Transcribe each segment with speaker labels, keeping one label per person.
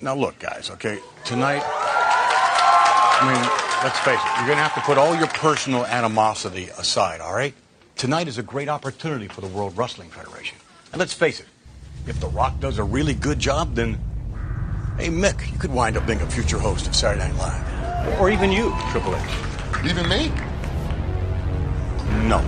Speaker 1: Now, look, guys, okay, tonight, I mean, let's face it, you're going to have to put all your personal animosity aside, all right? Tonight is a great opportunity for the World Wrestling Federation. And let's face it, if The Rock does a really good job, then, hey, Mick, you could wind up being a future host of Saturday Night Live. Or even you, Triple H.
Speaker 2: Even me?
Speaker 1: No.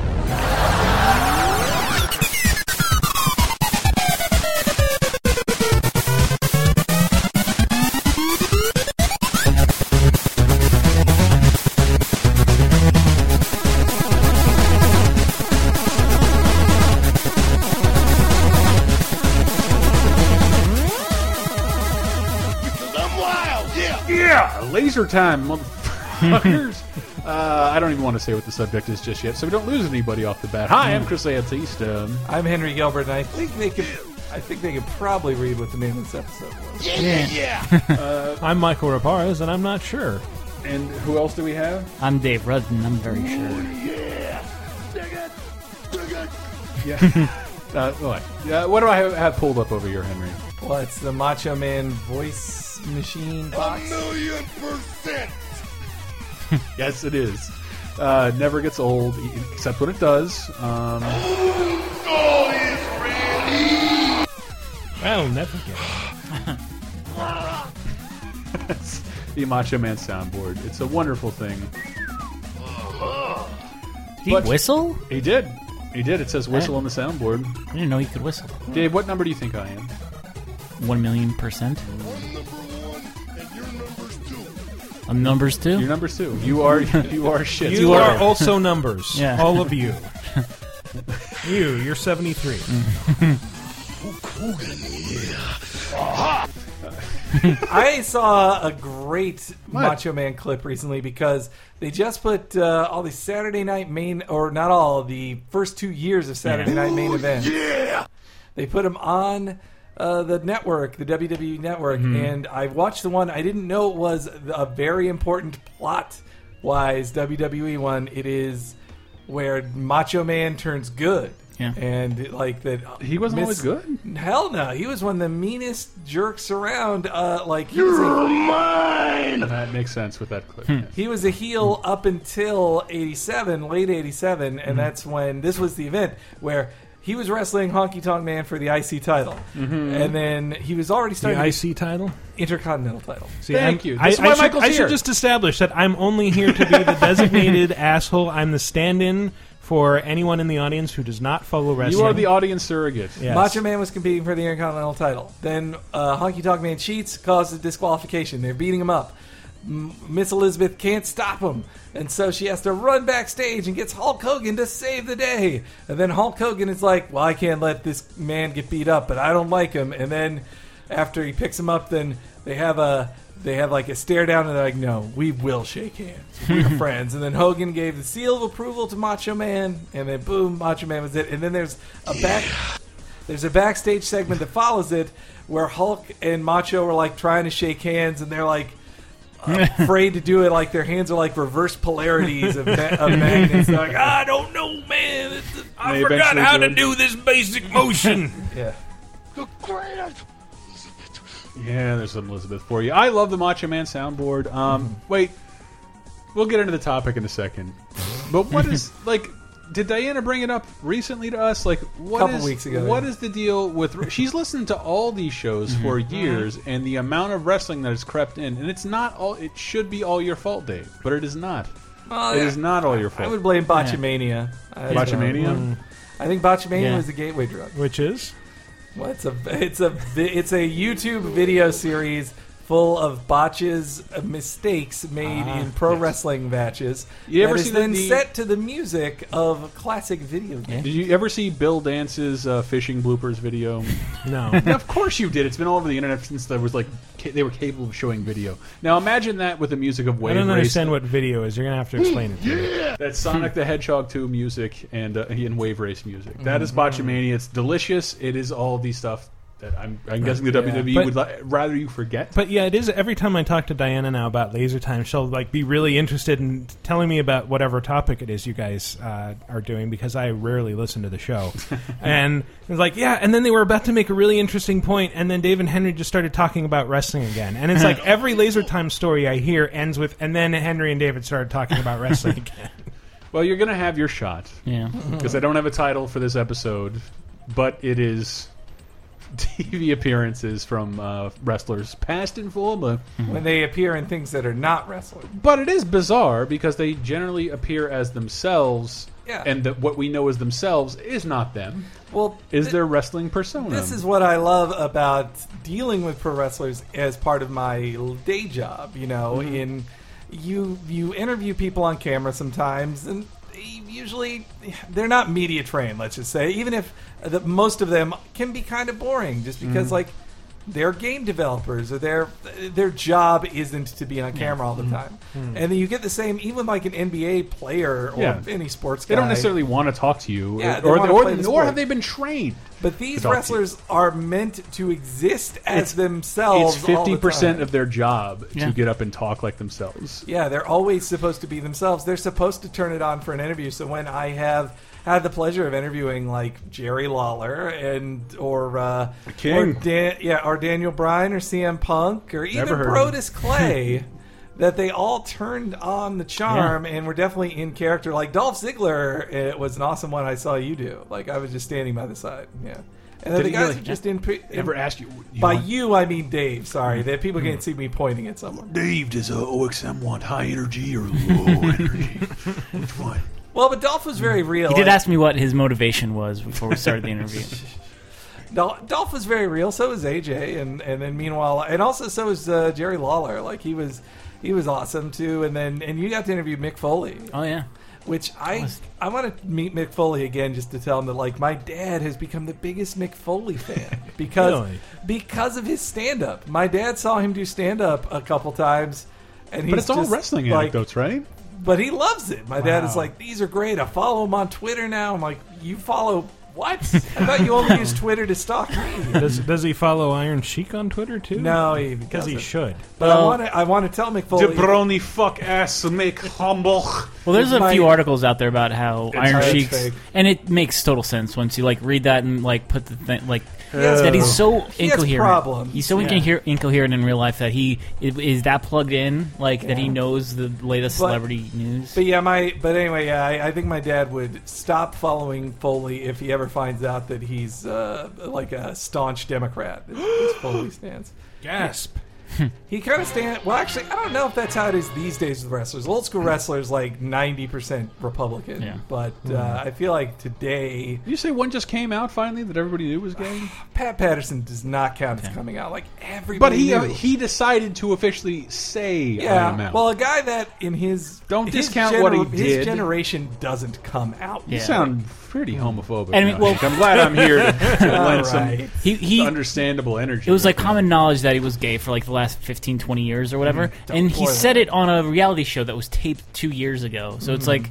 Speaker 2: I'm wild, yeah!
Speaker 3: Yeah, laser time, motherfuckers. uh, I don't even want to say what the subject is just yet, so we don't lose anybody off the bat. Hi, I'm Chris Antista.
Speaker 4: I'm Henry Gilbert, and I think they could. I think they could probably read what the name of this episode was.
Speaker 5: I'm Michael Raparez, and I'm not sure.
Speaker 3: And who else do we have?
Speaker 6: I'm Dave Rudden. I'm very
Speaker 4: Mm.
Speaker 6: sure.
Speaker 3: Uh, what? Uh, what do I have, have pulled up over here, Henry?
Speaker 4: Well, it's the Macho Man voice machine box.
Speaker 2: Million percent!
Speaker 3: Yes, it is. Uh, never gets old, e- except when it does. Um,
Speaker 2: All is ready!
Speaker 5: I'll never get it.
Speaker 3: it's the Macho Man soundboard. It's a wonderful thing.
Speaker 6: He
Speaker 3: But-
Speaker 6: whistle?
Speaker 3: He did. He did. It says whistle on the soundboard.
Speaker 6: I didn't know he could whistle.
Speaker 3: Dave, what number do you think I am?
Speaker 6: One million percent.
Speaker 2: I'm number one, and your number's two.
Speaker 6: I'm numbers
Speaker 3: You're
Speaker 6: two.
Speaker 3: number two. You are. You are shit.
Speaker 5: You are also numbers.
Speaker 6: Yeah.
Speaker 5: All of you. you, you're
Speaker 3: Mm-hmm.
Speaker 5: 73.
Speaker 4: I saw a great Macho Man clip recently because they just put uh, all the Saturday Night Main, or not all, the first two years of Saturday Night Main Event.
Speaker 2: Yeah!
Speaker 4: They put them on uh, the network, the WWE network,
Speaker 3: Mm-hmm.
Speaker 4: and I watched the one. I didn't know it was a very important plot-wise WWE one. It is where Macho Man turns good,
Speaker 6: Yeah.
Speaker 4: and like that.
Speaker 3: He wasn't always good?
Speaker 4: Hell no, he was one of the meanest jerks around. Uh, like he was, a,
Speaker 2: You're mine!
Speaker 3: That makes sense with that clip.
Speaker 5: Hmm.
Speaker 3: yes.
Speaker 4: he was a heel up until '87, late '87, and that's when this was the event where. He was wrestling Honky Tonk Man for the IC title, and then he was already starting.
Speaker 5: The
Speaker 4: to
Speaker 5: IC title?
Speaker 4: Intercontinental title.
Speaker 5: See,
Speaker 3: Thank
Speaker 5: I'm-
Speaker 3: you.
Speaker 5: I,
Speaker 3: This is
Speaker 5: I
Speaker 3: why
Speaker 5: should,
Speaker 3: Michael's
Speaker 5: I should
Speaker 3: here.
Speaker 5: just establish that I'm only here to be the designated asshole. I'm the stand-in for anyone in the audience who does not follow wrestling.
Speaker 3: You are the audience surrogate.
Speaker 5: Yes.
Speaker 4: Macho Man was competing for the Intercontinental title. Then uh, Honky Tonk Man cheats, causes disqualification. They're beating him up. M- Miss Elizabeth can't stop him, and so she has to run backstage and gets Hulk Hogan to save the day. And then Hulk Hogan is like, "Well, I can't let this man get beat up, but I don't like him." And then after he picks him up, then they have a they have like a stare down, and they're like, "No, we will shake hands. We're friends." And then Hogan gave the seal of approval to Macho Man, and then boom, Macho Man was it. And then there's a back. There's a backstage segment that follows it where Hulk and Macho are like trying to shake hands and they're like afraid to do it. Like their hands are like reverse polarities of, ma- of magnets. They're like, "Ah!" I don't know, man. It's- I
Speaker 3: They
Speaker 4: forgot
Speaker 3: eventually
Speaker 4: how to
Speaker 3: do.
Speaker 4: do.
Speaker 5: this basic motion.
Speaker 4: Yeah.
Speaker 2: The greatest!
Speaker 3: Yeah, there's some Elizabeth for you. I love the Macho Man soundboard. Um,
Speaker 5: Mm-hmm.
Speaker 3: Wait, we'll get into the topic in a second. But what is like? Did Diana bring it up recently to us? Like, what
Speaker 4: Couple
Speaker 3: is-
Speaker 4: weeks ago,
Speaker 3: What
Speaker 4: yeah.
Speaker 3: is the deal with? She's listened to all these shows
Speaker 5: Mm-hmm.
Speaker 3: for years, and the amount of wrestling that has crept in, and it's not all. It should be all your fault, Dave, but it is not.
Speaker 4: Well,
Speaker 3: It is not all your
Speaker 4: Oh, I
Speaker 3: fault.
Speaker 4: would blame Botchamania. I-
Speaker 3: Botchamania?
Speaker 5: Mm.
Speaker 4: I think Botchamania
Speaker 6: Yeah.
Speaker 4: was the gateway drug.
Speaker 5: Which is?
Speaker 4: Well, it's a it's a vi- it's a YouTube video series full of botches, uh, mistakes made in pro wrestling matches.
Speaker 3: You ever
Speaker 4: that is
Speaker 3: seen
Speaker 4: then
Speaker 3: the-
Speaker 4: set to the music of classic video games?
Speaker 3: Did you ever see Bill Dance's uh, fishing bloopers video?
Speaker 5: No.
Speaker 3: of course you did. It's been all over the internet since there was like ca- they were capable of showing video. Now imagine that with the music of
Speaker 5: I
Speaker 3: Wave
Speaker 5: don't
Speaker 3: Race,
Speaker 5: understand hmm. what video is. You're going to have to explain it to me.
Speaker 3: that's Sonic the Hedgehog 2
Speaker 5: Mm-hmm.
Speaker 3: music and uh, and Wave Race music. That is Botchamania. It's delicious. It is all the stuff that I'm, I'm guessing the WWE
Speaker 5: But-
Speaker 3: would li- rather you forget.
Speaker 5: But yeah, it is. Every time I talk to Diana now about Laser Time, she'll like be really interested in telling me about whatever topic it is you guys uh, are doing because I rarely listen to the show. and it's like, yeah. And then they were about to make a really interesting point, and then Dave and Henry just started talking about wrestling again. And it's like every Laser Time story I hear ends with, and then Henry and David started talking about wrestling again.
Speaker 3: Well, you're gonna have your shot
Speaker 6: Yeah.
Speaker 3: because I don't have a title for this episode, but it is TV appearances from uh, wrestlers past and former.
Speaker 4: when they appear in things that are not wrestling.
Speaker 3: But it is bizarre because they generally appear as themselves,
Speaker 4: Yeah.
Speaker 3: and that what we know as themselves is not them.
Speaker 4: Well,
Speaker 3: Is um,
Speaker 4: th-
Speaker 3: their wrestling persona?
Speaker 4: This is what I love about dealing with pro wrestlers as part of my l- day job. You know,
Speaker 3: Mm-hmm.
Speaker 4: in you you interview people on camera sometimes, and they usually they're not media trained. Let's just say, even if the, most of them can be kind of boring, just because
Speaker 3: Mm.
Speaker 4: like they're game developers or their their job isn't to be on camera all the
Speaker 3: Mm.
Speaker 4: time, and then you get the same even like an NBA player or
Speaker 3: Yeah.
Speaker 4: any sports guy.
Speaker 3: They don't necessarily want to talk to you,
Speaker 4: Yeah, they
Speaker 3: or, or,
Speaker 4: wanna
Speaker 3: or,
Speaker 4: play the
Speaker 3: nor
Speaker 4: sport.
Speaker 3: have they been trained.
Speaker 4: But these
Speaker 3: to talk to
Speaker 4: wrestlers are meant to exist
Speaker 3: It's-
Speaker 4: as themselves.
Speaker 3: It's
Speaker 4: Oh, all the
Speaker 3: fifty percent
Speaker 4: time.
Speaker 3: of their job
Speaker 6: Yeah.
Speaker 3: to get up and talk like themselves.
Speaker 4: Yeah, they're always supposed to be themselves. They're supposed to turn it on for an interview. So when I have had the pleasure of interviewing like Jerry Lawler and or uh,
Speaker 3: King.
Speaker 4: or Dan- yeah, or Daniel Bryan or CM Punk or even
Speaker 3: Never heard of him.
Speaker 4: Brodus Clay. That they all turned on the charm and were definitely in character. Like Dolph Ziggler, it was an awesome one I saw you do. Like I was just standing by the side, yeah. And then
Speaker 3: Did
Speaker 4: the
Speaker 3: he
Speaker 4: guys
Speaker 3: really?
Speaker 4: are just in. Pre-
Speaker 3: Never asked you. you
Speaker 4: By
Speaker 3: want-
Speaker 4: you, I mean Dave. Sorry, that people can't see me pointing at someone.
Speaker 2: Dave, does uh, OXM want high energy or low energy? Which one?
Speaker 4: Well, but Dolph was
Speaker 3: Mm.
Speaker 4: very real.
Speaker 6: He did
Speaker 4: and-
Speaker 6: ask me what his motivation was before we started the interview.
Speaker 4: Dol- Dolph was very real. So was AJ, and and then meanwhile, and also so was uh, Jerry Lawler. Like he was, he was awesome too. And then and you got to interview Mick Foley,
Speaker 6: Oh yeah.
Speaker 4: which I I want to meet Mick Foley again just to tell him that like my dad has become the biggest Mick Foley fan because
Speaker 5: Really?
Speaker 4: because of his stand up. My dad saw him do stand up a couple times. And he's
Speaker 3: but it's all
Speaker 4: just,
Speaker 3: wrestling
Speaker 4: like,
Speaker 3: anecdotes, right?
Speaker 4: but he loves it. My dad is
Speaker 5: Wow.
Speaker 4: like, these are great. I follow him on Twitter now. I'm like, you follow what? I thought you only used Twitter to stalk me.
Speaker 5: does Does he follow Iron Sheik on Twitter too?
Speaker 4: No, he
Speaker 5: because he
Speaker 4: doesn't.
Speaker 5: should.
Speaker 4: But I
Speaker 6: Well-
Speaker 4: want to. I want to tell McFoley.
Speaker 3: Jabroni fuck ass make humble.
Speaker 6: Well, there's a
Speaker 4: My-
Speaker 6: few articles out there about how Iron
Speaker 4: it's
Speaker 6: Sheik's,
Speaker 4: fake.
Speaker 6: and it makes total sense once you like read that and like put the thing like
Speaker 4: has-
Speaker 6: that he's so
Speaker 4: he has
Speaker 6: incoherent.
Speaker 4: problems.
Speaker 6: He's so
Speaker 4: Yeah.
Speaker 6: incoher- incoherent in real life that he is- is that plugged in, like that he
Speaker 4: Yeah.
Speaker 6: knows the latest
Speaker 4: But-
Speaker 6: celebrity news.
Speaker 4: But yeah, my. But anyway, yeah, I, I think my dad would stop following Foley if he ever finds out that he's uh, like a staunch Democrat. As, as Foley stands.
Speaker 5: Gasp.
Speaker 4: He kind of stand. Well, actually, I don't know if that's how it is these days with wrestlers. Old school wrestlers like ninety percent Republican,
Speaker 6: Yeah.
Speaker 4: but uh, I feel like today
Speaker 3: Did you say one just came out finally that everybody knew was gay?
Speaker 4: Pat Patterson does not count as coming out. Like
Speaker 3: But
Speaker 4: everybody,
Speaker 3: he uh,
Speaker 4: knew.
Speaker 3: he decided to officially say I
Speaker 4: Yeah,
Speaker 3: am out.
Speaker 4: well, a guy that in his
Speaker 3: Don't
Speaker 4: his
Speaker 3: discount what he did.
Speaker 4: His generation doesn't come out.
Speaker 6: Yeah.
Speaker 3: you sound pretty homophobic.
Speaker 6: And I mean,
Speaker 3: Nigel.
Speaker 6: well-
Speaker 3: I'm glad I'm here to, to lend
Speaker 4: right.
Speaker 3: some
Speaker 6: he he.
Speaker 3: understandable energy.
Speaker 6: It was like common knowledge that he was gay for like the last 15, 20 years or whatever,
Speaker 3: Mm-hmm.
Speaker 6: and he
Speaker 4: spoil
Speaker 6: said it on a reality show that was taped two years ago. So it's like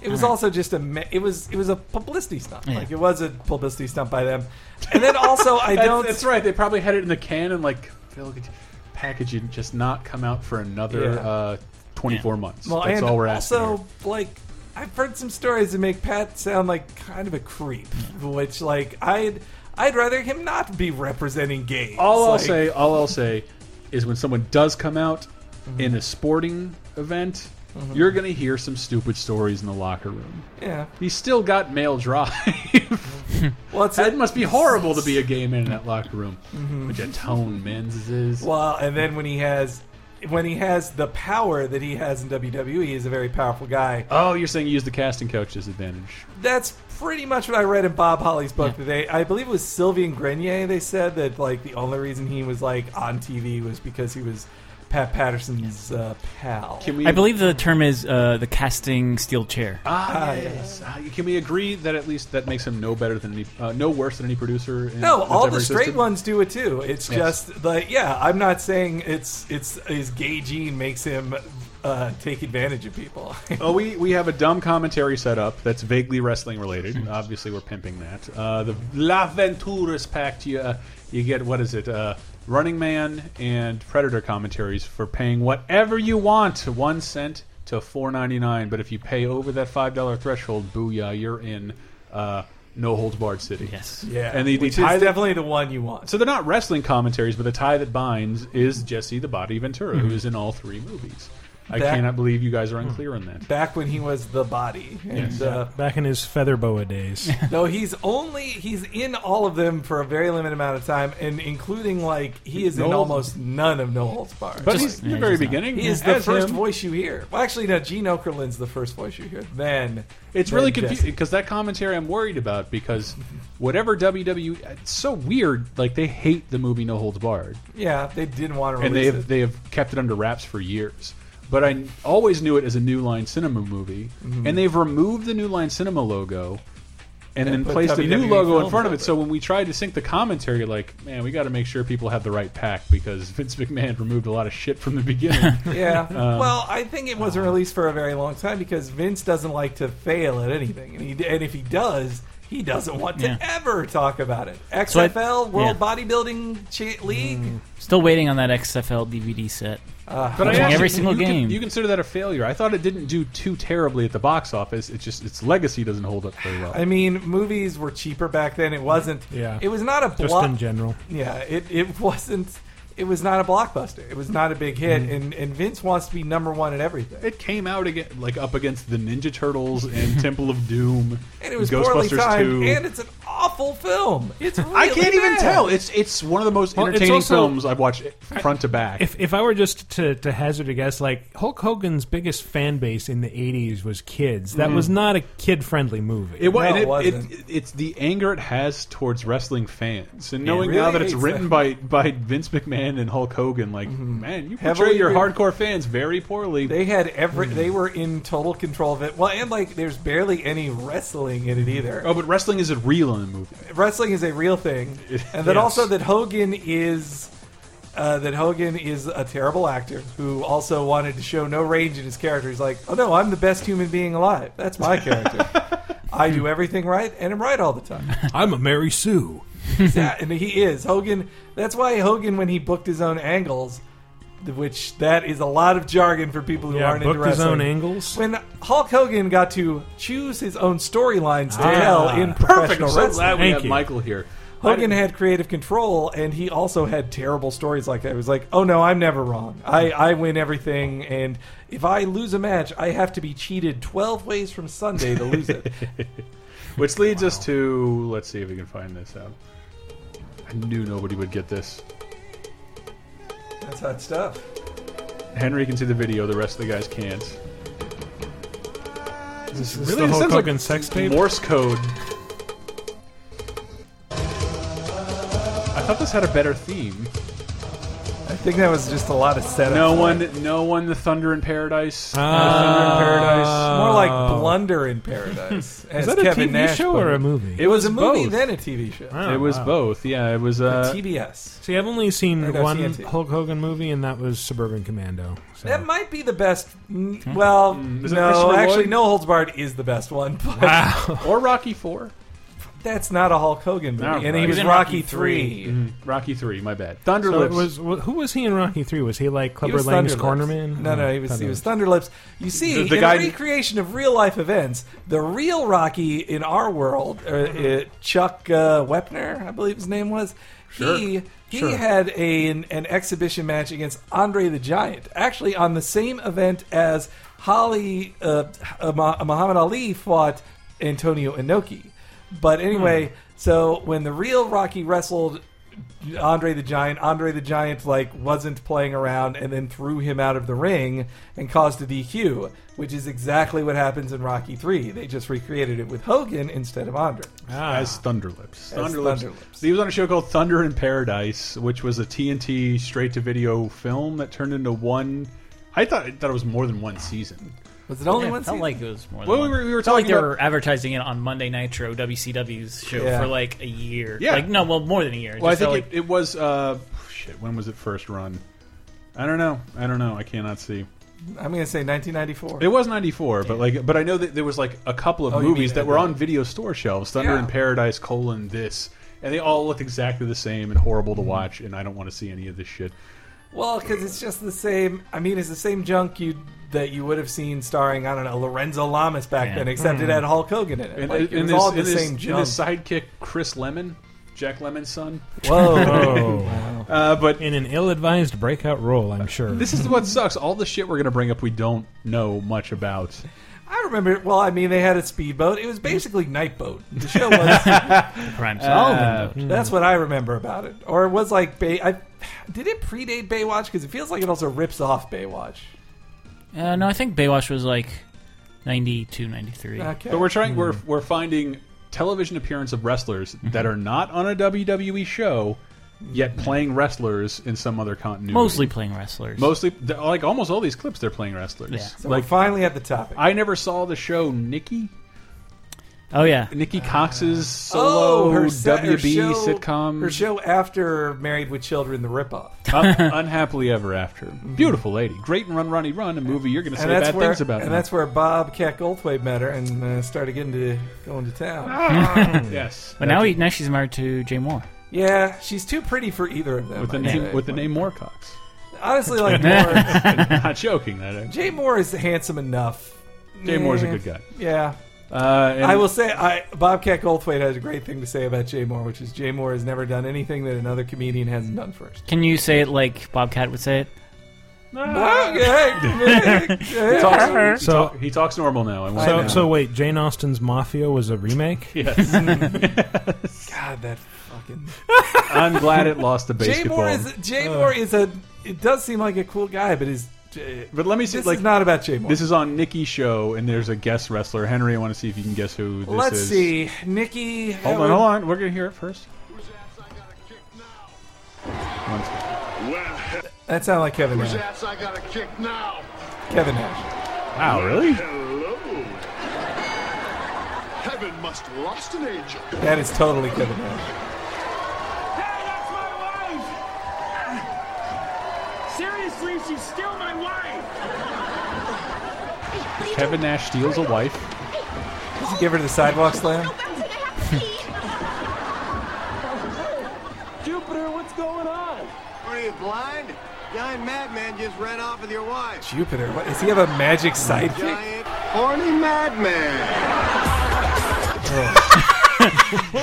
Speaker 4: It was also just a ma- it was it was a publicity stunt.
Speaker 6: Yeah.
Speaker 4: Like it was a publicity stunt by them. And then also I
Speaker 3: That's,
Speaker 4: don't.
Speaker 3: that's right. They probably had it in the can and like Phil, could you package it, and just not come out for another
Speaker 4: Yeah.
Speaker 3: uh, 24 months.
Speaker 4: Well,
Speaker 3: that's
Speaker 4: and
Speaker 3: all we're asking.
Speaker 4: also
Speaker 3: here.
Speaker 4: like I've heard some stories that make Pat sound like kind of a creep, which like I'd I'd rather him not be representing gays.
Speaker 3: all I'll
Speaker 4: Like,
Speaker 3: say, all I'll say, is when someone does come out
Speaker 4: Mm-hmm.
Speaker 3: in a sporting event, you're gonna hear some stupid stories in the locker room.
Speaker 4: yeah.
Speaker 3: He's still got male drive.
Speaker 4: Well, it's
Speaker 3: that must be horrible to be a gay man in that locker room.
Speaker 4: Mm-hmm.
Speaker 3: Which a tone men's is.
Speaker 4: Well, and then when he has when he has the power that he has in WWE, he's a very powerful guy.
Speaker 3: oh, you're saying you use the casting coach disadvantage.
Speaker 4: That's pretty much what I read in Bob Holly's book today. I believe it was Sylvian Grenier. They said that like the only reason he was like on TV was because he was Pat Patterson's uh, pal.
Speaker 3: Can we?
Speaker 6: I believe the term is uh, the casting steel chair.
Speaker 3: Ah, yes. Ah, Can we agree that at least that makes him no better than any, uh, no worse than any producer? In,
Speaker 4: no,
Speaker 3: that's
Speaker 4: all
Speaker 3: ever
Speaker 4: the straight
Speaker 3: existed?
Speaker 4: ones do it too. It's
Speaker 3: Yes.
Speaker 4: just like yeah, I'm not saying it's it's his gay gene makes him uh, take advantage of people.
Speaker 3: Oh, we, we have a dumb commentary set up that's vaguely wrestling related. Obviously, we're pimping that. Uh, the La Venturas Pact, you, uh, you get, what is it? Uh, Running Man and Predator commentaries for paying whatever you want, one cent to four ninety nine. But if you pay over that $5 threshold, booyah, you're in uh, No Holds Barred City.
Speaker 6: Yes.
Speaker 4: yeah,
Speaker 3: And the- the
Speaker 4: which
Speaker 3: tie-
Speaker 4: is definitely the one you want.
Speaker 3: So they're not wrestling commentaries, but the tie that binds is Jesse the Body Ventura, who is in all three movies. I
Speaker 4: That-
Speaker 3: cannot believe you guys are unclear on that.
Speaker 4: Back when he was the body, and uh,
Speaker 5: Back in his feather boa days.
Speaker 4: though he's only he's in all of them for a very limited amount of time, and including like he is in
Speaker 3: Noel-
Speaker 4: almost none of No Holds Barred.
Speaker 3: But
Speaker 6: Just-
Speaker 3: he's in
Speaker 6: yeah,
Speaker 3: the very
Speaker 6: he's not.
Speaker 3: beginning.
Speaker 4: He is the
Speaker 3: as
Speaker 4: first
Speaker 3: him.
Speaker 4: voice you hear. Well, actually, no. Gene Okerlund's the first voice you hear. Then
Speaker 3: It's
Speaker 4: then
Speaker 3: really
Speaker 4: Jesse.
Speaker 3: confusing because that commentary I'm worried about because whatever WWE, it's so weird. Like they hate the movie No Holds Barred,
Speaker 4: Yeah, they didn't want to
Speaker 3: and they
Speaker 4: release
Speaker 3: have
Speaker 4: it.
Speaker 3: they have kept it under wraps for years. But I always knew it as a New Line Cinema movie,
Speaker 4: Mm-hmm.
Speaker 3: and they've removed the New Line Cinema logo. And, then
Speaker 4: put
Speaker 3: placed a new
Speaker 4: WWE
Speaker 3: logo in
Speaker 4: films
Speaker 3: front of it.
Speaker 4: over
Speaker 3: So when we tried to sync the commentary, like, man, we got to make sure people have the right pack because Vince McMahon removed a lot of shit from the beginning.
Speaker 4: Yeah.
Speaker 3: Um,
Speaker 4: well, I think it
Speaker 3: uh,
Speaker 4: wasn't released for a very long time because Vince doesn't like to fail at anything, and, he, and if he does, he doesn't want to
Speaker 6: Yeah.
Speaker 4: ever talk about it.
Speaker 6: So I-
Speaker 4: XFL World
Speaker 6: yeah.
Speaker 4: Bodybuilding Cha- League. uh,
Speaker 6: Still waiting on that XFL DVD set.
Speaker 3: Mm. But
Speaker 6: Watching every single
Speaker 3: you can-
Speaker 6: game.
Speaker 3: you consider that a failure. I thought it didn't do too terribly at the box office. It's just its legacy doesn't hold up very well.
Speaker 4: I mean, movies were cheaper back then. It wasn't.
Speaker 5: Yeah.
Speaker 4: It was not a
Speaker 5: Just
Speaker 4: block.
Speaker 5: in general.
Speaker 4: Yeah, it, it wasn't. It was not a blockbuster. It was not a big
Speaker 3: Mm-hmm.
Speaker 4: hit, and, and Vince wants to be number one at everything.
Speaker 3: it came out again, like up against the Ninja Turtles and Temple of Doom
Speaker 4: and it was poorly
Speaker 3: Ghostbusters 2.
Speaker 4: timed, and it's an awful film. It's really
Speaker 3: I can't even
Speaker 4: bad.
Speaker 3: tell. It's it's one of the most
Speaker 5: Well, it's
Speaker 3: entertaining
Speaker 5: also-
Speaker 3: films I've watched front to back.
Speaker 5: If, if I were just to, to hazard a guess, like Hulk Hogan's biggest fan base in the 80s was kids. That was not a kid friendly movie.
Speaker 3: It, wa-
Speaker 4: No,
Speaker 3: and
Speaker 4: Mm. it
Speaker 3: it,
Speaker 4: wasn't.
Speaker 3: it- it's the anger it has towards wrestling fans, and knowing
Speaker 4: really
Speaker 3: now that it's
Speaker 4: hates
Speaker 3: written
Speaker 4: them. Mm-hmm.
Speaker 3: by by Vince McMahon and Hulk Hogan, like man, you portray
Speaker 4: Heavily
Speaker 3: your
Speaker 4: written.
Speaker 3: hardcore fans very poorly.
Speaker 4: They had every.
Speaker 3: Mm-hmm.
Speaker 4: They were in total control of it. Well, and like, there's barely any wrestling in it either.
Speaker 3: oh, but wrestling isn't real in the movie.
Speaker 4: Wrestling is a real thing, and then
Speaker 3: Yes.
Speaker 4: also that Hogan is. Uh, that Hogan is a terrible actor who also wanted to show no range in his character. He's like, "Oh no, I'm the best human being alive. That's my character. I do everything right and I'm right all the time."
Speaker 5: I'm a Mary Sue.
Speaker 4: Yeah, and he is Hogan. That's why Hogan, when he booked his own angles, th- which that is a lot of jargon for people who
Speaker 5: Yeah,
Speaker 4: aren't into
Speaker 5: booked his
Speaker 4: wrestling.
Speaker 5: own angles.
Speaker 4: When Hulk Hogan got to choose his own storylines to
Speaker 5: Ah,
Speaker 4: tell in
Speaker 3: Perfect.
Speaker 4: professional
Speaker 3: I'm so
Speaker 4: wrestling,
Speaker 3: glad we
Speaker 5: Thank
Speaker 3: have
Speaker 5: you.
Speaker 3: Michael here.
Speaker 4: Hogan had creative control, and he also had terrible stories like that. It was like, oh no, I'm never wrong. I, I win everything, and if I lose a match, I have to be cheated twelve ways from Sunday to lose it.
Speaker 3: Which leads us to let's see if we can find this out. I knew nobody would get this.
Speaker 4: That's hot stuff.
Speaker 3: Henry can see the video; the rest of the guys can't.
Speaker 5: This
Speaker 3: Really,
Speaker 5: the
Speaker 3: it
Speaker 5: Hulk
Speaker 3: sounds
Speaker 5: Hogan
Speaker 3: like
Speaker 5: sex tape.
Speaker 3: Morse code. I thought this had a better theme.
Speaker 4: I think that was just a lot of setup.
Speaker 3: No one, no one. The Thunder in Paradise. The
Speaker 5: Ah.
Speaker 3: Thunder in Paradise.
Speaker 4: More like
Speaker 5: Oh.
Speaker 4: Blunder in Paradise.
Speaker 5: Is that a
Speaker 4: Kevin
Speaker 5: TV
Speaker 4: Nash
Speaker 5: show
Speaker 4: put
Speaker 5: or
Speaker 4: it.
Speaker 5: a movie?
Speaker 4: It was a movie,
Speaker 3: both.
Speaker 4: then a TV show.
Speaker 5: Oh,
Speaker 3: it was
Speaker 5: wow.
Speaker 3: both. Yeah, it was. Uh,
Speaker 4: TBS.
Speaker 5: See, I've only seen
Speaker 4: Or no,
Speaker 5: one
Speaker 4: TNT.
Speaker 5: Hulk Hogan movie, and that was Suburban Commando. So.
Speaker 4: That might be the best. mm, Well,
Speaker 3: is that
Speaker 4: no,
Speaker 3: Christopher
Speaker 4: actually,
Speaker 3: Lloyd?
Speaker 4: No Holds Barred is the best one, but
Speaker 3: or Rocky Four.
Speaker 4: that's not a Hulk Hogan movie.
Speaker 3: All
Speaker 4: And he
Speaker 3: right.
Speaker 4: was
Speaker 6: He's in
Speaker 4: Rocky
Speaker 6: Rocky
Speaker 4: Three.
Speaker 3: Rocky Three. My bad. Thunder
Speaker 5: So it
Speaker 3: Lips.
Speaker 5: was wh- who was he in Rocky Three? Was he like
Speaker 4: He
Speaker 5: Clubber
Speaker 4: was
Speaker 5: Lang's
Speaker 4: Thunderlips.
Speaker 5: cornerman? Oh,
Speaker 4: No, no, he was he was Thunderlips. You see,
Speaker 3: The- the
Speaker 4: in
Speaker 3: guy-
Speaker 4: a recreation of real life events, the real Rocky in our world, uh,
Speaker 3: Mm-hmm.
Speaker 4: uh, Chuck uh, Wepner, I believe his name was, he he had a, an, an exhibition match against Andre the Giant, actually on the same event as Holly uh, uh, Mo- Muhammad Ali fought Antonio Inoki. But anyway,
Speaker 3: Hmm.
Speaker 4: so when the real Rocky wrestled Andre the Giant. Andre the Giant like wasn't playing around and then threw him out of the ring and caused a DQ, which is exactly what happens in Rocky 3. They just recreated it with Hogan instead of Andre.
Speaker 3: Ah. as Thunderlips.
Speaker 4: As
Speaker 3: Thunderlips.
Speaker 4: Thunderlips.
Speaker 3: He was on a show called Thunder in Paradise, which was a TNT straight to video film that turned into one. I thought, I thought it was more than one season.
Speaker 4: Was it only
Speaker 6: Yeah,
Speaker 4: one
Speaker 6: it felt
Speaker 4: season?
Speaker 6: like it was more. Than
Speaker 3: Well, we
Speaker 6: one.
Speaker 3: were- we were
Speaker 6: It felt like
Speaker 3: talking
Speaker 6: they
Speaker 3: about-
Speaker 6: were advertising it on Monday Nitro, WCW's show
Speaker 4: Yeah.
Speaker 6: for like a year.
Speaker 3: Yeah.
Speaker 6: like no, well, more than a year. It
Speaker 3: Well, I
Speaker 6: just
Speaker 3: think
Speaker 6: felt
Speaker 3: it, it was. Uh, shit, when was it first run? I don't know. I don't know. I cannot see.
Speaker 4: I'm going to say 1994.
Speaker 3: It was '94, but like, but I know that there was like a couple of
Speaker 4: Oh, you mean
Speaker 3: movies that
Speaker 4: that-
Speaker 3: were on video store shelves: Thunder
Speaker 4: Yeah.
Speaker 3: in Paradise, colon this, and they all looked exactly the same and horrible to watch. And I don't want to see any of this shit.
Speaker 4: Well, because it's just the same. I mean, it's the same junk you that you would have seen starring I don't know Lorenzo Lamas back then, except it had Hulk Hogan Hmm. in it.
Speaker 3: And,
Speaker 4: like, it
Speaker 3: and
Speaker 4: was
Speaker 3: his-
Speaker 4: all the
Speaker 3: and his-
Speaker 4: same
Speaker 3: and
Speaker 4: junk.
Speaker 3: his sidekick Chris Lemon, Jack Lemon's son.
Speaker 4: Whoa!
Speaker 3: Uh, but
Speaker 5: Oh, in an ill-advised breakout role, I'm sure.
Speaker 3: this is what sucks. All the shit we're gonna bring up, we don't know much about.
Speaker 4: I remember. Well, I mean, they had a speedboat. It was basically Nightboat. The show was.
Speaker 6: Crime
Speaker 3: uh,
Speaker 6: solved.
Speaker 3: Mm.
Speaker 4: that's what I remember about it. Or it was like Bay. I, did it predate Baywatch? Because it feels like it also rips off Baywatch.
Speaker 6: Uh, no, I think Baywatch was like 92, 93.
Speaker 4: Okay.
Speaker 3: But we're trying. We're
Speaker 4: Hmm.
Speaker 3: we're finding television appearance of wrestlers
Speaker 4: Mm-hmm.
Speaker 3: that are not on a WWE show, yet playing wrestlers in some other continuity.
Speaker 6: Mostly playing wrestlers.
Speaker 3: Mostly, they're- like almost all these clips, they're playing wrestlers.
Speaker 6: Yeah.
Speaker 4: so
Speaker 3: Like
Speaker 4: we're finally at the topic.
Speaker 3: I never saw the show Nikki
Speaker 6: oh, yeah.
Speaker 3: Nikki
Speaker 4: Ah.
Speaker 3: Cox's solo
Speaker 4: oh, her, se- her
Speaker 3: WB
Speaker 4: show,
Speaker 3: sitcom,
Speaker 4: Her show after Married with Children, the ripoff.
Speaker 3: Un- Unhappily Ever After. Beautiful lady, great in Run Ronnie Run, a movie you're going to say
Speaker 4: Mm-hmm. and that's
Speaker 3: bad
Speaker 4: where
Speaker 3: things about.
Speaker 4: and
Speaker 3: now.
Speaker 4: that's where Bob Cat Goldthwait met her and uh, started getting to going to
Speaker 3: Ah.
Speaker 4: town.
Speaker 3: yes.
Speaker 6: But now, he, now she's married to Jay Moore.
Speaker 4: Yeah, she's too pretty for either of them.
Speaker 3: with the
Speaker 4: I'd
Speaker 3: name
Speaker 4: say.
Speaker 3: with the name Moorcox.
Speaker 4: honestly, like Moore,
Speaker 3: Not joking. That
Speaker 4: Jay Moore is handsome enough.
Speaker 3: Jay Moore's a
Speaker 4: Yeah.
Speaker 3: good guy.
Speaker 4: Yeah,
Speaker 3: Uh, and
Speaker 4: I will say, I Bobcat Goldthwait has a great thing to say about Jay Moore, which is Jay Moore has never done anything that another comedian hasn't done first.
Speaker 6: Can you say it like Bobcat would say it?
Speaker 3: He
Speaker 4: Okay.
Speaker 3: talks, he
Speaker 5: So-
Speaker 3: talk- Ah. he talks normal now. I won't-
Speaker 5: So, so wait, Jane Austen's Mafia was a remake.
Speaker 3: yes.
Speaker 4: God, that fucking Uh.
Speaker 3: I'm glad it lost the
Speaker 4: Jay
Speaker 3: basketball.
Speaker 4: Moore is Jay Moore is a. It does seem like a cool guy, but is uh,
Speaker 3: but let me see.
Speaker 4: this
Speaker 3: Like
Speaker 4: is not about Jay Moore.
Speaker 3: this is on Nikki's show, and there's a guest wrestler. Henry, I want to see if you can guess who this
Speaker 4: Let's
Speaker 3: is.
Speaker 4: see, Nikki.
Speaker 3: Hold on, hold on. We're gonna hear it first. One second.
Speaker 4: That sounded like Kevin Nash.
Speaker 7: That's I got a kick now.
Speaker 4: Kevin Nash.
Speaker 3: Wow, really?
Speaker 7: Hello. Heaven must have lost an angel.
Speaker 4: That is totally Kevin Nash.
Speaker 8: Ah. Seriously, she's still my wife.
Speaker 3: Kevin Nash steals a wife.
Speaker 4: Does he give her the sidewalk slam?
Speaker 8: Jupiter, what's going on?
Speaker 7: Are you blind? Giant madman just ran off with your wife.
Speaker 4: Jupiter. What, does he have a magic sidekick?
Speaker 7: Giant horny madman.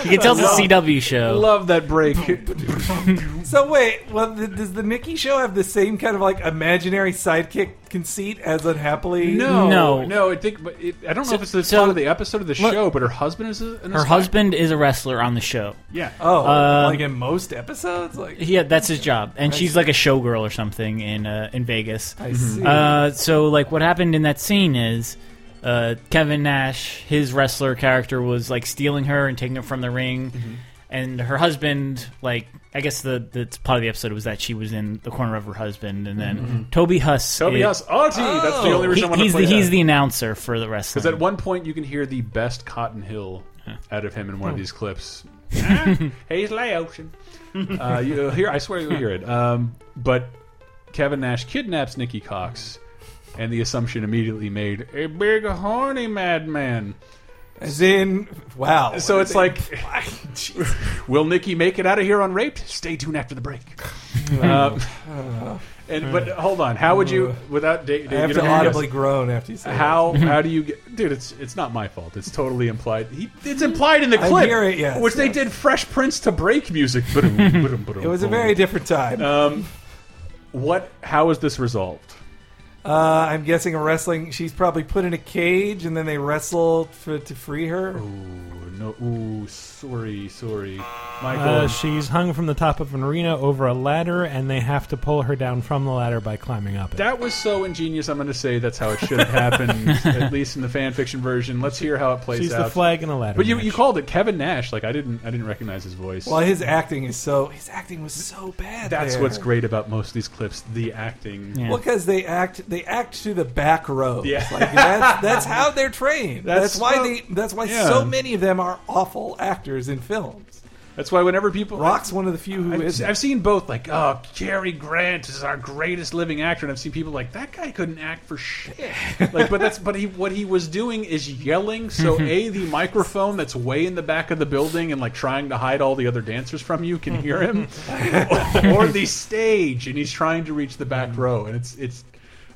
Speaker 6: You can tell it's a CW show.
Speaker 3: Love that break.
Speaker 4: So wait, well, th- does the Nikki show have the same kind of like imaginary sidekick conceit as unhappily?
Speaker 3: No,
Speaker 6: No.
Speaker 3: no. I think, but it, I don't know
Speaker 6: So-
Speaker 3: if it's the
Speaker 6: so-
Speaker 3: plot of the episode of the
Speaker 6: look-
Speaker 3: show, but her husband is a, an
Speaker 6: Her
Speaker 3: aspire-
Speaker 6: husband is a wrestler on the show.
Speaker 3: Yeah.
Speaker 4: Oh,
Speaker 6: Uh,
Speaker 4: like in most episodes, like
Speaker 6: Yeah, that's his job, and she's like a showgirl or something in uh, in Vegas.
Speaker 4: I see.
Speaker 6: Uh, so like what happened in that scene is uh, Kevin Nash, his wrestler character, was like stealing her and taking her from the ring,
Speaker 3: Mm-hmm.
Speaker 6: and her husband, like I guess the the part of the episode was that she was in the corner of her husband, and then Toby Huss,
Speaker 3: Mm-hmm. Toby
Speaker 6: is- Oh.
Speaker 3: Huss, Auntie. That's the only
Speaker 6: he-
Speaker 3: reason I want
Speaker 6: he's
Speaker 3: to
Speaker 6: the
Speaker 3: play
Speaker 6: he's
Speaker 3: that.
Speaker 6: the announcer for the wrestling.
Speaker 3: Because at one point you can hear the best Cotton Hill out of him in one
Speaker 6: Oh.
Speaker 3: of these clips. hey, it's lay ocean. uh, you hear, I swear you'll hear it. Um, but Kevin Nash kidnaps Nikki Cox, and the assumption immediately made a big horny madman.
Speaker 4: as in wow.
Speaker 3: So it's like,
Speaker 4: Jeez.
Speaker 3: will Nikki make it out of here unraped? Stay tuned after the break. uh, and but hold on, how would you without da-
Speaker 4: Uh, I have to audibly groan after you say
Speaker 3: How how do you get, dude? It's it's not my fault. It's totally implied. He, it's implied in the
Speaker 4: I
Speaker 3: clip,
Speaker 4: hear it, yes,
Speaker 3: which they
Speaker 4: yes.
Speaker 3: did Fresh Prince to break music. it
Speaker 4: It was a very different time. Uh,
Speaker 3: what? How is this resolved?
Speaker 4: Uh, I'm guessing a wrestling. She's probably put in a cage, and then they wrestle for, to free her.
Speaker 3: Oh. Ooh, no, ooh, sorry, sorry, Michael.
Speaker 5: Uh, she's hung from the top of an arena over a ladder, and they have to pull her down from the ladder by climbing up it.
Speaker 3: that was so ingenious. I'm going to say that's how it should have happened, at least in the fan fiction version. Let's hear how it plays
Speaker 5: She's
Speaker 3: out.
Speaker 5: the flag in a ladder.
Speaker 3: But you,
Speaker 5: match.
Speaker 3: you called it Kevin Nash. Like I didn't I didn't recognize his voice.
Speaker 4: Well, his acting is so. His acting was so bad.
Speaker 3: that's
Speaker 4: there.
Speaker 3: what's great about most of these clips: the acting.
Speaker 6: Yeah.
Speaker 4: Well, because they act, they act to the back row.
Speaker 3: Yeah.
Speaker 4: like, that's, that's how they're trained.
Speaker 3: That's
Speaker 4: That's, why
Speaker 3: so-
Speaker 4: they. That's why
Speaker 3: yeah.
Speaker 4: so many of them are awful actors in films.
Speaker 3: That's why whenever people
Speaker 4: Rock's one of the few who
Speaker 3: I've,
Speaker 4: is.
Speaker 3: I've seen both. Like, oh, Cary Grant is our greatest living actor, and I've seen people like that guy couldn't act for shit. like, but that's but he what he was doing is yelling. So a the microphone that's way in the back of the building and like trying to hide all the other dancers from you can hear him, or, the stage, and he's trying to reach the back row, and it's it's.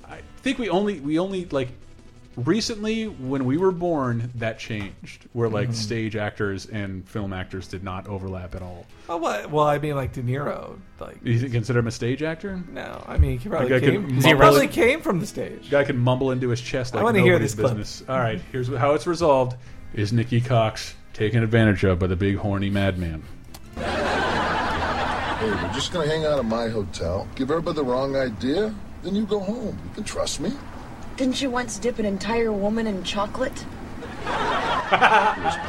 Speaker 3: I think we only we only like recently when we were born that changed where like stage actors and film actors did not overlap at all
Speaker 4: Oh, what? Well, I mean, like De Niro. Like,
Speaker 3: you think consider him a stage actor?
Speaker 4: no, I mean, he probably
Speaker 3: Like, I could
Speaker 4: came. He
Speaker 3: mumble
Speaker 4: probably
Speaker 3: it.
Speaker 4: came from the stage.
Speaker 3: Guy can mumble into his chest like
Speaker 4: I wanna
Speaker 3: nobody's
Speaker 4: hear this clip.
Speaker 3: business. All right, here's how it's resolved: is Nikki Cox taken advantage of by the big horny madman?
Speaker 8: Hey, we're just gonna hang out at my hotel, give everybody the wrong idea, then you go home. You can trust me.
Speaker 9: Didn't you once dip an entire woman in chocolate?
Speaker 8: There's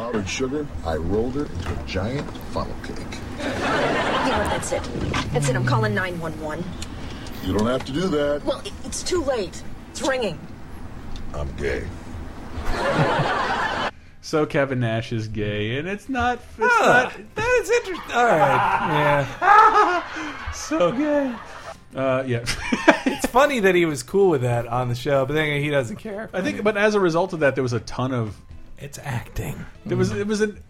Speaker 8: powdered sugar. I rolled her into a giant funnel cake.
Speaker 9: You know, what, that's it. That's it. I'm calling 911.
Speaker 8: You don't have to do that.
Speaker 9: Well, it- it's too late. It's ringing.
Speaker 8: I'm gay.
Speaker 3: So Kevin Nash is gay, and it's not. It's
Speaker 4: Huh,
Speaker 3: not
Speaker 4: that is interesting. All right, yeah.
Speaker 3: so gay. Uh, yeah,
Speaker 4: It's funny that he was cool with that on the show, but then he doesn't care.
Speaker 3: I think. But as a result of that, there was a ton of
Speaker 5: It's acting.
Speaker 3: There
Speaker 4: Mm.
Speaker 3: was it was an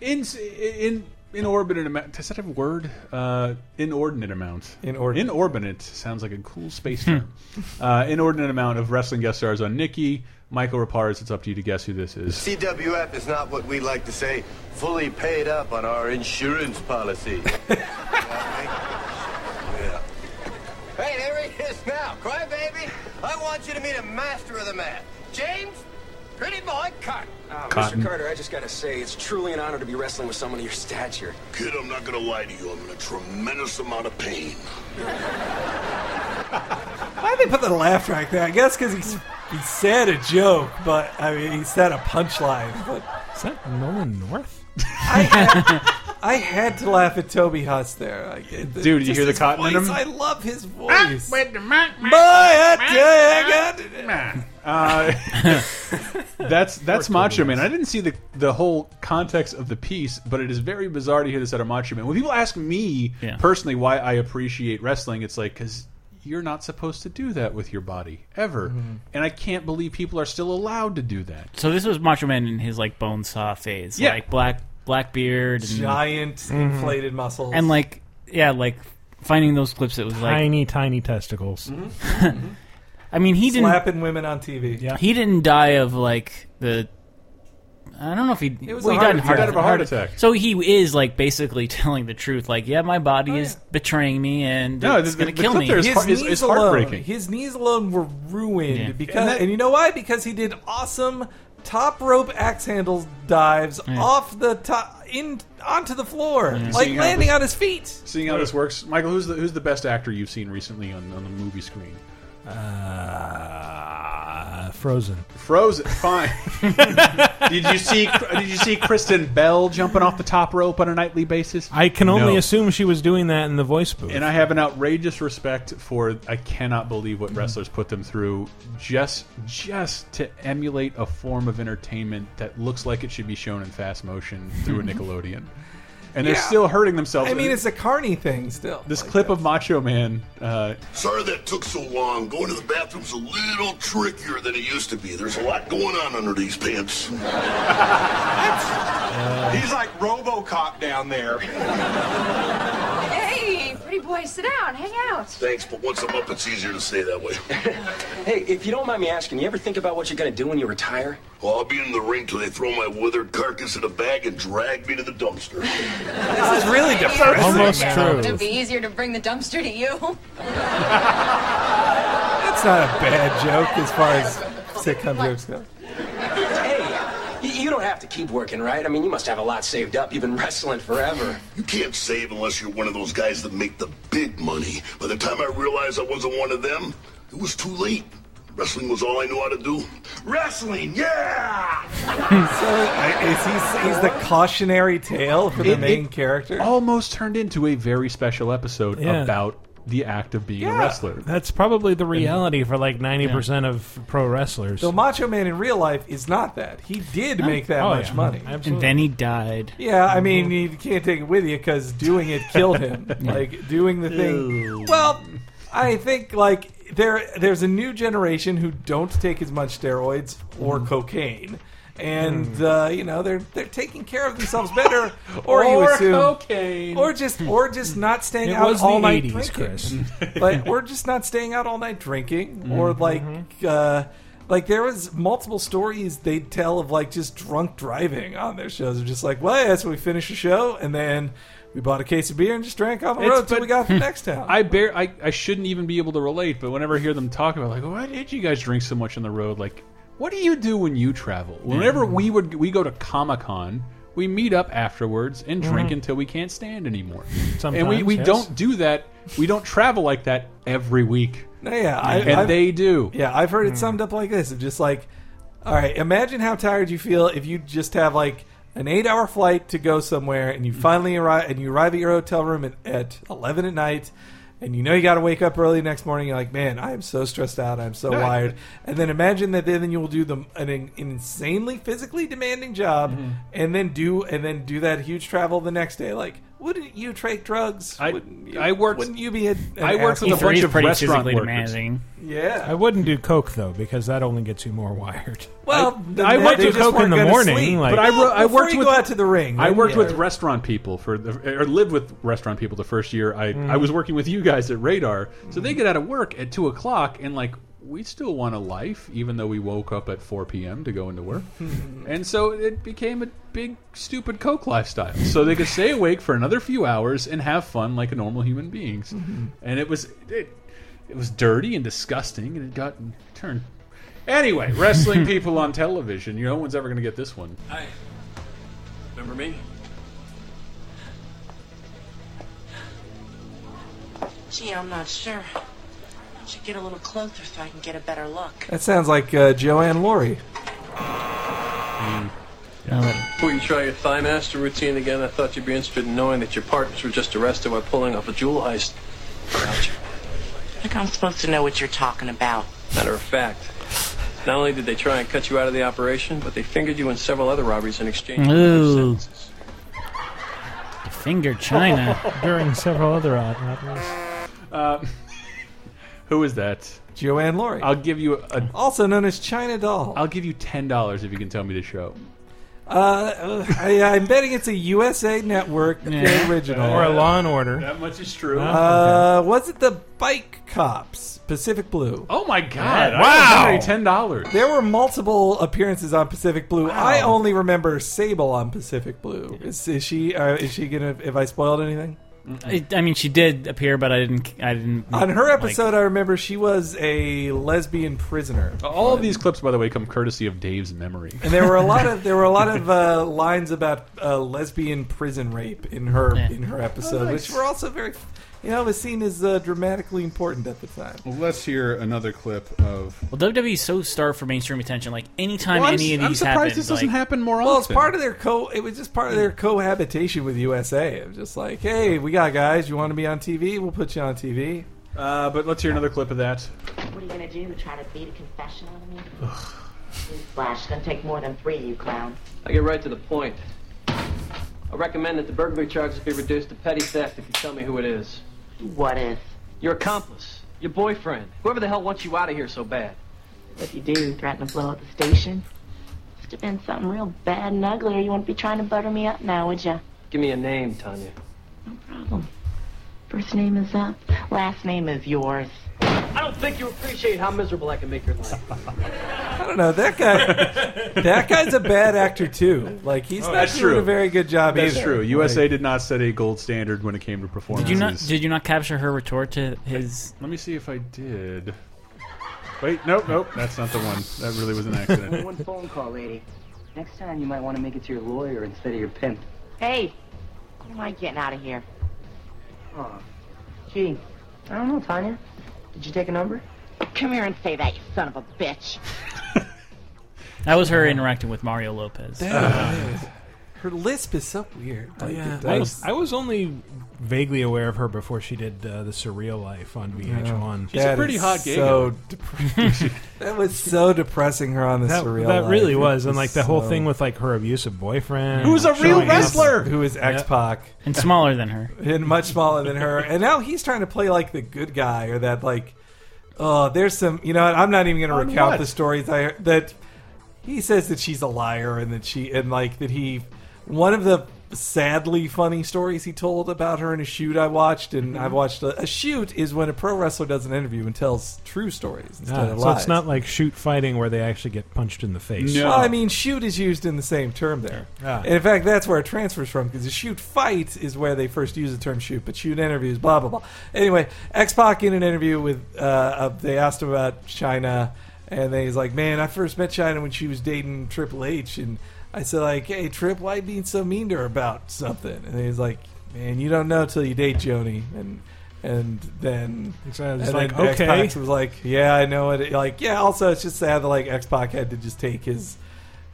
Speaker 3: in in inordinate amount. Is that a word? Uh, inordinate amount.
Speaker 4: Inordinate.
Speaker 3: Inordinate sounds like a cool space term. uh, inordinate amount of wrestling guest stars on Nikki. Michael Raparez, it's up to you to guess who this is.
Speaker 10: CWF is not what we like to say fully paid up on our insurance policy. yeah. Hey, there he is now. Cry baby, I want you to meet a master of the math. James, pretty boy, cut.
Speaker 3: Cotton.
Speaker 11: Carter, I just gotta say, it's truly an honor to be wrestling with someone of your stature.
Speaker 8: Kid, I'm not gonna lie to you. I'm in a tremendous amount of pain.
Speaker 4: Why did they put the laugh track there? I guess because he he said a joke, but I mean, he said a punchline. But
Speaker 5: Is that Nolan North?
Speaker 4: I had, I had to laugh at Toby Huss there. Like, it- it-
Speaker 3: Dude, did you
Speaker 4: just
Speaker 3: hear the
Speaker 4: his
Speaker 3: cotton in
Speaker 4: voice,
Speaker 3: him?
Speaker 4: I love his voice. Boy, I tell you, I got it.
Speaker 3: Uh, that's that's Macho Man. I didn't see the the whole context of the piece, but it is very bizarre to hear this out of Macho Man. When people ask me
Speaker 6: Yeah.
Speaker 3: personally why I appreciate wrestling, it's like because you're not supposed to do that with your body ever, and I can't believe people are still allowed to do that.
Speaker 6: So this was Macho Man in his like bone saw phase,
Speaker 3: Yeah.
Speaker 6: like black black beard and,
Speaker 4: Giant inflated muscles
Speaker 6: and like yeah, like finding those clips. It was like
Speaker 5: Tiny, tiny testicles.
Speaker 6: I mean he didn't
Speaker 4: slapping women on TV.
Speaker 5: Yeah.
Speaker 6: he didn't die of like the. I don't know if he.
Speaker 4: was
Speaker 6: well,
Speaker 4: a
Speaker 6: he
Speaker 4: heart-
Speaker 6: died,
Speaker 4: he
Speaker 6: of heart
Speaker 3: died of a heart attack.
Speaker 6: So he is like basically telling the truth. Like, yeah, my body is betraying me, and
Speaker 3: Oh, No,
Speaker 6: it's
Speaker 3: the-
Speaker 6: going to
Speaker 3: the
Speaker 6: kill
Speaker 3: clip
Speaker 6: me.
Speaker 3: there is-
Speaker 4: His
Speaker 3: heart-
Speaker 4: knees
Speaker 3: it's
Speaker 4: alone,
Speaker 3: heartbreaking.
Speaker 4: his knees alone were ruined
Speaker 6: Yeah.
Speaker 4: because, and,
Speaker 3: And that-
Speaker 4: you know why? Because he did awesome top rope axe handle dives off the top in onto the floor, like
Speaker 3: Seeing how
Speaker 4: landing
Speaker 3: this-
Speaker 4: on his feet.
Speaker 3: Seeing how this works, Michael, who's the who's the best actor you've seen recently on, on the movie screen?
Speaker 5: Uh, frozen.
Speaker 3: Frozen. Fine. did you see Did you see Kristen Bell jumping off the top rope on a nightly basis?
Speaker 5: I can only
Speaker 3: No.
Speaker 5: assume she was doing that in the voice booth.
Speaker 3: And I have an outrageous respect for I cannot believe
Speaker 4: Mhm.
Speaker 3: what wrestlers put them through just just to emulate a form of entertainment that looks like it should be shown in fast motion through a Nickelodeon. And they're
Speaker 4: Yeah.
Speaker 3: still hurting themselves.
Speaker 4: I mean, it's a carny thing still.
Speaker 3: this
Speaker 4: Like,
Speaker 3: clip of Macho Man. Uh,
Speaker 8: Sorry that took so long. Going to the bathroom's a little trickier than it used to be. There's a lot going on under these pants.
Speaker 12: He's like Robocop down there.
Speaker 9: Hey, pretty boy, sit down. Hang out.
Speaker 8: Thanks, but once I'm up, it's easier to stay that way.
Speaker 11: Hey, if you don't mind me asking, you ever think about what you're gonna do when you retire?
Speaker 8: Well, I'll be in the ring till they throw my withered carcass in a bag and drag me to the dumpster.
Speaker 4: this is really depressing.
Speaker 5: Almost
Speaker 9: It'd
Speaker 5: true.
Speaker 9: be easier to bring the dumpster to you.
Speaker 4: That's not a bad joke as far as sitcom jokes go.
Speaker 11: Hey, y- you don't have to keep working, right? I mean, you must have a lot saved up. You've been wrestling forever.
Speaker 8: You can't save unless you're one of those guys that make the big money. By the time I realized I wasn't one of them, it was too late. Wrestling was all I knew how to do. Wrestling, yeah!
Speaker 4: So is he he's the cautionary tale for the
Speaker 3: It-
Speaker 4: main
Speaker 3: it
Speaker 4: character?
Speaker 3: almost turned into a very special episode
Speaker 5: Yeah.
Speaker 3: about the act of being a
Speaker 5: Yeah.
Speaker 3: wrestler.
Speaker 5: That's probably the reality for like 90% of pro wrestlers.
Speaker 4: Though Macho Man in real life is not that. He did make that
Speaker 5: Oh,
Speaker 4: much
Speaker 5: yeah.
Speaker 4: money.
Speaker 5: Absolutely.
Speaker 6: And then he died.
Speaker 4: Yeah, I mean, you can't take it with you because doing it killed him. Like doing the thing. Well, I think like there there's a new generation who don't take as much steroids or cocaine, and uh, you know they're they're taking care of themselves better, or, you
Speaker 3: Or
Speaker 4: assume,
Speaker 3: cocaine.
Speaker 4: or just or just not staying
Speaker 5: It
Speaker 4: out
Speaker 5: was
Speaker 4: all
Speaker 5: the
Speaker 4: night
Speaker 5: 80s,
Speaker 4: drinking.
Speaker 5: Chris.
Speaker 4: like we're just not staying out all night drinking
Speaker 3: Mm-hmm.
Speaker 4: or like uh like there was multiple stories they'd tell of like just drunk driving on their shows They're just like well yeah, so we finished the show and then we bought a case of beer and just drank on the
Speaker 3: It's-
Speaker 4: road till
Speaker 3: but-
Speaker 4: we got to the next town
Speaker 3: I bear I, I shouldn't even be able to relate, but whenever I hear them talk about like, "Oh, why did you guys drink so much on the road? Like, what do you do when you travel? Whenever we would we go to Comic Con, we meet up afterwards and drink until we can't stand anymore. and we,
Speaker 5: Mm-hmm. Sometimes,
Speaker 3: we
Speaker 5: yes.
Speaker 3: don't do that. We don't travel like that every week.
Speaker 4: No, yeah, I,
Speaker 3: and
Speaker 4: I've-
Speaker 3: they do.
Speaker 4: Yeah, I've
Speaker 3: Hmm.
Speaker 4: heard it summed up like this: of just like, all right, imagine how tired you feel if you just have like an eight-hour flight to go somewhere, and
Speaker 3: Hmm.
Speaker 4: you finally arrive, and you arrive at your hotel room at, at eleven at night. And you know you got to wake up early next morning. You're like, man, I am so stressed out. I'm so wired. And then imagine that then you will do the, an, in- insanely physically demanding job,
Speaker 3: Mm-hmm.
Speaker 4: and then do and then do that huge travel the next day. Like, wouldn't you take drugs?
Speaker 3: I-
Speaker 4: wouldn't you,
Speaker 3: I worked-
Speaker 4: Wouldn't you be? A, an
Speaker 3: I worked with
Speaker 4: asshole?
Speaker 3: a bunch
Speaker 6: E3 is
Speaker 3: of
Speaker 6: pretty
Speaker 3: restaurant
Speaker 6: physically
Speaker 3: workers.
Speaker 6: demanding.
Speaker 4: yeah.
Speaker 5: I wouldn't do coke though because that only gets you more wired.
Speaker 4: Well, then
Speaker 3: I
Speaker 4: they-
Speaker 3: went
Speaker 4: they
Speaker 5: to
Speaker 4: just
Speaker 5: Coke
Speaker 4: wanna
Speaker 5: in the
Speaker 4: go to
Speaker 5: morning,
Speaker 4: sleep.
Speaker 5: like-
Speaker 3: But I,
Speaker 4: Well,
Speaker 3: wor- I
Speaker 4: before
Speaker 3: worked
Speaker 4: you
Speaker 3: with
Speaker 4: go out to the ring.
Speaker 3: I
Speaker 4: then
Speaker 3: worked
Speaker 4: yeah.
Speaker 3: with restaurant people for the, or lived with restaurant people the first year. I, I was working with you guys at Radar, so they get out of work at two o'clock and like we still want a life, even though we woke up at four p.m. to go into work, and so it became a big stupid coke lifestyle. So they could stay awake for another few hours and have fun like a normal human beings,
Speaker 4: Mm-hmm.
Speaker 3: and it was it, it was dirty and disgusting, and it got turned. Anyway, wrestling people on television, you know, no one's ever going to get this one.
Speaker 13: Hi. Remember me?
Speaker 9: Gee, I'm not sure. Should get a little closer so I can get a better look.
Speaker 4: That sounds like uh, Joanne Laurie.
Speaker 13: Before you try your thigh master routine again, I thought you'd be interested in knowing that your partners were just arrested while pulling off a jewel heist.
Speaker 9: Like I'm supposed to know what you're talking about.
Speaker 13: Matter of fact, not only did they try and cut you out of the operation, but they fingered you in several other robberies in exchange. for your
Speaker 6: Ooh.
Speaker 13: sentence.
Speaker 6: Finger China.
Speaker 5: During several other odd oddness.
Speaker 3: Uh, who is that?
Speaker 4: Joanne Laurie,
Speaker 3: I'll give you a.
Speaker 4: also known as China Doll.
Speaker 3: I'll give you ten dollars if you can tell me the show.
Speaker 4: Uh, I, I'm betting it's a USA Network
Speaker 6: Yeah.
Speaker 4: original.
Speaker 5: Or a Law and Order.
Speaker 3: That much is true.
Speaker 4: uh, was it the Bike Cops? Pacific Blue.
Speaker 3: oh my god!
Speaker 6: Yeah.
Speaker 3: I
Speaker 5: Wow.
Speaker 3: wow, ten dollars.
Speaker 4: There were multiple appearances on Pacific Blue. I only remember Sable on Pacific Blue. Is, is she? Uh, is she gonna? Have I spoiled anything?
Speaker 6: I, I mean, she did appear, but I didn't. I didn't.
Speaker 4: On her
Speaker 6: like-
Speaker 4: episode, I remember she was a lesbian prisoner.
Speaker 3: All of these clips, by the way, come courtesy of Dave's memory.
Speaker 4: And there were a lot of there were a lot of uh, lines about uh, lesbian prison rape in her
Speaker 6: Yeah.
Speaker 4: in her episode,
Speaker 3: Oh, nice.
Speaker 4: which were also very, you know, was seen as uh, dramatically important at the time.
Speaker 14: Well, let's hear another clip of.
Speaker 6: well, WWE's so starved for mainstream attention. Like anytime
Speaker 3: Well, I'm,
Speaker 6: any of
Speaker 3: I'm
Speaker 6: these
Speaker 3: surprised
Speaker 6: happen,
Speaker 3: this doesn't
Speaker 6: like,
Speaker 3: happen more
Speaker 4: Well, it's
Speaker 3: often.
Speaker 4: part of their co. It was just part of their cohabitation with USA. It was just like, hey, we got guys. You want to be on TV? We'll put you on TV.
Speaker 3: uh, but let's hear another clip of that.
Speaker 9: What are you gonna do? Try to beat a confession out of me? Newsflash, it's gonna take more than three, you clown.
Speaker 13: I get right to the point. I recommend that the burglary charges be reduced to petty theft if you tell me who it is.
Speaker 9: What if?
Speaker 13: Your accomplice, your boyfriend, whoever the hell wants you out of here so bad.
Speaker 9: If you do, threaten to blow up the station? Must have been something real bad and ugly, or you wouldn't be trying to butter me up now, would ya?
Speaker 13: Give me a name, Tanya.
Speaker 9: Problem. First name is up, last name is yours.
Speaker 13: I don't think you appreciate how miserable I can make your life.
Speaker 4: I don't know that guy. that guy's a bad actor too. Like he's not
Speaker 3: that's
Speaker 4: doing
Speaker 3: true.
Speaker 4: a very good job
Speaker 3: That's
Speaker 4: either.
Speaker 3: true.
Speaker 4: Like,
Speaker 3: USA did not set a gold standard when it came to performances.
Speaker 6: Did you not? Did you not capture her retort to his?
Speaker 3: Let me see if I did. Wait, nope, nope. That's not the one. That really was an accident.
Speaker 9: One phone call, lady.
Speaker 15: Next time you might want to make it to your lawyer instead of your pimp.
Speaker 9: Hey, when am I getting out of here? Gee, I don't know, Tanya. Did you take a number? Come here and say that, you son of a bitch.
Speaker 6: That was her interacting with Mario Lopez.
Speaker 4: Her lisp is so weird. Like, it
Speaker 5: I
Speaker 4: does-
Speaker 5: was, I was only vaguely aware of her before she did uh, the Surreal Life on VH1.
Speaker 4: She's a That pretty is hot gay so girl. dep- That was so depressing. Her on the
Speaker 5: that,
Speaker 4: Surreal
Speaker 5: That
Speaker 4: Life.
Speaker 5: really
Speaker 4: It
Speaker 5: was, and
Speaker 4: was
Speaker 5: like the whole
Speaker 4: so-
Speaker 5: thing with like her abusive boyfriend,
Speaker 4: Who's a real
Speaker 5: showing up.
Speaker 4: wrestler. Who is X Pac
Speaker 6: and smaller than her,
Speaker 4: and much smaller than her. And now he's trying to play like the good guy or that like. Oh, there's some. You know, what, I'm not even going
Speaker 16: On
Speaker 4: to recount
Speaker 16: what?
Speaker 4: the stories I heard- that he says that she's a liar and that she and like that he. One of the sadly funny stories he told about her in a shoot I watched, and
Speaker 5: Mm-hmm.
Speaker 4: I've watched a, a shoot is when a pro wrestler does an interview and tells true stories instead
Speaker 5: Ah,
Speaker 4: of
Speaker 5: so
Speaker 4: lies.
Speaker 5: it's not like shoot fighting where they actually get punched in the face.
Speaker 4: Well, I mean, shoot is used in the same term there.
Speaker 5: Ah.
Speaker 4: And in fact, that's where it transfers from because the shoot fight is where they first use the term shoot, but shoot interviews, blah, blah, blah. Anyway, X Pac in an interview with, uh, uh, they asked him about China, and then he's like, man, I first met China when she was dating Triple H, and I said, like, hey, Trip, why you being so mean to her about something? And he's like, man, you don't know till you date Joni. And and then
Speaker 5: So I was
Speaker 4: and
Speaker 5: like,
Speaker 4: then
Speaker 5: okay.
Speaker 4: X-Pac was like, yeah, I know it. Like, yeah. Also, it's just sad that like X Pac had to just take his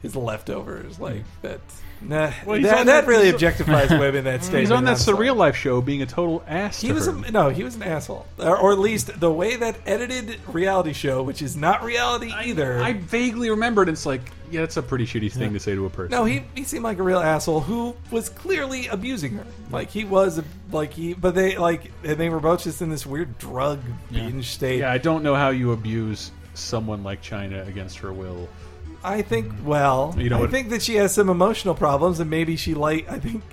Speaker 4: his leftovers. Like that. Nah,
Speaker 3: Hmm. Well, he's
Speaker 4: that,
Speaker 3: on
Speaker 4: that
Speaker 3: that-
Speaker 4: really
Speaker 3: he's-
Speaker 4: objectifies women. That
Speaker 3: He's
Speaker 4: statement.
Speaker 3: on that
Speaker 4: I'm sorry.
Speaker 3: Surreal Life show being a total ass.
Speaker 4: He
Speaker 3: to
Speaker 4: was
Speaker 3: her.
Speaker 4: a, no, he was an asshole, or, or at least the way that edited reality show, which is not reality either.
Speaker 3: I vaguely remembered. It's like, yeah, that's a pretty shitty thing to say to a person.
Speaker 4: No, he, he seemed like a real asshole who was clearly abusing her. Like he was like he, but they like and they were both just in this weird drug binge state.
Speaker 3: Yeah, I don't know how you abuse someone like China against her will.
Speaker 4: I think. Well,
Speaker 3: You know
Speaker 4: I
Speaker 3: what-
Speaker 4: think that she has some emotional problems, and maybe she like. I think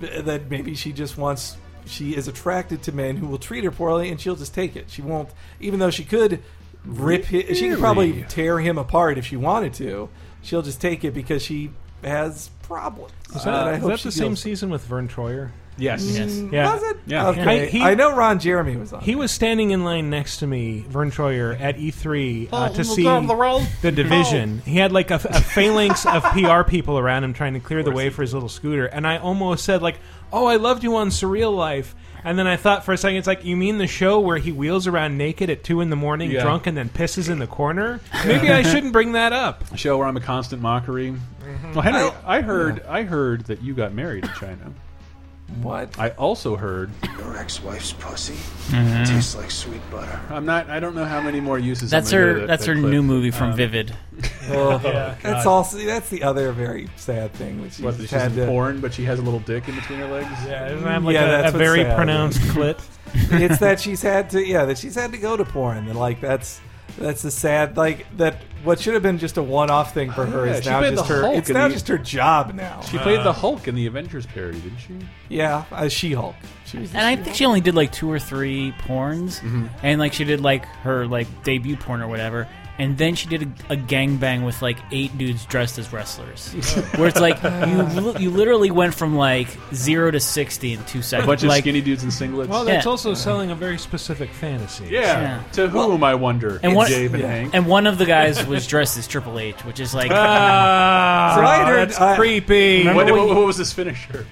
Speaker 4: th- that maybe she just wants. She is attracted to men who will treat her poorly, and she'll just take it. She won't, even though she could rip. His, She could probably
Speaker 3: Really?
Speaker 4: tear him apart if she wanted to. She'll just take it because she has problems.
Speaker 5: Is
Speaker 4: And
Speaker 5: that,
Speaker 4: Uh, I
Speaker 5: is
Speaker 4: hope
Speaker 5: that
Speaker 4: she
Speaker 5: the same
Speaker 4: deals-
Speaker 5: season with Vern Troyer?
Speaker 3: Yes. Yes.
Speaker 6: Mm.
Speaker 5: Yeah.
Speaker 4: Was it?
Speaker 5: Yeah.
Speaker 4: Okay. I know Ron Jeremy was on
Speaker 5: He was standing in line next to me, Vern Troyer, at E3
Speaker 4: Oh,
Speaker 5: uh, to
Speaker 4: we'll
Speaker 5: see
Speaker 4: go on the road.
Speaker 5: the division. He had like a, a phalanx of PR people around him trying to clear the way for his little scooter, and I almost said like, "Oh, I loved you on Surreal Life." And then I thought for a second, it's like, you mean the show where he wheels around naked at two in the morning,
Speaker 3: Yeah.
Speaker 5: drunk, and then pisses in the corner? Maybe I shouldn't bring that up.
Speaker 3: A show where I'm a constant mockery.
Speaker 6: Mm-hmm.
Speaker 3: Well, Henry, I, heard I heard that you got married in China.
Speaker 4: What?
Speaker 3: I also heard.
Speaker 17: Your ex-wife's pussy
Speaker 3: Mhm.
Speaker 17: tastes like sweet butter.
Speaker 3: I'm not. I don't know how many more uses.
Speaker 6: That's
Speaker 3: I'm gonna
Speaker 6: her-
Speaker 3: give that-
Speaker 6: that's
Speaker 3: that
Speaker 6: her
Speaker 3: clip. Um,
Speaker 6: new movie from Vivid.
Speaker 4: Oh,
Speaker 3: Yeah,
Speaker 4: that's
Speaker 3: God.
Speaker 4: also that's the other very sad thing. Which
Speaker 3: What,
Speaker 4: she
Speaker 3: she's
Speaker 4: just had
Speaker 3: in
Speaker 4: to,
Speaker 3: porn, but she has a little dick in between her legs.
Speaker 5: Yeah,
Speaker 4: doesn't have, like, Yeah, a- that's a what's very sad. pronounced clit? it's that she's had to yeah that she's had to go to porn and like that's that's the sad like that what should have been just a one off thing for her
Speaker 3: Yeah,
Speaker 4: is
Speaker 3: she
Speaker 4: now
Speaker 3: played
Speaker 4: just
Speaker 3: the
Speaker 4: her
Speaker 3: Hulk
Speaker 4: it's
Speaker 3: in
Speaker 4: now
Speaker 3: the-
Speaker 4: just her job now
Speaker 3: She played the Hulk in the Avengers parody, didn't she?
Speaker 4: yeah uh, She Hulk she was
Speaker 6: and I think she only did like two or three porns,
Speaker 3: Mm-hmm.
Speaker 6: and like she did like her like debut porn or whatever, and then she did a, a gangbang with like eight dudes dressed as wrestlers, where it's like you li- you literally went from like zero to sixty in two seconds.
Speaker 3: bunch of
Speaker 6: like,
Speaker 3: skinny dudes in singlets.
Speaker 5: Well, that's
Speaker 6: Yeah.
Speaker 5: also selling a very specific fantasy.
Speaker 3: Yeah. To whom I wonder?
Speaker 6: And one,
Speaker 3: Dave and Hank.
Speaker 6: and one of the guys was dressed as Triple H, which is like
Speaker 5: Ah,
Speaker 4: So I had heard- I-
Speaker 6: Remember
Speaker 3: What,
Speaker 6: when-
Speaker 3: what- what was his finisher?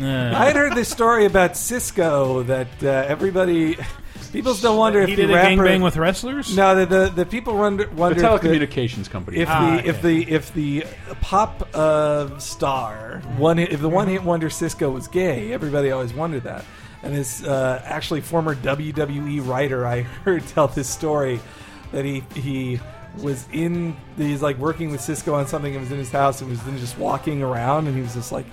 Speaker 6: uh,
Speaker 4: I had heard this story about Cisco that uh, everybody people still wonder if
Speaker 5: He
Speaker 4: the
Speaker 5: did a
Speaker 4: rapper
Speaker 5: gangbang with wrestlers?
Speaker 4: no the the, the people wonder, wonder
Speaker 3: The telecommunications company.
Speaker 4: if
Speaker 3: Ah,
Speaker 4: the if the if the pop uh, star one hit- if the one hit wonder Cisco was gay, everybody always wondered that. And this uh, actually former WWE writer I heard tell this story that he he was in he's like working with Cisco on something and was in his house and was then just walking around and he was just like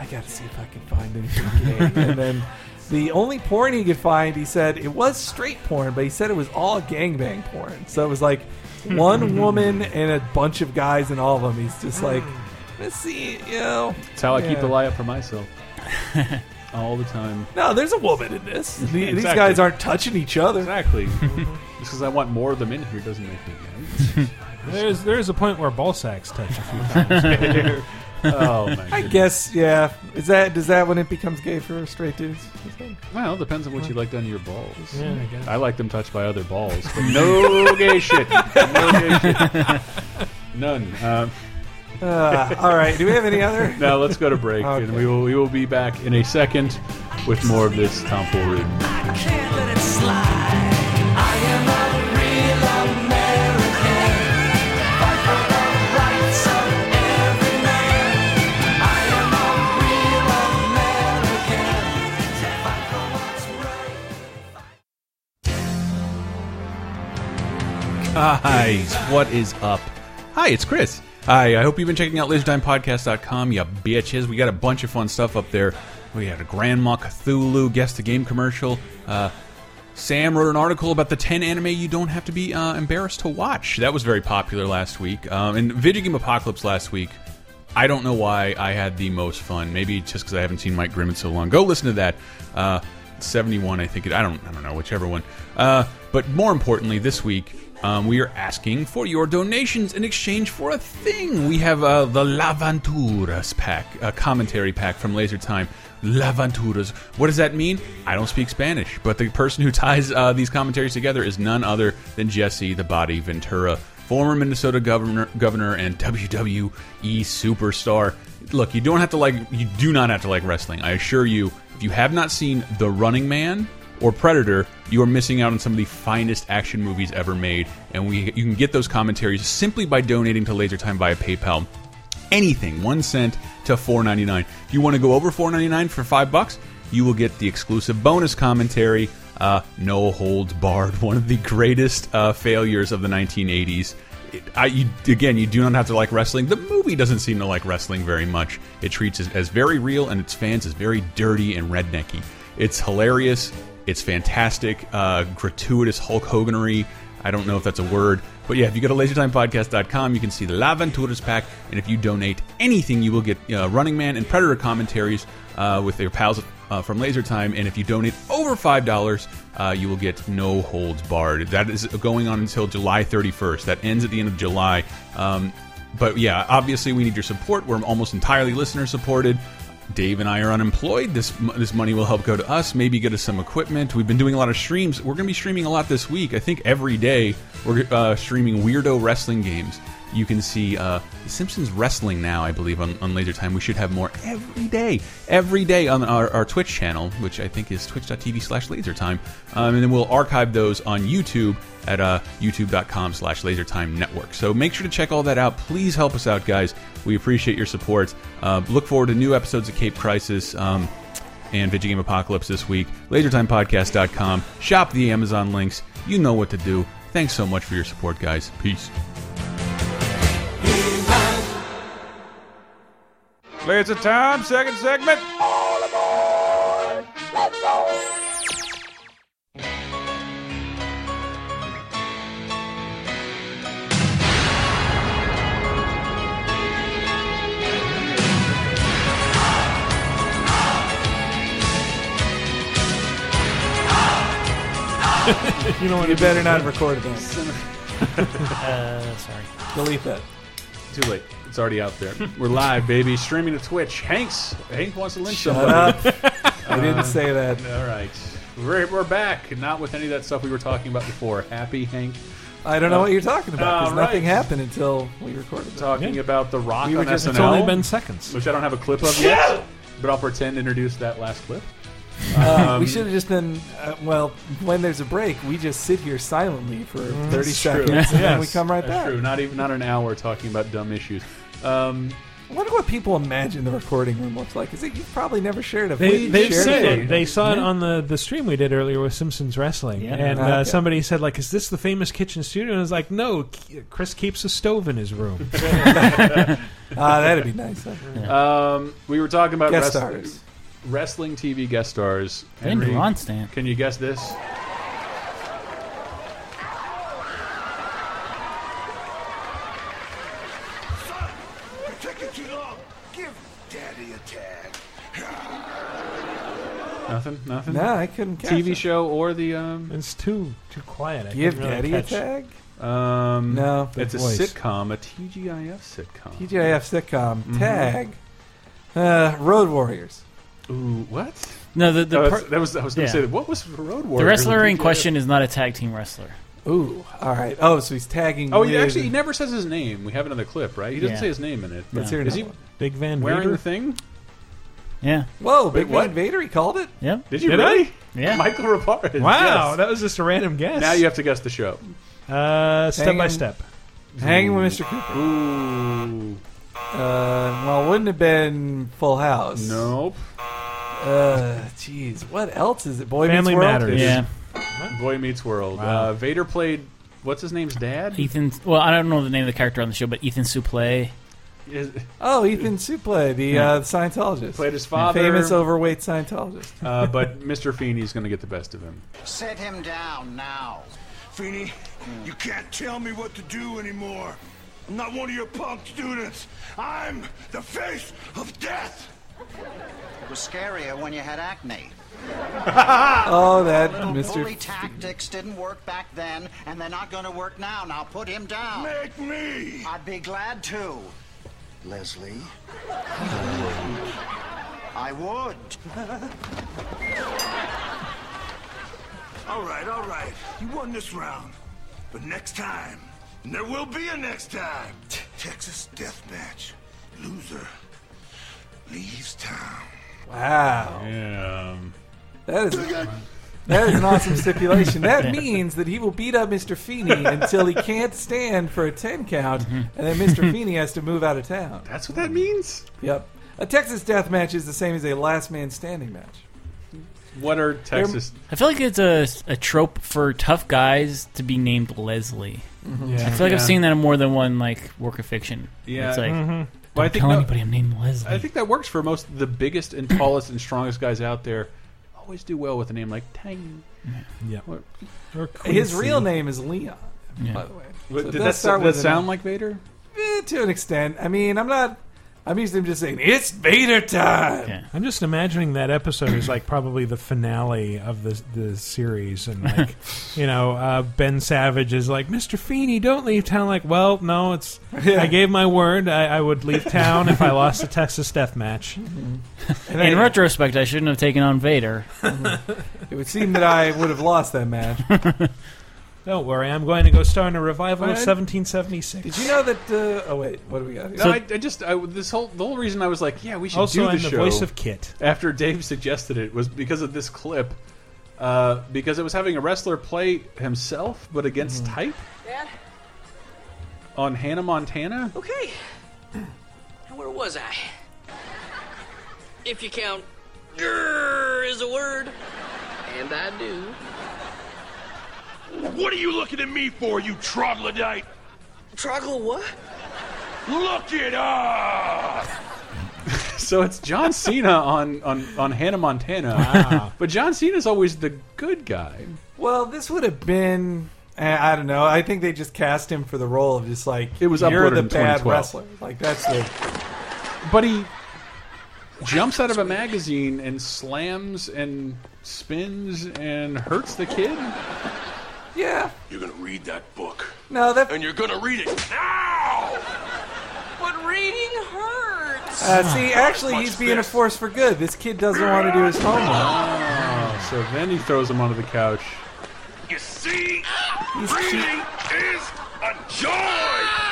Speaker 4: I got to see if I can find anything gay and then. The only porn he could find, he said, it was straight porn, but he said it was all gangbang porn. So it was like one woman and a bunch of guys and all of them. He's just like, let's see, you know.
Speaker 3: That's how I keep the
Speaker 4: Yeah.
Speaker 3: lie up for myself. All the time.
Speaker 4: No, there's a woman in this. The- These
Speaker 3: Exactly.
Speaker 4: guys aren't touching each other.
Speaker 3: Exactly. Just because I want more of them in here doesn't make me
Speaker 5: There's there is a point where ball sacks touch a few times.
Speaker 3: Oh, my
Speaker 4: I guess, yeah. Is that does that when it becomes gay for straight dudes?
Speaker 3: Well, it depends on what you like done to your balls.
Speaker 4: Yeah, I guess.
Speaker 3: I like them touched by other balls, but no gay shit. No gay shit. None. Um,
Speaker 4: Uh, all right. Do we have any other?
Speaker 3: now let's go to break, and we will we will be back in a second with more of this tomfoolery.
Speaker 16: I am a
Speaker 3: Guys, what is up? Hi, it's Chris. Hi, I hope you've been checking out LaserTimePodcast.com, you bitches. We got a bunch of fun stuff up there. We had a Grandma Cthulhu guest the game commercial. Uh, Sam wrote an article about the 10 anime you don't have to be uh, embarrassed to watch. That was very popular last week. Um, and Video Game Apocalypse last week, I don't know why I had the most fun. Maybe just because I haven't seen Mike Grimm in so long. Go listen to that. Uh, 71, I think. It, I don't. I don't know. Whichever one. Uh, but more importantly, this week um, we are asking for your donations in exchange for a thing. We have uh, the Laventuras pack, a commentary pack from Laser Time. Laventuras. What does that mean? I don't speak Spanish, but the person who ties uh, these commentaries together is none other than Jesse the Body Ventura, former Minnesota governor, governor and WWE superstar. Look, you don't have to like. You do not have to like wrestling. I assure you. If you have not seen The Running Man or Predator, you are missing out on some of the finest action movies ever made. And we, you can get those commentaries simply by donating to Laser Time via PayPal. Anything, one cent to $4.99. If you want to go over $4.99 for five bucks, you will get the exclusive bonus commentary. Uh, no holds barred. One of the greatest uh, failures of the 1980s. It- I, you, again, you do not have to like wrestling. The movie doesn't seem to like wrestling very much. It treats it as very real, and its fans as very dirty and rednecky. It's hilarious. It's fantastic. Uh, gratuitous Hulk Hoganery. I don't know if that's a word. But yeah, if you go to lasertimepodcast.com, you can see the La Venturas pack. And if you donate anything, you will get uh, Running Man and Predator commentaries uh, with your pals uh, from Laser Time. And if you donate over $5, uh, you will get no holds barred. That is going on until July 31st. That ends at the end of July. Um, but yeah, obviously, we need your support. We're almost entirely listener supported. Dave and I are unemployed. This m- this money will help go to us. Maybe get us some equipment. We've been doing a lot of streams. We're going to be streaming a lot this week. I think every day we're uh, streaming weirdo wrestling games. You can see uh, Simpsons Wrestling now, I believe, on, on Laser Time. We should have more every day, every day on our, our Twitch channel, which I think is twitch.tv slash lasertime. Um, and then we'll archive those on YouTube at uh, youtube.com slash lasertime network. So make sure to check all that out. Please help us out, guys. We appreciate your support. Uh, look forward to new episodes of Cape Crisis. Um, and Video Game Apocalypse this week. LaserTimePodcast.com. Shop the Amazon links. You know what to do. Thanks so much for your support, guys. Peace.
Speaker 16: Laser time, second segment.
Speaker 5: you know what?
Speaker 4: You
Speaker 5: it
Speaker 4: better
Speaker 5: is.
Speaker 4: not record this.
Speaker 6: uh, sorry.
Speaker 4: Delete that.
Speaker 3: Too late. It's already out there. We're live, baby. Streaming to Twitch. Hanks. Hank wants to lynch
Speaker 4: Shut
Speaker 3: somebody.
Speaker 4: up. I didn't say that.
Speaker 3: All right. We're, we're back. Not with any of that stuff we were talking about before. Happy, Hank?
Speaker 4: I don't know what you're talking about because
Speaker 3: All
Speaker 4: nothing
Speaker 3: right.
Speaker 4: happened until we recorded. that.
Speaker 3: Talking
Speaker 4: Yeah.
Speaker 3: about The Rock
Speaker 4: We
Speaker 3: on
Speaker 4: were just-
Speaker 3: SNL.
Speaker 4: It's only been seconds.
Speaker 3: Which I don't have a clip of yet, but I'll pretend to introduce that last clip.
Speaker 4: Uh,
Speaker 3: Um,
Speaker 4: we should have just been uh, well. When there's a break, we just sit here silently for thirty
Speaker 3: Mm, That's
Speaker 4: seconds,
Speaker 3: true.
Speaker 4: and then
Speaker 3: Yes,
Speaker 4: we come right
Speaker 3: that's
Speaker 4: back.
Speaker 3: True. Not even not an hour talking about dumb issues. Um,
Speaker 4: I wonder what people imagine the recording room looks like. Is it you've probably never shared a
Speaker 5: They,
Speaker 4: video?
Speaker 5: they said it. They saw it on the, the stream we did earlier with Simpsons Wrestling,
Speaker 4: Yeah.
Speaker 5: and uh,
Speaker 4: Okay.
Speaker 5: somebody said like, "Is this the famous kitchen studio?" And I was like, "No, K- Chris keeps a stove in his room." ah,
Speaker 3: Um, we were talking about
Speaker 5: Guest
Speaker 3: wrestling,
Speaker 5: stars.
Speaker 3: wrestling TV guest stars.
Speaker 6: I didn't do
Speaker 3: Henry,
Speaker 6: on stand.
Speaker 3: Can you guess this?
Speaker 12: You're taking too long. Give Daddy a tag.
Speaker 3: Nothing. Nothing.
Speaker 4: No, I couldn't catch
Speaker 3: TV
Speaker 4: it.
Speaker 3: show or the um.
Speaker 5: It's too too quiet. I
Speaker 4: Give
Speaker 5: couldn't
Speaker 4: Daddy
Speaker 5: really
Speaker 4: a
Speaker 5: catch-
Speaker 4: tag.
Speaker 3: Um,
Speaker 4: No,
Speaker 3: it's a
Speaker 4: voice.
Speaker 3: sitcom, a TGIF sitcom.
Speaker 4: TGIF sitcom
Speaker 3: Mhm.
Speaker 4: tag. Uh, Road Warriors.
Speaker 3: Ooh, what?
Speaker 6: No, the, the
Speaker 3: Oh,
Speaker 6: per-
Speaker 3: that's- that was I was going
Speaker 6: yeah.
Speaker 3: to say what was Road Warrior?
Speaker 6: The wrestler in
Speaker 3: TGIF?
Speaker 6: question is not a tag team wrestler.
Speaker 4: Ooh, all right. Oh, so he's tagging.
Speaker 3: Oh, he
Speaker 4: with-
Speaker 3: actually he never says his name. We have another clip, right? He doesn't
Speaker 4: Yeah.
Speaker 3: say his name in it.
Speaker 4: Let's hear
Speaker 3: Is he
Speaker 4: another one.
Speaker 5: Big Van
Speaker 3: wearing
Speaker 5: Vader?
Speaker 3: the thing?
Speaker 6: Yeah.
Speaker 4: Whoa,
Speaker 3: Wait,
Speaker 4: Big
Speaker 3: what?
Speaker 4: Man Vader. He called it.
Speaker 6: Yeah.
Speaker 3: Did you
Speaker 5: Did I?
Speaker 3: really?
Speaker 5: Yeah.
Speaker 3: Michael Raparez.
Speaker 5: Wow,
Speaker 3: yes.
Speaker 5: that was just a random guess.
Speaker 3: Now you have to guess the show.
Speaker 5: uh, step by
Speaker 4: Hanging-
Speaker 5: step.
Speaker 4: Hanging with Mr. Cooper.
Speaker 3: Ooh.
Speaker 4: Uh, well, wouldn't have been Full House.
Speaker 3: Nope.
Speaker 4: Uh, jeez, what else is it? Boy
Speaker 5: Family
Speaker 4: Meets World.
Speaker 5: Matters.
Speaker 3: Boy Meets World. Uh, Vader played what's his name's dad?
Speaker 6: Ethan. Well, I don't know the name of the character on the show, but Ethan Suplee.
Speaker 3: Is-
Speaker 4: Oh, Ethan Suple, the
Speaker 3: Yeah.
Speaker 4: uh, Scientologist.
Speaker 3: Played his father.
Speaker 4: Famous overweight Scientologist.
Speaker 3: uh, but Mr. Feeney's going to get the best of him.
Speaker 18: Sit him down now.
Speaker 12: Feeney, you can't tell me what to do anymore. I'm not one of your punk students. I'm the face of death.
Speaker 18: It was scarier when you had acne.
Speaker 4: Oh, that
Speaker 18: Little
Speaker 4: Mr.
Speaker 18: Bully tactics didn't work back then, and they're not going to work now. Now put him down. Make me. I'd be glad to.
Speaker 17: Leslie.
Speaker 18: I would.
Speaker 12: All right, all right. You won this round. But next time, and there will be a next time. Texas death match. Loser leaves town.
Speaker 4: Wow.
Speaker 3: Yeah. um,
Speaker 4: That is, that is an awesome stipulation. That
Speaker 3: Yeah.
Speaker 4: means that he will beat up Mr. Feeney until he can't stand for a 10 count, and then Mr. Feeney has to move out of town.
Speaker 3: That's what that means?
Speaker 4: Yep. A Texas death match is the same as a last man standing match.
Speaker 3: What are Texas?
Speaker 6: I feel like it's a, a trope for tough guys to be named Leslie.
Speaker 4: Mm-hmm.
Speaker 3: Mhm. Yeah.
Speaker 6: I feel like I've
Speaker 3: Yeah.
Speaker 6: seen that in more than one like work of fiction.
Speaker 3: Yeah. mm-hmm.
Speaker 6: it's like don't
Speaker 3: Well, I think
Speaker 6: tell
Speaker 3: no-
Speaker 6: anybody I'm named Leslie.
Speaker 3: I think that works for most the biggest and tallest and strongest guys out there. Always do well with a name like Tang.
Speaker 5: Yeah.
Speaker 3: What-
Speaker 4: His real name is Leon,
Speaker 3: Yeah.
Speaker 4: by the way.
Speaker 3: Wait,
Speaker 4: So
Speaker 3: did
Speaker 4: it does
Speaker 3: that-
Speaker 4: start
Speaker 3: that
Speaker 4: with an-
Speaker 3: sound like Vader?
Speaker 4: Eh, to an extent. I mean, I'm not. I'm used to him just saying, it's Vader time!
Speaker 5: I'm just imagining that episode is like probably the finale of the the series, and like you know, uh, Ben Savage is like, "Mr. Feeney, don't leave town." Like, well, no, it's
Speaker 4: Yeah.
Speaker 5: I gave my word, I, I would leave town if I lost a Texas Death match.
Speaker 6: In retrospect, I shouldn't have taken on Vader.
Speaker 4: It would seem that I would have lost that match.
Speaker 5: Don't worry, I'm going to go star in a revival of
Speaker 4: What?
Speaker 5: 1776.
Speaker 4: Did you know that? Uh, oh wait, what do we got? Here?
Speaker 3: No, I, I just I, this whole the whole reason I was like, yeah, we should
Speaker 5: Also,
Speaker 3: do
Speaker 5: I'm
Speaker 3: the
Speaker 5: the
Speaker 3: show.
Speaker 5: voice of Kit.
Speaker 3: After Dave suggested it was because of this clip, uh, because it was having a wrestler play himself but against type
Speaker 19: Dad?
Speaker 3: on Hannah Montana.
Speaker 19: Okay. Where was I? If you count grrr is a word, and I do.
Speaker 12: What are you looking at me for, you troglodyte?
Speaker 19: Troggle what?
Speaker 12: Look it up!
Speaker 3: So it's John Cena on on on Hannah Montana. but John Cena's always the good guy.
Speaker 4: Well, this would have been. eh, I I don't know. I think they just cast him for the role of just like
Speaker 3: It was
Speaker 4: you're
Speaker 3: uploaded
Speaker 4: the
Speaker 3: in
Speaker 4: bad
Speaker 3: 2012.
Speaker 4: wrestler. Like that's the
Speaker 3: But he jumps out of a magazine and slams and spins and hurts the kid.
Speaker 4: yeah.
Speaker 12: You're gonna read that book.
Speaker 4: No, that
Speaker 12: and you're gonna read it.
Speaker 19: But reading hurts.
Speaker 4: Uh, see, actually, he's being a force for good. This kid doesn't want to do his homework.
Speaker 3: Oh, so then he throws him onto the couch.
Speaker 12: You see, reading is a joy.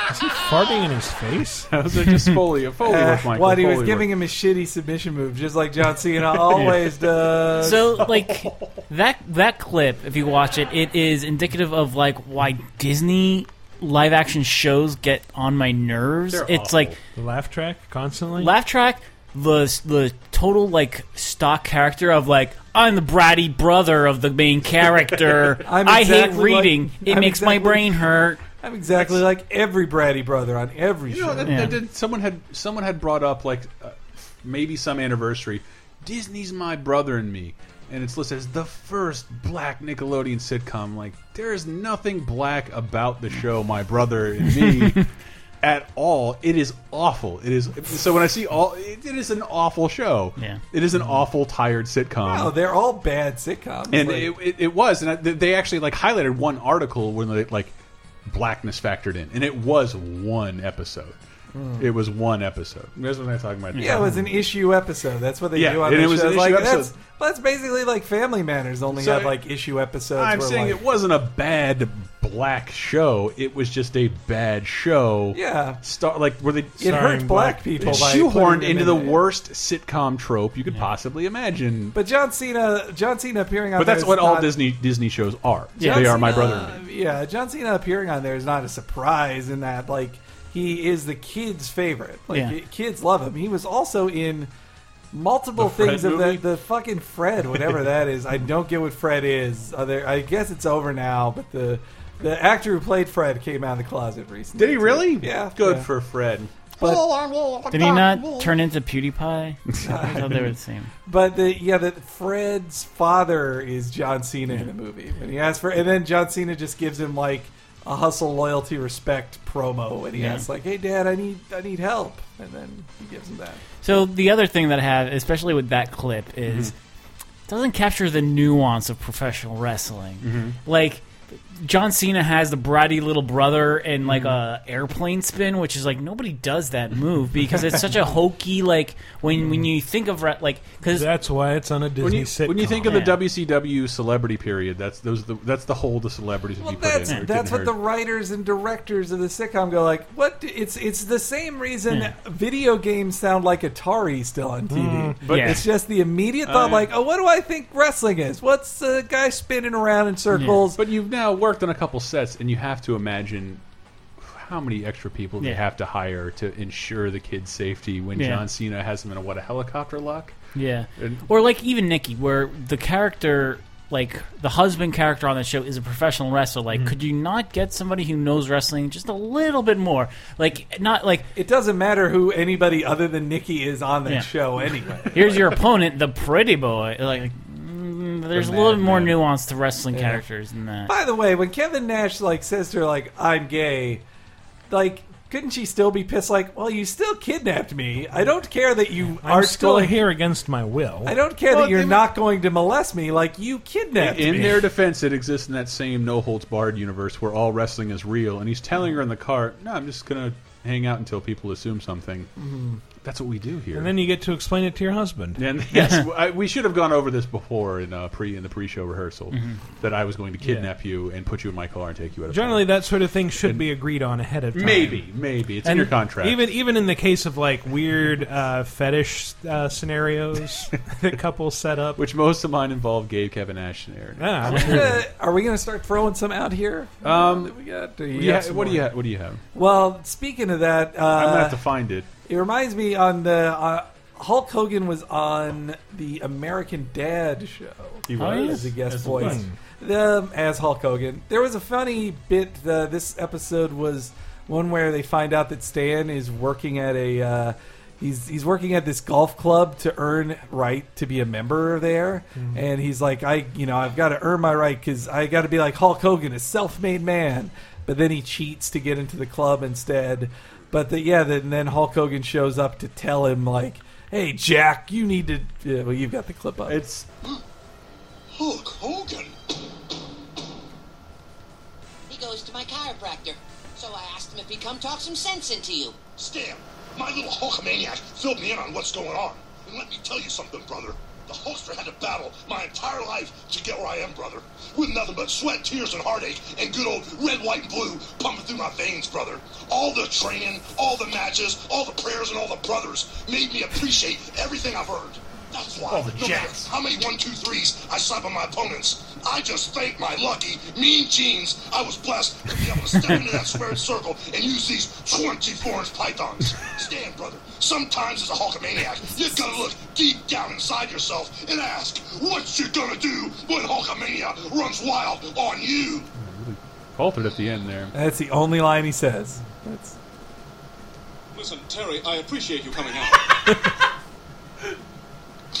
Speaker 5: Is he farting in his face?
Speaker 3: Those are just Foley, Foley
Speaker 4: Uh,
Speaker 3: work, Michael.
Speaker 4: while he was
Speaker 3: Foley
Speaker 4: giving
Speaker 3: work.
Speaker 4: him a shitty submission move, just like John Cena always does.
Speaker 6: So like that that clip, if you watch it, it is indicative of like why Disney live action shows get on my nerves.
Speaker 5: They're
Speaker 6: it's
Speaker 5: awful.
Speaker 6: like
Speaker 5: The laugh track constantly.
Speaker 6: laugh track, the the total like stock character of like I'm the bratty brother of the main character.
Speaker 4: I'm
Speaker 6: I hate
Speaker 4: exactly like-
Speaker 6: reading. it
Speaker 4: I'm
Speaker 6: makes my
Speaker 4: exactly-
Speaker 6: brain hurt.
Speaker 4: I'm exactly like every bratty brother on every
Speaker 3: You know,
Speaker 4: show.
Speaker 3: that, that did, someone had someone had brought up like uh, maybe some anniversary. Disney's my brother and me, and it's listed as the first black Nickelodeon sitcom. Like there is nothing black about the show My Brother and Me at all. It is awful. It is so when I see all, it, it is an awful show.
Speaker 6: Yeah.
Speaker 3: it is an
Speaker 4: Mm-hmm.
Speaker 3: awful tired sitcom.
Speaker 4: No, Oh, they're all bad sitcoms.
Speaker 3: and
Speaker 4: Like-
Speaker 3: it, it, it was, and I, th- they actually like highlighted one article when they like blackness factored in, and it was one episode.
Speaker 4: Hmm.
Speaker 3: It was one episode. That's what I'm talking about.
Speaker 4: Yeah, it was an issue episode. That's what they
Speaker 3: Yeah,
Speaker 4: do on
Speaker 3: and
Speaker 4: the
Speaker 3: it was
Speaker 4: show.
Speaker 3: an issue
Speaker 4: like,
Speaker 3: episode.
Speaker 4: That's, that's basically like Family Matters only
Speaker 3: So
Speaker 4: had
Speaker 3: it-
Speaker 4: like issue episodes.
Speaker 3: I'm
Speaker 4: where,
Speaker 3: saying
Speaker 4: like,
Speaker 3: it wasn't a bad black show. It was just a bad show.
Speaker 4: Yeah.
Speaker 3: star like were they
Speaker 4: It hurt Starring black black people people. by putting
Speaker 3: shoehorned
Speaker 4: them
Speaker 3: into
Speaker 4: in
Speaker 3: the
Speaker 4: it.
Speaker 3: worst sitcom trope you could possibly imagine.
Speaker 4: But John Cena, John Cena appearing on
Speaker 3: But that's
Speaker 4: there
Speaker 3: what
Speaker 4: is
Speaker 3: all
Speaker 4: not-
Speaker 3: Disney Disney shows are.
Speaker 4: John
Speaker 3: They are my
Speaker 4: Cena-
Speaker 3: brother. and me.
Speaker 4: Yeah, John Cena appearing on there is not a surprise in that like he is the kids' favorite. Like
Speaker 6: Yeah.
Speaker 4: ki- kids love him. He was also in multiple
Speaker 6: The Fred
Speaker 4: things of the,
Speaker 6: movie?
Speaker 4: the fucking Uh, Fred, whatever that is. I don't get what Fred is. Other, I guess it's over now, but the The actor who played Fred came out of the closet recently.
Speaker 3: Did he really?
Speaker 4: Yeah.
Speaker 3: Good
Speaker 4: yeah.
Speaker 3: for Fred.
Speaker 4: But-
Speaker 6: Did he not turn into PewDiePie? I thought they were the same.
Speaker 4: But the, yeah, that Fred's father is John Cena in the
Speaker 3: Mm-hmm.
Speaker 4: movie, and he asks for, and then John Cena just gives him like a hustle, loyalty, respect promo, and he
Speaker 6: Yeah.
Speaker 4: asks like, "Hey, Dad, I need, I need help," and then he gives him that.
Speaker 6: So the other thing that I have, especially with that clip, is it doesn't capture the nuance of professional wrestling.
Speaker 19: Mhm.
Speaker 6: Like John Cena has the bratty little brother and like a airplane spin, which is like nobody does that move because it's such a hokey. Like when when you think of re- like because
Speaker 5: that's why it's on a
Speaker 3: When you, when you think of the
Speaker 6: Yeah.
Speaker 3: WCW celebrity period, that's those the, that's the hole the celebrities would be put
Speaker 4: That's
Speaker 3: in. or
Speaker 4: that's
Speaker 3: didn't
Speaker 4: what
Speaker 3: hurt.
Speaker 4: the writers and directors of the sitcom go like. What? d- It's it's the same reason
Speaker 3: Yeah.
Speaker 4: video games sound like Atari still on TV.
Speaker 3: Mm, but-
Speaker 4: it's just the immediate thought
Speaker 3: Oh, yeah.
Speaker 4: like, oh, what do I think wrestling is? What's the guy spinning around in circles?
Speaker 3: But you've now worked on a couple sets, and you have to imagine how many extra people they
Speaker 4: Yeah.
Speaker 3: have to hire to ensure the kid's safety when
Speaker 6: Yeah.
Speaker 3: John Cena has them in a what a helicopter lock.
Speaker 6: Yeah.
Speaker 3: And-
Speaker 6: Or like even Nikki, where the character, like the husband character on the show, is a professional wrestler. Like, could you not get somebody who knows wrestling just a little bit more? Like, not like
Speaker 4: it doesn't matter who anybody other than Nikki is on that
Speaker 6: Yeah.
Speaker 4: show anyway.
Speaker 6: Here's your opponent, the pretty boy. Like, mm, there's a little bit more nuance to wrestling
Speaker 4: Yeah.
Speaker 6: characters than that.
Speaker 4: By the way, when Kevin Nash like says to her like, "I'm gay," like. Couldn't she still be pissed? Like, well, you still kidnapped me. I don't care that you
Speaker 5: I'm
Speaker 4: are
Speaker 5: still
Speaker 4: going-
Speaker 5: here against my will.
Speaker 4: I don't care
Speaker 5: Well,
Speaker 4: that you're
Speaker 5: they-
Speaker 4: not going to molest me. Like you
Speaker 3: In,
Speaker 4: kidnapped
Speaker 3: in
Speaker 4: me.
Speaker 3: their defense, it exists in that same no holds barred universe where all wrestling is real, and he's telling her in the car, "No, I'm just gonna hang out until people assume something."
Speaker 4: Mm-hmm.
Speaker 5: Mhm.
Speaker 3: That's what we do here.
Speaker 5: And then you get to explain it to your husband.
Speaker 3: And yes, I, we should have gone over this before in uh, pre in the pre-show rehearsal
Speaker 5: Mhm.
Speaker 3: that I was going to kidnap you and put you in my car and take you out of.
Speaker 5: Generally, that sort of thing should be agreed on ahead of time.
Speaker 3: Maybe, maybe. It's in
Speaker 5: And
Speaker 3: your contract.
Speaker 5: Even even in the case of like weird uh, fetish uh, scenarios that couples set up, Ah,
Speaker 3: which most of mine involve gay Kevin Ash and Aaron.
Speaker 5: Yeah,
Speaker 4: Are we gonna- are we going to start throwing some out here?
Speaker 3: Um,
Speaker 4: What do we got? Do you
Speaker 3: yeah,
Speaker 4: have some
Speaker 3: what do
Speaker 4: more?
Speaker 3: you ha- what do you have?
Speaker 4: Well, speaking of that, uh,
Speaker 3: I'm gonna have to find it.
Speaker 4: It reminds me on the uh, Hulk Hogan was on the American Dad show.
Speaker 3: He was?
Speaker 4: as a guest
Speaker 3: As a
Speaker 4: voice, the, as Hulk Hogan. There was a funny bit. Uh, this episode was one where they find out that Stan is working at a. Uh, He's, he's working at this golf club to earn right to be a member there,
Speaker 3: Mm-hmm.
Speaker 2: Mhm.
Speaker 4: and he's like, I you know I've got to earn my right because I got to be like Hulk Hogan, a self-made man. But then he cheats to get into the club instead. But the, yeah, then then Hulk Hogan shows up to tell him like, "Hey Jack, you need to." Yeah, well, you've got the clip up.
Speaker 3: It's
Speaker 20: Hulk Hogan. He goes to my chiropractor, so I asked him if he'd come talk some sense into you.
Speaker 12: Stan, my little Hulkamaniac filled me in on what's going on. And let me tell you something, brother. The Hulkster had to battle my entire life to get where I am, brother. With nothing but sweat, tears, and heartache, and good old red, white, and blue pumping through my veins, brother. All the training, all the matches, all the prayers, and all the brothers made me appreciate everything I've earned. That's why,
Speaker 20: All the
Speaker 12: no matter how many one, two, threes I slap on my opponents, I just thank my lucky, mean genes I was blessed to be able to step into that squared circle and use these 24-inch pythons. Stan, brother, sometimes as a Hulkamaniac, you gotta look deep down inside yourself and ask, what you gonna do when Hulkamania runs wild on you?
Speaker 3: Halted at the end there.
Speaker 4: That's the only line he says. That's
Speaker 20: Listen, Terry, I appreciate you coming out.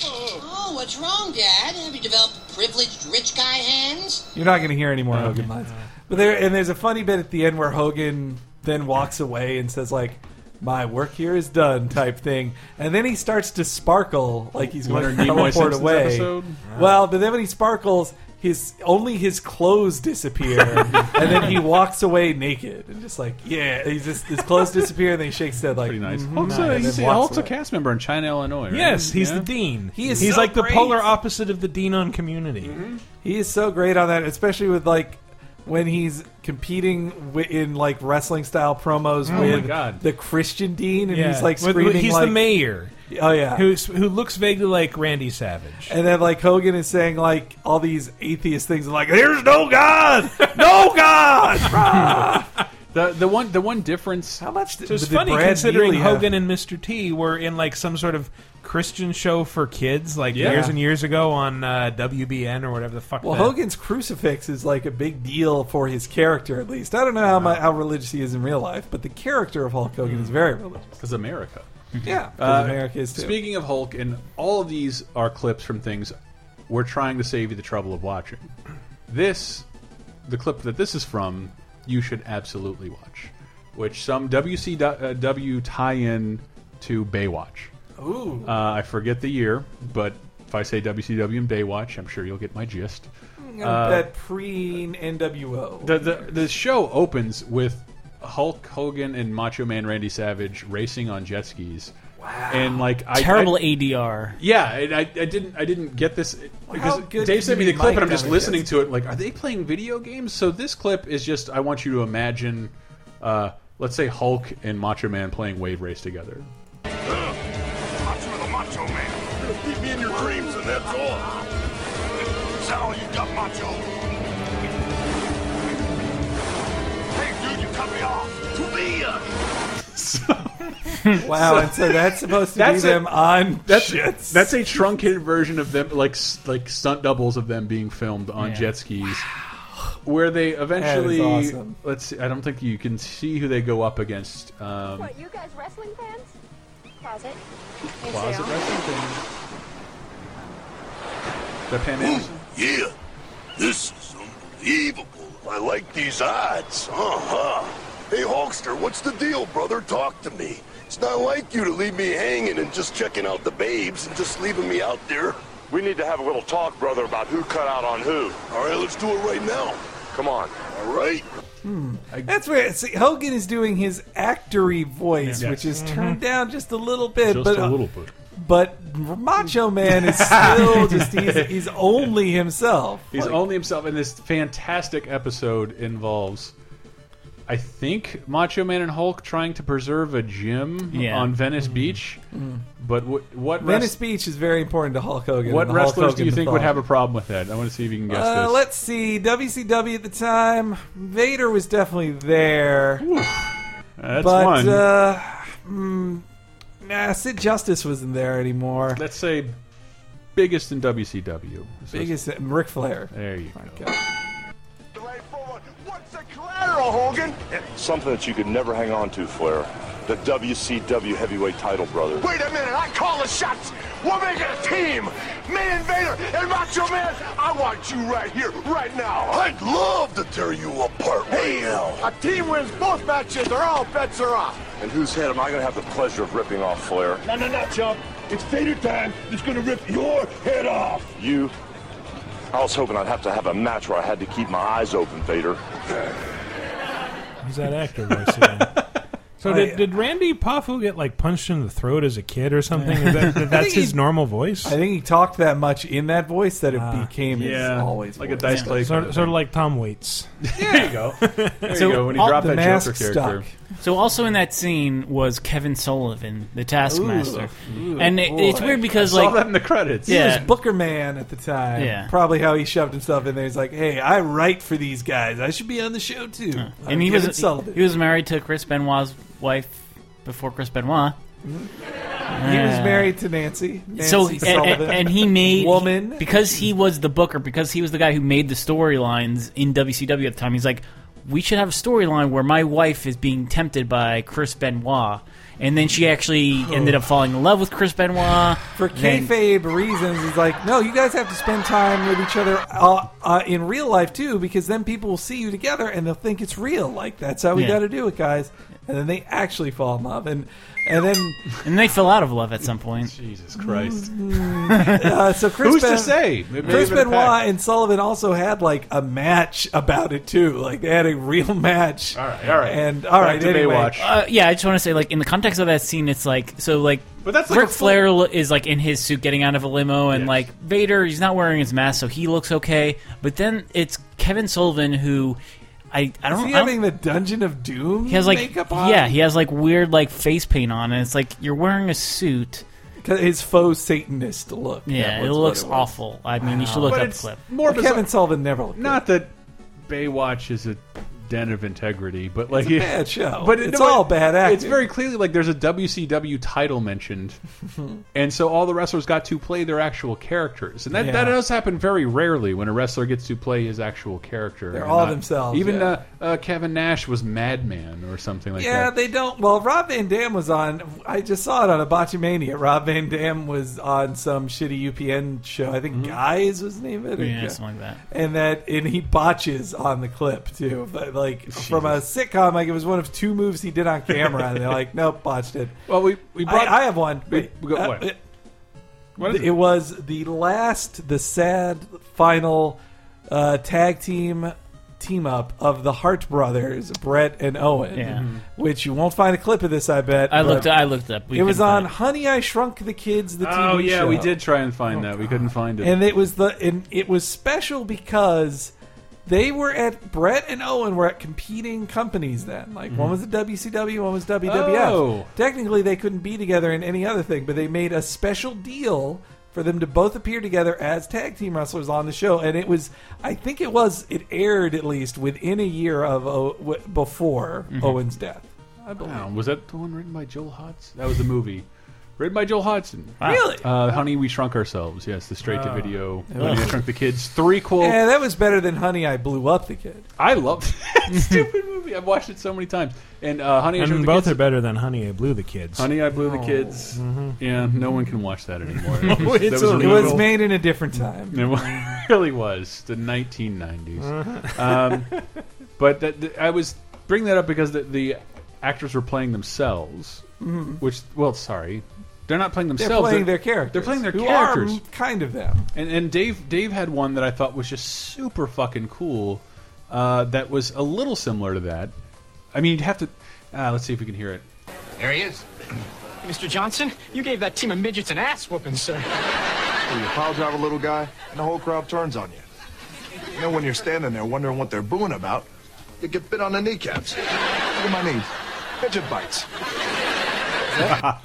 Speaker 20: oh, what's wrong, Dad? Have you developed privileged rich guy hands?
Speaker 4: You're not going to hear any more Hogan lines. But there, and there's a funny bit at the end where Hogan then walks away and says like, "My work here is done," type thing, and then he starts to sparkle like he's going
Speaker 3: Leonard
Speaker 4: to
Speaker 3: Nimoy
Speaker 4: teleport
Speaker 3: Simpsons
Speaker 4: away.
Speaker 3: episode?
Speaker 4: Well, but then when he sparkles, his only his clothes disappear, and then he walks away naked and just like, yeah, he's just his clothes disappear, and then he shakes his head like,
Speaker 3: Pretty nice.
Speaker 5: Mm-hmm.
Speaker 4: "Mhm,"
Speaker 3: Hulk's,
Speaker 4: and
Speaker 3: a,
Speaker 4: then
Speaker 3: he's a,
Speaker 4: walks
Speaker 3: Hulk's a
Speaker 4: away.
Speaker 3: cast member in China, Illinois. Right?
Speaker 5: yes, he's
Speaker 3: Yeah?
Speaker 5: the dean.
Speaker 4: He is
Speaker 5: he's
Speaker 4: so
Speaker 5: like the
Speaker 4: great.
Speaker 5: polar opposite of the dean on Community.
Speaker 3: Mm-hmm.
Speaker 4: He is so great on that, especially with like when he's competing wi- in like wrestling style promos
Speaker 5: Oh my
Speaker 4: with
Speaker 5: God.
Speaker 4: the Christian Dean, and
Speaker 5: Yeah.
Speaker 4: he's like
Speaker 5: With- with-
Speaker 4: screaming.
Speaker 5: He's
Speaker 4: like,
Speaker 5: the mayor.
Speaker 4: Oh yeah,
Speaker 5: who's, who looks vaguely like Randy Savage.
Speaker 4: and then like Hogan is saying like all these atheist things, like "There's no God, no God." Rah!
Speaker 3: The the one the one difference. How
Speaker 4: much? Did,
Speaker 5: So it's funny considering Hogan and Mr. T were in like some sort of Christian show for kids like
Speaker 4: Yeah.
Speaker 5: years and years ago on uh, WBN or whatever the fuck.
Speaker 4: Well,
Speaker 5: the-
Speaker 4: Hogan's crucifix is like a big deal for his character, at least. I don't know how, mu how religious he is in real life, but the character of Hulk Hogan
Speaker 5: Hmm.
Speaker 4: is very religious.
Speaker 3: Because America.
Speaker 4: Yeah, 'cause
Speaker 5: Uh,
Speaker 4: America is too.
Speaker 3: Uh, Speaking of Hulk, and all of these are clips from things we're trying to save you the trouble of watching. This, the clip that this is from, you should absolutely watch, which some uh, WCW tie-in to Baywatch.
Speaker 4: Ooh.
Speaker 3: Uh, I forget the year, but if I say WCW and Baywatch, I'm sure you'll get my gist.
Speaker 4: I'm gonna
Speaker 3: Uh,
Speaker 4: bet pre NWO.
Speaker 3: the, the the show opens with Hulk Hogan and Macho Man Randy Savage racing on jet skis. Wow. And like I,
Speaker 6: Terrible
Speaker 3: I-
Speaker 6: ADR.
Speaker 3: Yeah, and I, I didn't I didn't get this because
Speaker 6: good
Speaker 3: Dave sent me
Speaker 6: can
Speaker 3: the
Speaker 6: you
Speaker 3: clip
Speaker 6: mic
Speaker 3: and I'm just
Speaker 6: on a
Speaker 3: listening
Speaker 6: jet
Speaker 3: to it. Like, are they playing video games? So this clip is just I want you to imagine, uh, let's say Hulk and Macho Man playing wave race together.
Speaker 12: Macho the Macho Man. Keep me in your dreams, and that's all. That's all you got, Macho. Hey, dude, you cut me uh, off. Tubia.
Speaker 4: Wow, and so that's supposed to be them on
Speaker 3: that's,
Speaker 4: jets.
Speaker 3: That's a truncated version of them, like s- like stunt doubles of them being filmed on
Speaker 4: Yeah.
Speaker 3: jet skis, where they eventually.
Speaker 4: awesome.
Speaker 3: Let's see. I don't think you can see who they go up against. Um,
Speaker 21: What, you guys wrestling fans? Closet.
Speaker 3: Closet wrestling fans. the Pan Am.
Speaker 6: uh,
Speaker 12: yeah, this is unbelievable. I like these odds. Uh huh. Hey, Hulkster, what's the deal, brother? Talk to me. It's not like you to leave me hanging and just checking out the babes and just leaving me out there. We need to have a little talk, brother, about who cut out on who. All right, let's do it right now. Come on. All right.
Speaker 4: Hmm. That's weird. See, Hogan is doing his actory voice,
Speaker 12: Yeah.
Speaker 4: which is
Speaker 12: Yes.
Speaker 3: Mm-hmm.
Speaker 4: turned down just a little bit.
Speaker 3: Just
Speaker 4: but, uh,
Speaker 3: a little bit.
Speaker 4: But Macho Man is still just, he's, he's only himself.
Speaker 3: He's
Speaker 4: Like,
Speaker 3: only himself, and this fantastic episode involves, I think, Macho Man and Hulk trying to preserve a gym
Speaker 4: Yeah.
Speaker 3: on Venice Beach. But wh- what
Speaker 4: Venice
Speaker 3: wrest-
Speaker 4: Beach is very important to Hulk Hogan.
Speaker 3: what
Speaker 4: and the Hulk
Speaker 3: wrestlers do
Speaker 4: Hogan
Speaker 3: you think would
Speaker 4: mythology.
Speaker 3: have a problem with that? I want to see if you can guess
Speaker 4: Uh,
Speaker 3: this.
Speaker 4: let's see. WCW at the time, Vader was definitely there.
Speaker 3: That's
Speaker 4: but,
Speaker 3: one.
Speaker 4: Uh, mm, nah, Sid Justice wasn't there anymore.
Speaker 3: Let's say biggest in WCW. So-
Speaker 4: Biggest Ric Flair.
Speaker 3: There you
Speaker 4: go.
Speaker 12: Lateral, Hogan. Something that you could never hang on to, Flair. The WCW heavyweight title, brother.
Speaker 8: Wait a minute, I call the shots. We're making a team. Me and Vader and Macho Man. I want you right here, right now.
Speaker 12: I'd love to tear you apart right now.
Speaker 8: A team wins both matches. They're all bets are off.
Speaker 12: And whose head am I going to have the pleasure of ripping off, Flair?
Speaker 8: No, no, no, chump. It's Vader time. It's gonna rip your head off.
Speaker 12: You? I was hoping I'd have to have a match where I had to keep my eyes open, Vader.
Speaker 5: Who's that actor voice again? So
Speaker 4: Oh,
Speaker 5: did,
Speaker 4: yeah.
Speaker 5: did Randy Poffo get like punched in the throat as a kid or something? Is that-
Speaker 4: I
Speaker 5: that, that's
Speaker 4: think he-
Speaker 5: his normal voice.
Speaker 4: I think he talked that much in that voice that it
Speaker 6: Ah,
Speaker 4: became
Speaker 5: yeah,
Speaker 4: his always
Speaker 5: like a
Speaker 4: voice.
Speaker 5: Dice Clay Sort- kind of sort of thing. like Tom Waits.
Speaker 3: there you go. There
Speaker 6: So
Speaker 3: you go. When he
Speaker 6: all-
Speaker 3: dropped
Speaker 6: the
Speaker 3: that Joker
Speaker 6: mask
Speaker 3: character.
Speaker 6: So also in that scene was Kevin Sullivan, the Taskmaster,
Speaker 4: Ooh,
Speaker 6: and it, it's
Speaker 4: boy.
Speaker 6: weird because
Speaker 4: I saw
Speaker 6: like
Speaker 4: that in
Speaker 3: the credits.
Speaker 4: He
Speaker 6: Yeah,
Speaker 4: was Booker Man at the time.
Speaker 6: Yeah.
Speaker 4: Probably how he shoved himself in there. He's like, hey, I write for these guys. I should be on the show too. I'm
Speaker 6: and he
Speaker 4: Kevin
Speaker 6: was
Speaker 4: Sullivan.
Speaker 6: he was married to Chris Benoit's wife before Chris Benoit.
Speaker 4: He was
Speaker 6: Yeah.
Speaker 4: married to Nancy.
Speaker 6: so
Speaker 4: Nancy
Speaker 6: and, and,
Speaker 4: Sullivan.
Speaker 6: and he made
Speaker 4: Woman.
Speaker 6: because he was the booker because he was the guy who made the storylines in WCW at the time. He's like, we should have a storyline where my wife is being tempted by Chris Benoit, and then she actually ended up falling in love with Chris Benoit
Speaker 4: for kayfabe reasons is like no you guys have to spend time with each other uh, uh, in real life too because then people will see you together and they'll think it's real like that's how we
Speaker 6: Yeah.
Speaker 4: got to do it guys and then they actually fall in love and and then
Speaker 6: and they fell out of love at some point.
Speaker 3: Jesus Christ!
Speaker 4: uh, so Chris
Speaker 3: Who's to
Speaker 4: Ben-
Speaker 3: say? Maybe
Speaker 4: Chris
Speaker 3: even a
Speaker 4: Benoit and Sullivan also had like a match about it too like they had a real match all right
Speaker 3: all right.
Speaker 4: and all
Speaker 3: Back
Speaker 4: right
Speaker 3: to
Speaker 4: anyway.
Speaker 3: Baywatch.
Speaker 6: Uh, yeah, I just want to say, like, in the context of that scene, it's like so, like,
Speaker 3: But that's like
Speaker 6: Ric
Speaker 3: a full-
Speaker 6: Flair lo- is like in his suit, getting out of a limo, and like Vader, he's not wearing his mask, so he looks okay. But then it's Kevin Sullivan who, I, I
Speaker 4: is
Speaker 6: don't,
Speaker 4: he
Speaker 6: I don't-
Speaker 4: having the Dungeon of Doom
Speaker 6: he has like,
Speaker 4: makeup on
Speaker 6: yeah, he has like weird like face paint on, and it's like you're wearing a suit.
Speaker 4: his faux Satanist look
Speaker 6: Yeah,
Speaker 4: That was
Speaker 6: it
Speaker 4: what
Speaker 6: looks
Speaker 4: was.
Speaker 6: awful. I mean, you should look
Speaker 3: But
Speaker 6: up
Speaker 3: it's
Speaker 6: clip.
Speaker 3: More
Speaker 4: Kevin Sullivan never looked
Speaker 3: Not that Baywatch is a den of integrity, but like
Speaker 4: a bad show.
Speaker 3: But
Speaker 4: It's
Speaker 3: no,
Speaker 4: all
Speaker 3: it-
Speaker 4: bad
Speaker 3: It's
Speaker 4: acting.
Speaker 3: very clearly like there's a WCW title mentioned, and so all the wrestlers got to play their actual characters, and that, that
Speaker 4: Yeah.
Speaker 3: does happen very rarely when a wrestler gets to play his actual character.
Speaker 4: They're
Speaker 3: and
Speaker 4: all themselves,
Speaker 3: Even
Speaker 4: yeah.
Speaker 3: uh, uh, Kevin Nash was Madman or something like
Speaker 4: yeah,
Speaker 3: that.
Speaker 4: they don't. Well, Rob Van Dam was on. I just saw it on Abachimania. Rob Van Dam was on some shitty UPN show. I think Guys was the name of it. or-
Speaker 6: Mm-hmm. Yeah, something like that.
Speaker 4: And that, and he botches on the clip too. But like from a sitcom, like it was one of two moves he did on camera, and they're like, nope, botched it.
Speaker 3: Well, we we
Speaker 4: brought. I, I have one. Wait,
Speaker 3: we got what?
Speaker 4: it-
Speaker 3: What is
Speaker 4: it, was the last, the sad final uh, tag team team up of the Hart brothers, Brett and Owen.
Speaker 6: Yeah. Mhm.
Speaker 3: Mm-hmm.
Speaker 4: Which you won't find a clip of this, I bet.
Speaker 6: I
Speaker 4: but
Speaker 6: looked- I looked up. We
Speaker 4: it was
Speaker 6: couldn't
Speaker 4: on
Speaker 6: find
Speaker 4: Honey, I Shrunk the Kids. The
Speaker 3: oh
Speaker 4: TV
Speaker 3: yeah,
Speaker 4: show.
Speaker 3: we did try and find that. We couldn't find it.
Speaker 4: And it was the and it was special because they were at Brett and Owen were at competing companies then. Like one
Speaker 3: Mhm.
Speaker 4: was the WCW, one was WWF.
Speaker 3: Oh.
Speaker 4: Technically they couldn't be together in any other thing, but they made a special deal for them to both appear together as tag team wrestlers on the show and it was I think it was it aired at least within a year of O- w- before
Speaker 3: Mhm.
Speaker 4: Owen's death. I believe.
Speaker 3: Wow, was that the one written by Joel Hodgson? That was the movie. Written by Joel Hodgson.
Speaker 4: Wow. Really?
Speaker 3: Uh, Honey, We Shrunk Ourselves. Yes, the straight to video.
Speaker 4: Oh.
Speaker 3: Honey, I Shrunk the Kids. Three quote.
Speaker 4: Yeah, that was better than Honey I Blew Up the Kid.
Speaker 3: I love that stupid movie. I've watched it so many times. And uh, Honey, I Shrunk
Speaker 5: and
Speaker 3: the
Speaker 5: both
Speaker 3: Kids.
Speaker 5: are better than Honey I Blew the Kids.
Speaker 3: Honey, I Blew the
Speaker 5: Oh.
Speaker 3: Kids.
Speaker 5: Mhm.
Speaker 3: Yeah, no one can watch that anymore.
Speaker 5: No,
Speaker 3: That was-
Speaker 5: it's
Speaker 3: that was Mm-hmm.
Speaker 4: it was
Speaker 3: illegal.
Speaker 4: made in a different time.
Speaker 3: It wa- really was the 1990s.
Speaker 4: Uh-huh.
Speaker 3: Um, but that, that- I was bringing that up because the, the actors were playing themselves,
Speaker 4: Mhm.
Speaker 3: which well, sorry, they're not playing
Speaker 4: They're
Speaker 3: themselves.
Speaker 4: playing their characters.
Speaker 3: They're playing their
Speaker 4: who
Speaker 3: characters.
Speaker 4: Are m- kind of them.
Speaker 3: And, and Dave Dave had one that I thought was just super fucking cool. Uh, that was a little similar to that. I mean, you'd have to. Uh, let's see if we can hear it.
Speaker 7: There he is.
Speaker 15: Mr. Johnson, you gave that team of midgets an ass whooping, sir.
Speaker 8: Well, you pile drive a little guy, and the whole crowd turns on you. You know, when you're standing there wondering what they're booing about, you get bit on the kneecaps. Look at my knees. Midget bites.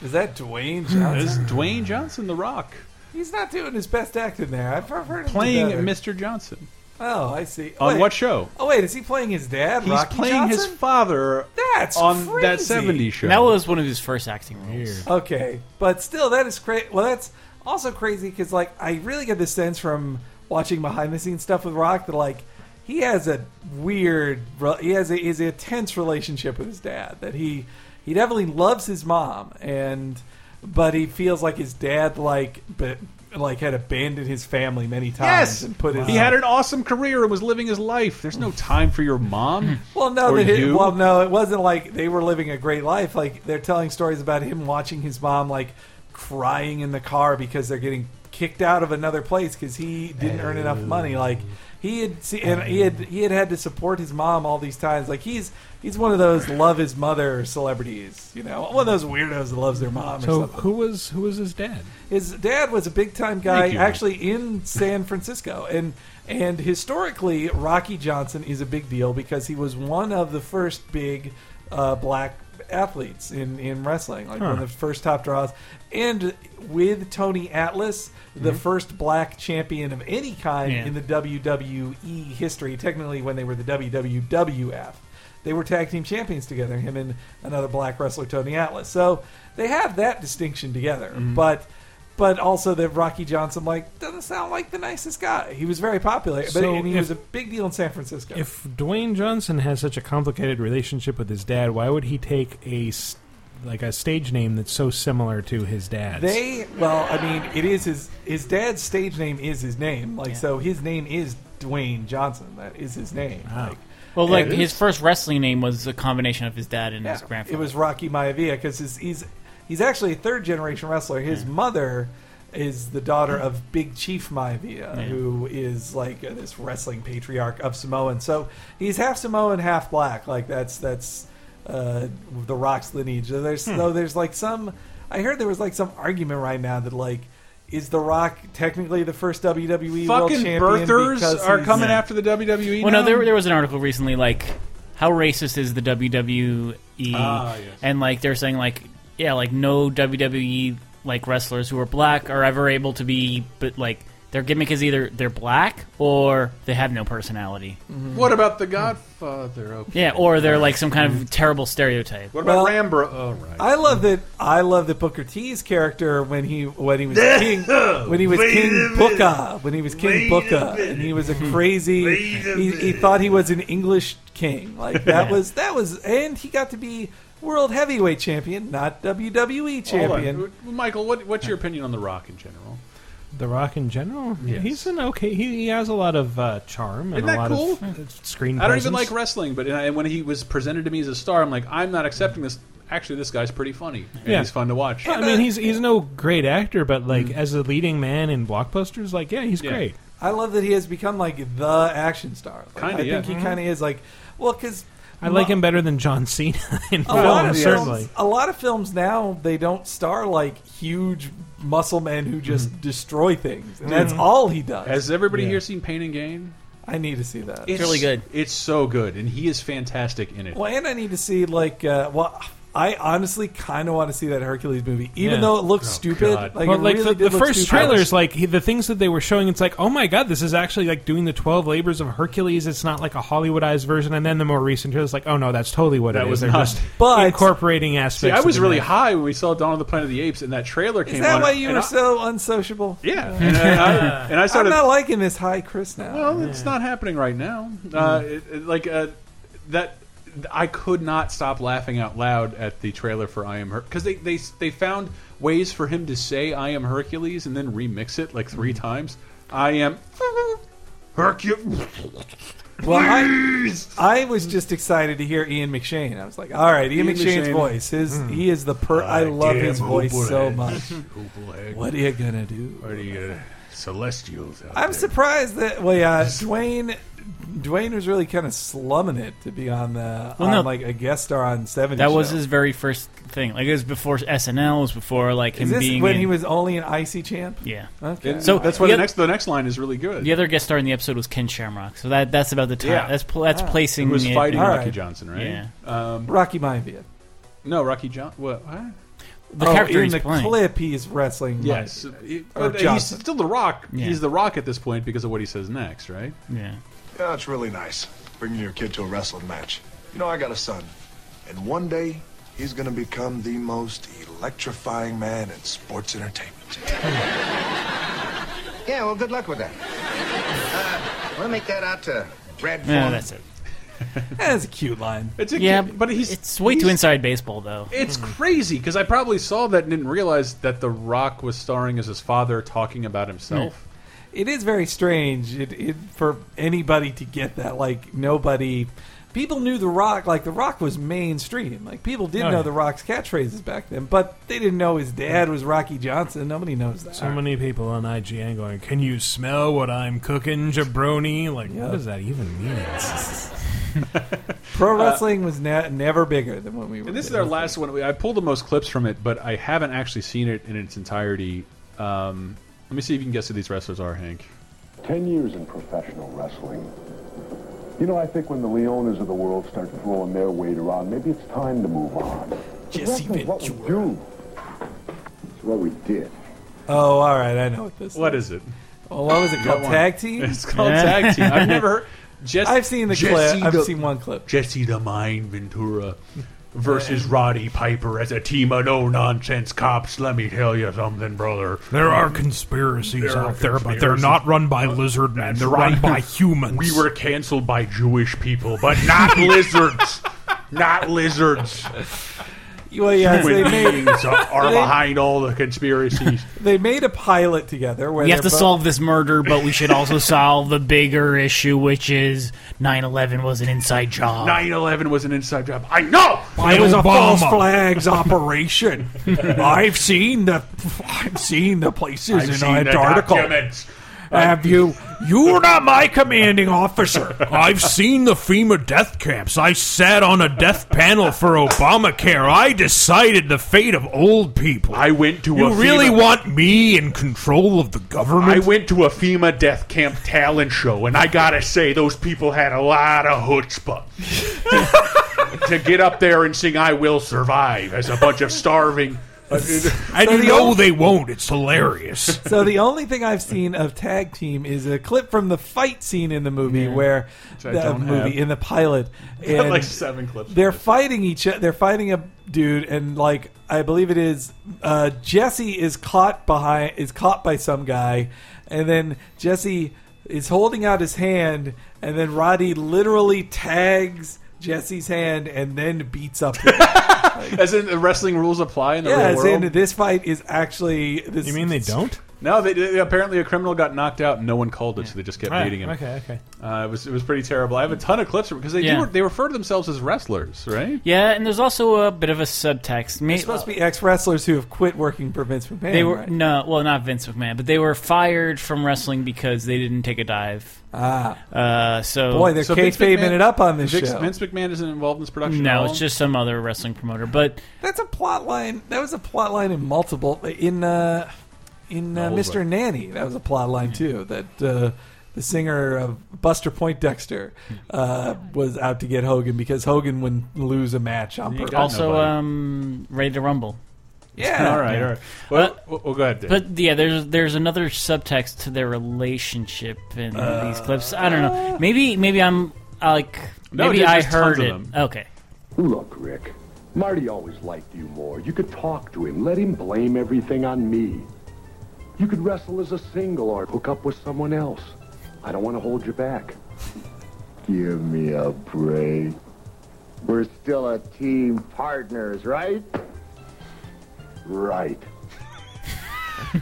Speaker 4: Is that Dwayne
Speaker 3: This
Speaker 4: Johnson?
Speaker 3: is Dwayne Johnson, The Rock,
Speaker 4: He's not doing his best acting there. I've I've heard him do
Speaker 3: playing
Speaker 4: better.
Speaker 3: Mr. Johnson.
Speaker 4: Oh, I see.
Speaker 3: On
Speaker 4: Wait.
Speaker 3: what show?
Speaker 4: Oh wait, is he playing his dad?
Speaker 3: He's
Speaker 4: Rocky
Speaker 3: playing his
Speaker 4: Johnson?
Speaker 3: father
Speaker 4: That's
Speaker 3: on
Speaker 4: crazy.
Speaker 3: that 70s show.
Speaker 6: That was one of his first acting roles.
Speaker 4: Okay, but still, that is crazy. Well, that's also crazy because like I really get this sense from watching behind the scenes stuff with Rock that like he has a weird, re- he has a is a tense relationship with his dad that he he definitely loves his mom and but he feels like his dad like but like had abandoned his family many times
Speaker 3: Yes,
Speaker 4: and put his
Speaker 3: he had an awesome career and was living his life. There's no time for your mom.
Speaker 4: Well, no,
Speaker 3: or
Speaker 4: they didn't.
Speaker 3: you.
Speaker 4: Well, no, it wasn't like they were living a great life. Like they're telling stories about him watching his mom like crying in the car because they're getting kicked out of another place because he didn't earn enough money. Like he had, see, and he had he had had to support his mom all these times. Like he's he's one of those love his mother celebrities. You know, one of those weirdos that loves their mom. or
Speaker 5: So
Speaker 4: something.
Speaker 5: who was who was his dad?
Speaker 4: His dad was a big time guy,
Speaker 5: Thank you.
Speaker 4: actually in San Francisco, and and historically, Rocky Johnson is a big deal because he was one of the first big uh, black athletes in in wrestling, like one
Speaker 5: Huh.
Speaker 4: of the first top draws, and with Tony Atlas, the
Speaker 5: Mhm.
Speaker 4: first black champion of any kind
Speaker 5: Yeah.
Speaker 4: in the WWE history. Technically, when they were the WWWF. They were tag team champions together, him and another black wrestler, Tony Atlas. So they have that distinction together.
Speaker 5: Mm-hmm.
Speaker 4: But but also that Rocky Johnson like doesn't sound like the nicest guy. He was very popular, but
Speaker 5: So
Speaker 4: and he
Speaker 5: if-
Speaker 4: was a big deal in San Francisco.
Speaker 5: If Dwayne Johnson has such a complicated relationship with his dad, why would he take a s- like a stage name that's so similar to his dad's?
Speaker 4: they well, I mean, it is his his dad's stage name is his name. Like so, his name is Dwayne Johnson. That is his name. Like,
Speaker 6: Well, like
Speaker 4: and-
Speaker 6: his first wrestling name was a combination of his dad and his
Speaker 4: Yeah,
Speaker 6: grandfather.
Speaker 4: It was Rocky Maivia because he's, he's he's actually a third generation wrestler. His mother is the daughter of Big Chief Maivia,
Speaker 6: Yeah.
Speaker 4: who is like uh, this wrestling patriarch of Samoan. So he's half Samoan, half black. Like that's that's uh, the Rock's lineage. So There's
Speaker 5: Hmm.
Speaker 4: so there's like some. I heard there was like some argument right now that like. Is The Rock technically the first WWE world
Speaker 3: Fucking
Speaker 4: champion?
Speaker 3: birthers
Speaker 4: because
Speaker 3: are
Speaker 4: he's-
Speaker 3: coming after the WWE.
Speaker 6: Well,
Speaker 3: now?
Speaker 6: no, there, there was an article recently like how racist is the WWE,
Speaker 3: Ah, yes.
Speaker 6: and like they're saying like E, yeah, like no WWE like wrestlers who are black are ever able to be but like Their gimmick is either they're black or they have no personality.
Speaker 3: What about the Godfather? Okay.
Speaker 6: Yeah, or they're like some
Speaker 4: Mm.
Speaker 6: kind of terrible stereotype.
Speaker 3: What about Rambo? Oh, right.
Speaker 4: I love that. I love that Booker T's character when he when he was king when he was
Speaker 3: Wait
Speaker 4: King
Speaker 3: a minute.
Speaker 4: Booker when he was King
Speaker 3: Wait a
Speaker 4: Booker
Speaker 3: minute.
Speaker 4: and he was a
Speaker 5: Hmm.
Speaker 4: crazy. He, he thought he was an English king. Like that
Speaker 3: Yeah.
Speaker 4: was that was, and he got to be world heavyweight champion, not WWE champion.
Speaker 3: Hold on. Michael, what, what's your opinion on The Rock in general?
Speaker 5: The Rock in general,
Speaker 3: Yes.
Speaker 5: he's an okay. He, he has a lot of uh, charm and
Speaker 3: Isn't that
Speaker 5: a lot
Speaker 3: cool?
Speaker 5: of uh, screen.
Speaker 3: I don't even
Speaker 5: presence.
Speaker 3: like wrestling, but and when he was presented to me as a star, I'm like, I'm not accepting this. Actually, this guy's pretty funny. And
Speaker 5: Yeah.
Speaker 3: he's fun to watch.
Speaker 5: I mean, he's he's no great actor, but like as a leading man in blockbusters, like yeah, he's great.
Speaker 4: I love that he has become like the action star. Like,
Speaker 5: Kinda,
Speaker 4: I think
Speaker 5: yeah. Mm-hmm.
Speaker 4: he kind of is like, well, because
Speaker 5: I like him better than John Cena in
Speaker 4: A lot,
Speaker 5: film,
Speaker 4: of
Speaker 5: certainly.
Speaker 4: films, a lot of films now they don't star like huge muscle men who just destroy things, and that's
Speaker 3: Mhm.
Speaker 4: all he does.
Speaker 3: Has everybody here seen Pain and Gain?
Speaker 4: I need to see that.
Speaker 3: It's so good, and he is fantastic in it.
Speaker 4: Well, and I need to see like uh, well, I honestly kind of want to see that Hercules movie, even
Speaker 5: Yeah.
Speaker 4: though it looks
Speaker 5: Oh,
Speaker 4: stupid.
Speaker 5: God.
Speaker 4: Like,
Speaker 5: But,
Speaker 4: it
Speaker 5: like,
Speaker 4: really
Speaker 5: the,
Speaker 4: did
Speaker 5: the
Speaker 4: look
Speaker 5: first
Speaker 4: stupid.
Speaker 5: trailers, like he- the things that they were showing, it's like, oh my god, this is actually like doing the twelve labors of Hercules. It's not like a Hollywoodized version. And then the more recent trailers, like, oh no, that's totally what
Speaker 3: That
Speaker 5: it
Speaker 3: was
Speaker 5: is. They're
Speaker 3: not-
Speaker 5: just
Speaker 3: But-
Speaker 5: incorporating aspects.
Speaker 3: See, I
Speaker 5: of
Speaker 3: was
Speaker 5: the
Speaker 3: really
Speaker 5: myth.
Speaker 3: high when we saw Dawn of the Planet of the Apes, and that trailer came
Speaker 4: Is that
Speaker 3: on,
Speaker 4: why you
Speaker 3: and
Speaker 4: were
Speaker 3: I-
Speaker 4: so unsociable?
Speaker 3: Yeah, and I- I- and I started-
Speaker 4: am not liking this high Chris now.
Speaker 3: Well, it's not happening right now.
Speaker 4: Mm-hmm.
Speaker 3: Uh, it, it- like uh, that, I could not stop laughing out loud at the trailer for I Am Her because they, they they found ways for him to say I am Hercules and then remix it like three
Speaker 4: Mm-hmm.
Speaker 3: times. I am Hercules.
Speaker 4: Well, I, I was just excited to hear Ian McShane. I was like, all right, Ian,
Speaker 3: Ian
Speaker 4: McShane's
Speaker 3: McShane.
Speaker 4: voice. His he is the per. I, love his
Speaker 3: Oh,
Speaker 4: voice so much. What are you gonna do?
Speaker 3: What are you gonna uh, celestials? Out
Speaker 4: I'm
Speaker 3: there.
Speaker 4: surprised that well, yeah, Dwayne. Dwayne was really kind of slumming it to be on the
Speaker 6: Well,
Speaker 4: on,
Speaker 6: no.
Speaker 4: like a guest star on seventy.
Speaker 6: That was
Speaker 4: Show.
Speaker 6: his very first thing. Like it was before SNL. It was before like him
Speaker 4: Is this
Speaker 6: being
Speaker 4: when
Speaker 6: in-
Speaker 4: he was only an icy champ?
Speaker 6: Yeah.
Speaker 4: Okay.
Speaker 3: And that's why the
Speaker 6: oth-
Speaker 3: next the next line is really good.
Speaker 6: The other guest star in the episode was Ken Shamrock. So that that's about the time.
Speaker 3: Yeah.
Speaker 6: That's pl- that's
Speaker 3: Ah.
Speaker 6: placing.
Speaker 3: Who was
Speaker 6: it-
Speaker 3: fighting Rocky Johnson, right?
Speaker 6: Mm, Yeah.
Speaker 3: Um,
Speaker 4: Rocky Maivia.
Speaker 3: No, Rocky John. What? what?
Speaker 6: The
Speaker 4: oh,
Speaker 6: character
Speaker 4: in
Speaker 6: he's
Speaker 4: the
Speaker 6: playing.
Speaker 4: clip, he's wrestling.
Speaker 3: Yes,
Speaker 6: Uh,
Speaker 4: Maivia.
Speaker 3: He-
Speaker 4: or
Speaker 3: but uh, he's
Speaker 4: Johnson.
Speaker 3: still the Rock.
Speaker 4: Yeah.
Speaker 3: He's the Rock at this point because of what he says next, right?
Speaker 6: Yeah.
Speaker 8: Yeah, it's really nice bringing your kid to a wrestling match. You know, I got a son, and one day he's gonna become the most electrifying man in sports entertainment.
Speaker 7: Yeah, well, good luck with that. Uh, want to make that out to Brad
Speaker 6: Yeah,
Speaker 7: Foreman?
Speaker 6: that's it.
Speaker 4: that's a cute line.
Speaker 3: It's a
Speaker 6: yeah,
Speaker 3: kid- but he's
Speaker 6: it's way too Hmm.
Speaker 3: he's-
Speaker 6: inside baseball though.
Speaker 3: It's crazy because I probably saw that and didn't realize that The Rock was starring as his father talking about himself.
Speaker 6: Hmm.
Speaker 4: It is very strange it, it, for anybody to get that. Like nobody, people knew The Rock. Like The Rock was mainstream. Like people did
Speaker 5: Oh,
Speaker 4: know
Speaker 5: yeah.
Speaker 4: The Rock's catchphrases back then, but they didn't know his dad was Rocky Johnson. Nobody knows that.
Speaker 5: So many people on IGN going, "Can you smell what I'm cooking, jabroni?" Like, what does that even mean? Uh,
Speaker 4: Pro wrestling was ne- never bigger than when we were.
Speaker 3: And this is
Speaker 4: kids.
Speaker 3: our last one. We- I pulled the most clips from it, but I haven't actually seen it in its entirety. Um, let me see if you can guess who these wrestlers are, Hank.
Speaker 10: Ten years in professional wrestling. You know, I think when the Leonas of the world start throwing their weight around, maybe it's time to move on.
Speaker 4: Jesse
Speaker 10: Wrestling's what we do. It's what we did.
Speaker 4: Oh, all right, I know what this.
Speaker 3: What is it?
Speaker 4: Well, what was it
Speaker 3: You
Speaker 4: called?
Speaker 3: got one.
Speaker 4: Tag team.
Speaker 3: It's called tag team. I've never heard. Jess-
Speaker 4: I've seen the
Speaker 3: Jesse
Speaker 4: clip. I've
Speaker 3: the-
Speaker 4: seen one clip.
Speaker 3: Jesse the Mind Ventura versus Roddy Piper as a team of no nonsense cops. Let me tell you something, brother.
Speaker 5: There are conspiracies
Speaker 3: There are
Speaker 5: out there, but they're
Speaker 3: conspiracies.
Speaker 5: not run by lizard men. They're run
Speaker 3: right.
Speaker 5: by humans.
Speaker 3: We were canceled by Jewish people, but not lizards. Not lizards.
Speaker 4: Well, yeah,
Speaker 3: Human
Speaker 4: they made,
Speaker 3: beings are, are
Speaker 4: they-
Speaker 3: behind all the conspiracies.
Speaker 4: They made a pilot together. Where
Speaker 6: We have to
Speaker 4: they're both-
Speaker 6: solve this murder, but we should also solve the bigger issue, which is 9/11 was an inside job.
Speaker 3: 9-11 was an inside job. I know.
Speaker 6: Why was a false
Speaker 5: flags operation?
Speaker 3: I've
Speaker 5: seen the I've seen the places
Speaker 3: I've seen the documents.
Speaker 5: Have you? You're not my commanding officer. I've seen the FEMA death camps. I sat on a death panel for Obamacare. I decided the fate of old people.
Speaker 3: I went to
Speaker 5: You
Speaker 3: a
Speaker 5: really
Speaker 3: FEMA
Speaker 5: want me in control of the government?
Speaker 3: I went to a FEMA death camp talent show, and I gotta say, those people had a lot of chutzpah to get up there and sing "I Will Survive" as a bunch of starving uh,
Speaker 4: I So do- the no, only- they
Speaker 5: won't. It's hilarious.
Speaker 4: So the only thing I've seen of tag team is a clip from the fight scene in the movie where
Speaker 3: Which I
Speaker 4: the
Speaker 3: don't
Speaker 4: movie
Speaker 3: have.
Speaker 4: in the pilot.
Speaker 3: I have
Speaker 4: and
Speaker 3: like seven clips of
Speaker 4: They're fighting each. o- They're fighting a dude, and like I believe it is uh, Jesse is caught behind is caught by some guy, and then Jesse is holding out his hand, and then Roddy literally tags Jesse's hand and then beats up. Him.
Speaker 3: As in, the wrestling rules apply in the
Speaker 4: yeah,
Speaker 3: real
Speaker 4: as
Speaker 3: world.
Speaker 4: in this fight is actually. This,
Speaker 5: You mean they don't?
Speaker 3: No, they, they- apparently a criminal got knocked out. and No one called it, so they just kept
Speaker 5: Ah,
Speaker 3: beating him.
Speaker 5: okay, okay.
Speaker 3: Uh, it was it was pretty terrible. I have a ton of clips because they
Speaker 6: Yeah.
Speaker 3: do, they refer to themselves as wrestlers, right?
Speaker 6: Yeah, and there's also a bit of a subtext. May-
Speaker 4: It's supposed to be ex wrestlers who have quit working for Vince McMahon.
Speaker 6: they were
Speaker 4: right?
Speaker 6: no, well, not Vince McMahon, but they were fired from wrestling because they didn't take a dive.
Speaker 4: Ah,
Speaker 6: uh, so
Speaker 4: Boy, they're
Speaker 6: so
Speaker 4: Vince kayfabing McMahon- it up on this
Speaker 3: Vince,
Speaker 4: show.
Speaker 3: Vince McMahon isn't involved in this production. at
Speaker 6: No,
Speaker 3: all?
Speaker 6: it's just some other wrestling promoter. But
Speaker 4: That's a plot line. That was a plot line in multiple in uh, in uh,
Speaker 6: Old
Speaker 4: Mr.
Speaker 6: one.
Speaker 4: Nanny. That was a plot
Speaker 3: Mm.
Speaker 4: line too. That uh, the singer of Buster Point Dexter
Speaker 3: Mm.
Speaker 4: uh, was out to get Hogan because Hogan wouldn't lose a match on purpose.
Speaker 6: also um, Ready to Rumble.
Speaker 4: Yeah.
Speaker 3: All right, all right. Well, well, well, go ahead, Dave.
Speaker 6: But yeah, there's there's another subtext to their relationship in
Speaker 3: Uh,
Speaker 6: these clips. I don't know. Maybe maybe I'm I, like
Speaker 10: No,
Speaker 6: maybe
Speaker 10: there's-
Speaker 6: I
Speaker 10: there's tons
Speaker 6: heard
Speaker 10: of
Speaker 6: it.
Speaker 10: them.
Speaker 6: Okay.
Speaker 10: Look, Rick, Marty always liked you more. You could talk to him, let him blame everything on me. You could wrestle as a single or hook up with someone else. I don't want to hold you back. Give me a break. We're still a team partners, right? Right.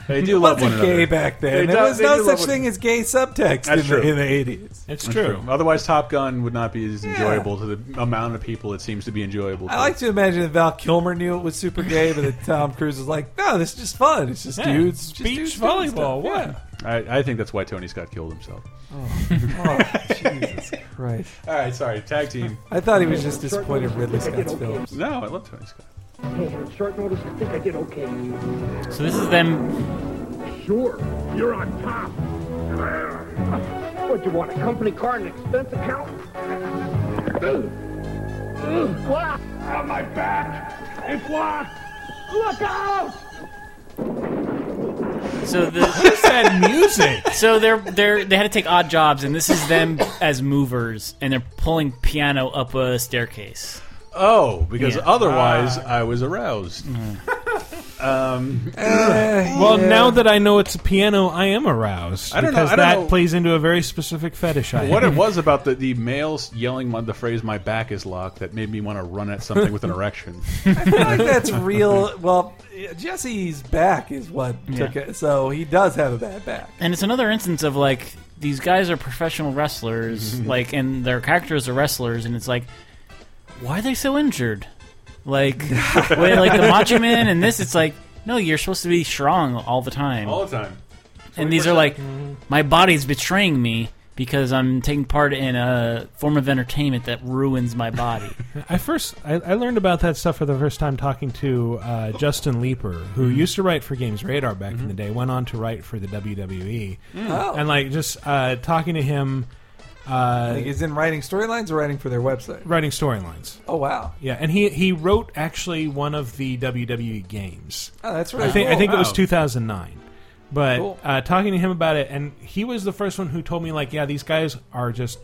Speaker 3: they do
Speaker 4: Lots
Speaker 3: love
Speaker 4: of
Speaker 3: one
Speaker 4: gay
Speaker 3: another.
Speaker 4: back
Speaker 3: They
Speaker 4: then.
Speaker 3: do-
Speaker 4: There was
Speaker 3: they do
Speaker 4: no
Speaker 3: love
Speaker 4: such
Speaker 3: one-
Speaker 4: thing as gay subtext
Speaker 3: That's
Speaker 4: in,
Speaker 3: true.
Speaker 4: The, in the 80s.
Speaker 3: That's Otherwise, Top Gun would not be as enjoyable to the amount of people it seems to be enjoyable.
Speaker 4: I
Speaker 3: to.
Speaker 4: like to imagine that Val Kilmer knew it was super gay, but that Tom Cruise was like, no, this is just fun. It's just
Speaker 5: Yeah,
Speaker 4: dudes. just
Speaker 5: beach
Speaker 4: dudes doing
Speaker 5: volleyball,
Speaker 4: stuff."
Speaker 5: what?
Speaker 4: Yeah.
Speaker 3: I, I think that's why Tony Scott killed himself.
Speaker 4: Oh, Jesus Christ.
Speaker 3: All right, sorry. Tag team.
Speaker 4: I thought he was just disappointed in Ridley Scott's films.
Speaker 3: No, I love Tony Scott.
Speaker 10: Hey, on short notice, I think I did okay.
Speaker 6: So this is them.
Speaker 10: Sure, you're on top. What, you want a company car and expense account?
Speaker 7: What? On my back. It's locked. Look out!
Speaker 6: So the what is that music? So they're they're they had to take odd jobs, and this is them as movers, and they're pulling piano up a staircase.
Speaker 3: Oh, because
Speaker 6: Yeah.
Speaker 3: otherwise I was aroused. um,
Speaker 5: Well, now that I know it's a piano, I am aroused.
Speaker 3: I don't know-
Speaker 5: because
Speaker 3: I don't
Speaker 5: that
Speaker 3: know-
Speaker 5: plays into a very specific fetish. I
Speaker 3: what
Speaker 5: have.
Speaker 3: it was about the, the males yelling my, the phrase "my back is locked" that made me want to run at something with an erection.
Speaker 4: I feel like that's real. Well, Jesse's back is what
Speaker 6: Yeah.
Speaker 4: took it, so he does have a bad back.
Speaker 6: And it's another instance of like these guys are professional wrestlers, like, and their characters are wrestlers, and it's like, why are they so injured? Like, when, like the Macho Man and this, it's like, no, you're supposed to be strong all the time.
Speaker 3: All the time. Mm-hmm.
Speaker 6: And these are like, my body's betraying me because I'm taking part in a form of entertainment that ruins my body.
Speaker 5: I first I, I learned about that stuff for the first time talking to uh, Justin Leeper,
Speaker 3: Mm.
Speaker 5: who used to write for Games Radar back
Speaker 3: Mm-hmm.
Speaker 5: in the day. Went on to write for the WWE,
Speaker 4: Mm. Oh.
Speaker 5: Hmm. and like just uh, talking to him, uh,
Speaker 4: Like, is in writing storylines or writing for their website?
Speaker 5: writing storylines.
Speaker 4: Oh wow!
Speaker 5: Yeah, and he he wrote actually one of the WWE games.
Speaker 4: Oh, that's really
Speaker 5: I think I
Speaker 4: cool.
Speaker 5: think it was
Speaker 4: Wow.
Speaker 5: 2009. But
Speaker 4: Cool.
Speaker 5: uh, talking to him about it, and he was the first one who told me like, yeah, these guys are just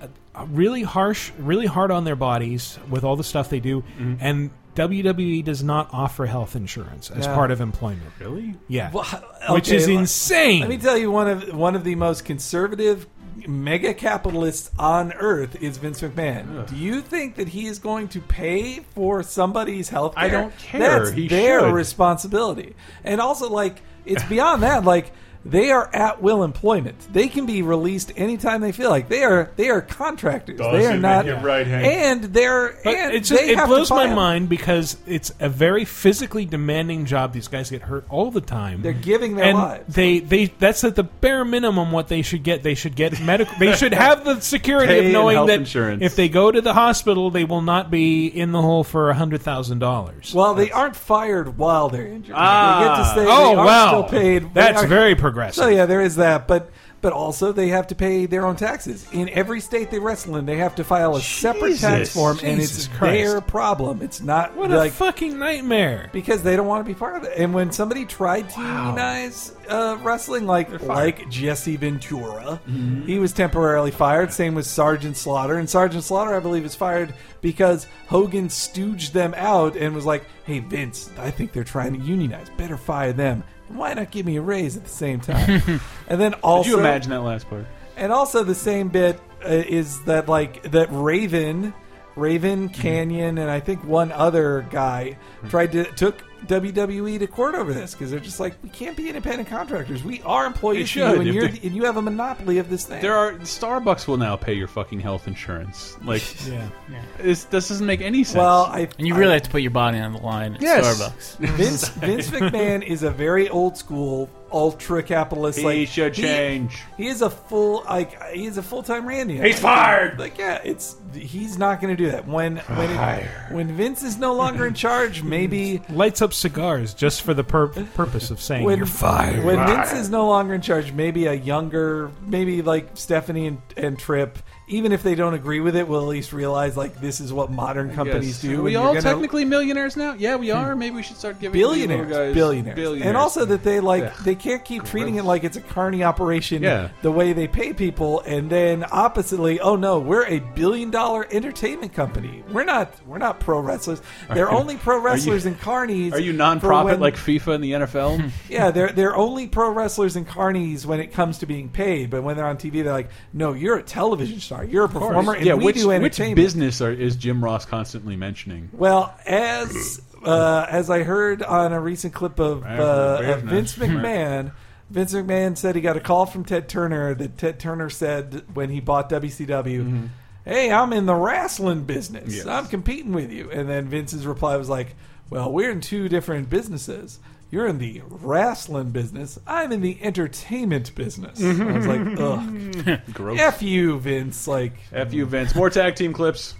Speaker 5: uh, really harsh, really hard on their bodies with all the stuff they do,
Speaker 4: Mm-hmm.
Speaker 5: and WWE does not offer health insurance as
Speaker 4: Yeah.
Speaker 5: part of employment.
Speaker 3: Really?
Speaker 5: Yeah,
Speaker 4: Well,
Speaker 5: which
Speaker 4: okay,
Speaker 5: is
Speaker 4: let-
Speaker 5: insane.
Speaker 4: Let me tell you one of one of the most conservative mega capitalists on earth is Vince McMahon. Do you think that he is going to pay for somebody's health care?
Speaker 3: I don't care.
Speaker 4: That's
Speaker 3: He
Speaker 4: their
Speaker 3: should.
Speaker 4: responsibility. And also like it's beyond that like they are at will employment. They can be released anytime they feel like. They are they are contractors. they are
Speaker 5: Doesn't
Speaker 4: not
Speaker 5: make it right, Hank.
Speaker 4: and they're
Speaker 5: But
Speaker 4: and
Speaker 5: it's just,
Speaker 4: they
Speaker 5: it
Speaker 4: have to
Speaker 5: blows my
Speaker 4: file.
Speaker 5: mind because it's a very physically demanding job. These guys get hurt all the time.
Speaker 4: They're giving their
Speaker 5: and
Speaker 4: lives.
Speaker 5: They they that's at the bare minimum what they should get. They should get medical. they should have the security
Speaker 3: Pay
Speaker 5: of
Speaker 3: and
Speaker 5: knowing
Speaker 3: health
Speaker 5: that
Speaker 3: insurance.
Speaker 5: if they go to the hospital, they will not be in the hole for hundred thousand dollars.
Speaker 4: Well, they aren't fired while they're injured.
Speaker 5: Ah.
Speaker 4: they get to stay.
Speaker 5: Oh,
Speaker 4: they are
Speaker 5: wow.
Speaker 4: still paid. They
Speaker 5: That's
Speaker 4: are-
Speaker 5: very progressive.
Speaker 4: So yeah, there is that. But but also they have to pay their own taxes. In every state they wrestle in, they have to file a separate tax
Speaker 5: Jesus.
Speaker 4: form, and
Speaker 5: Jesus
Speaker 4: it's
Speaker 5: Christ.
Speaker 4: their problem. It's not
Speaker 5: What
Speaker 4: like
Speaker 5: a fucking nightmare.
Speaker 4: because they don't want to be part of it. And when somebody tried to
Speaker 5: Wow.
Speaker 4: unionize uh, wrestling, like
Speaker 5: fired.
Speaker 4: like Jesse Ventura, he was temporarily fired. Same with Sergeant Slaughter, and Sergeant Slaughter, I believe, is fired because Hogan stooged them out and was like, "Hey Vince, I think they're trying to unionize. Better fire them. Why not give me a raise at the same time?" and then also,
Speaker 3: Could you imagine that last part?
Speaker 4: and also the same bit uh, is that like that Raven, Raven
Speaker 3: Mm-hmm.
Speaker 4: Canyon, and I think one other guy tried to took WWE to court over this because they're just like we can't be independent contractors. We are
Speaker 3: They
Speaker 4: employees, to you,
Speaker 3: should,
Speaker 4: and
Speaker 3: if
Speaker 4: you're
Speaker 3: they-
Speaker 4: and you have a monopoly of this thing.
Speaker 3: There are Starbucks will now pay your fucking health insurance. Like,
Speaker 4: Yeah.
Speaker 6: Yeah.
Speaker 3: this this doesn't make any sense.
Speaker 4: Well, I-
Speaker 6: And you really have to put your body on the line at Starbucks.
Speaker 4: Vince Vince McMahon is a very old school ultra capitalist.
Speaker 3: He
Speaker 4: like
Speaker 3: should change.
Speaker 4: He is a full like he is a full time Randy.
Speaker 3: He's
Speaker 4: Like,
Speaker 3: fired!
Speaker 4: Like yeah, it's he's not going to do that when when it, when Vince is no longer in charge. Maybe
Speaker 5: lights up cigars just for the pur- purpose of saying
Speaker 4: when
Speaker 5: you're fired.
Speaker 4: When Vince is no longer in charge, maybe a younger, maybe like Stephanie and, and Trip. Even if they don't agree with it, will at least realize like this is what modern companies
Speaker 3: Yes.
Speaker 4: do.
Speaker 3: Are we
Speaker 4: and you're
Speaker 3: all
Speaker 4: gonna-
Speaker 3: technically millionaires now? Yeah, we are. Maybe we should start giving
Speaker 4: billionaires,
Speaker 3: these little guys
Speaker 4: billionaires,
Speaker 3: billionaires.
Speaker 4: and also that they like
Speaker 3: Ugh.
Speaker 4: they can't keep treating it like it's a carny operation.
Speaker 3: Yeah.
Speaker 4: the way they pay people, and then oppositely, oh no, we're a billion dollar entertainment company. We're not. We're not pro wrestlers. They're
Speaker 3: Are you-
Speaker 4: only pro
Speaker 3: are you-
Speaker 4: wrestlers and carnies.
Speaker 3: Are you
Speaker 4: for
Speaker 3: non-profit
Speaker 4: when-
Speaker 3: like FIFA and the NFL?
Speaker 4: yeah, they're they're only pro wrestlers and carnies when it comes to being paid, but when they're on TV, they're like, "No, you're a television star, you're a performer, and
Speaker 3: yeah,
Speaker 4: we
Speaker 3: which,
Speaker 4: do
Speaker 3: which
Speaker 4: entertainment."
Speaker 3: business are, is Jim Ross constantly mentioning?
Speaker 4: Well, as uh, as I heard on a recent clip of, uh, of Vince McMahon, Vince McMahon said he got a call from Ted Turner that Ted Turner said when he bought WCW, "Hey, I'm in the wrestling business.
Speaker 5: Yes.
Speaker 4: I'm competing with you." And then Vince's reply was like, "Well, we're in two different businesses." You're in the wrestling business. I'm in the entertainment business. I was like, ugh.
Speaker 3: Gross.
Speaker 4: F you, Vince. Like,
Speaker 3: F you, Vince. More tag team clips.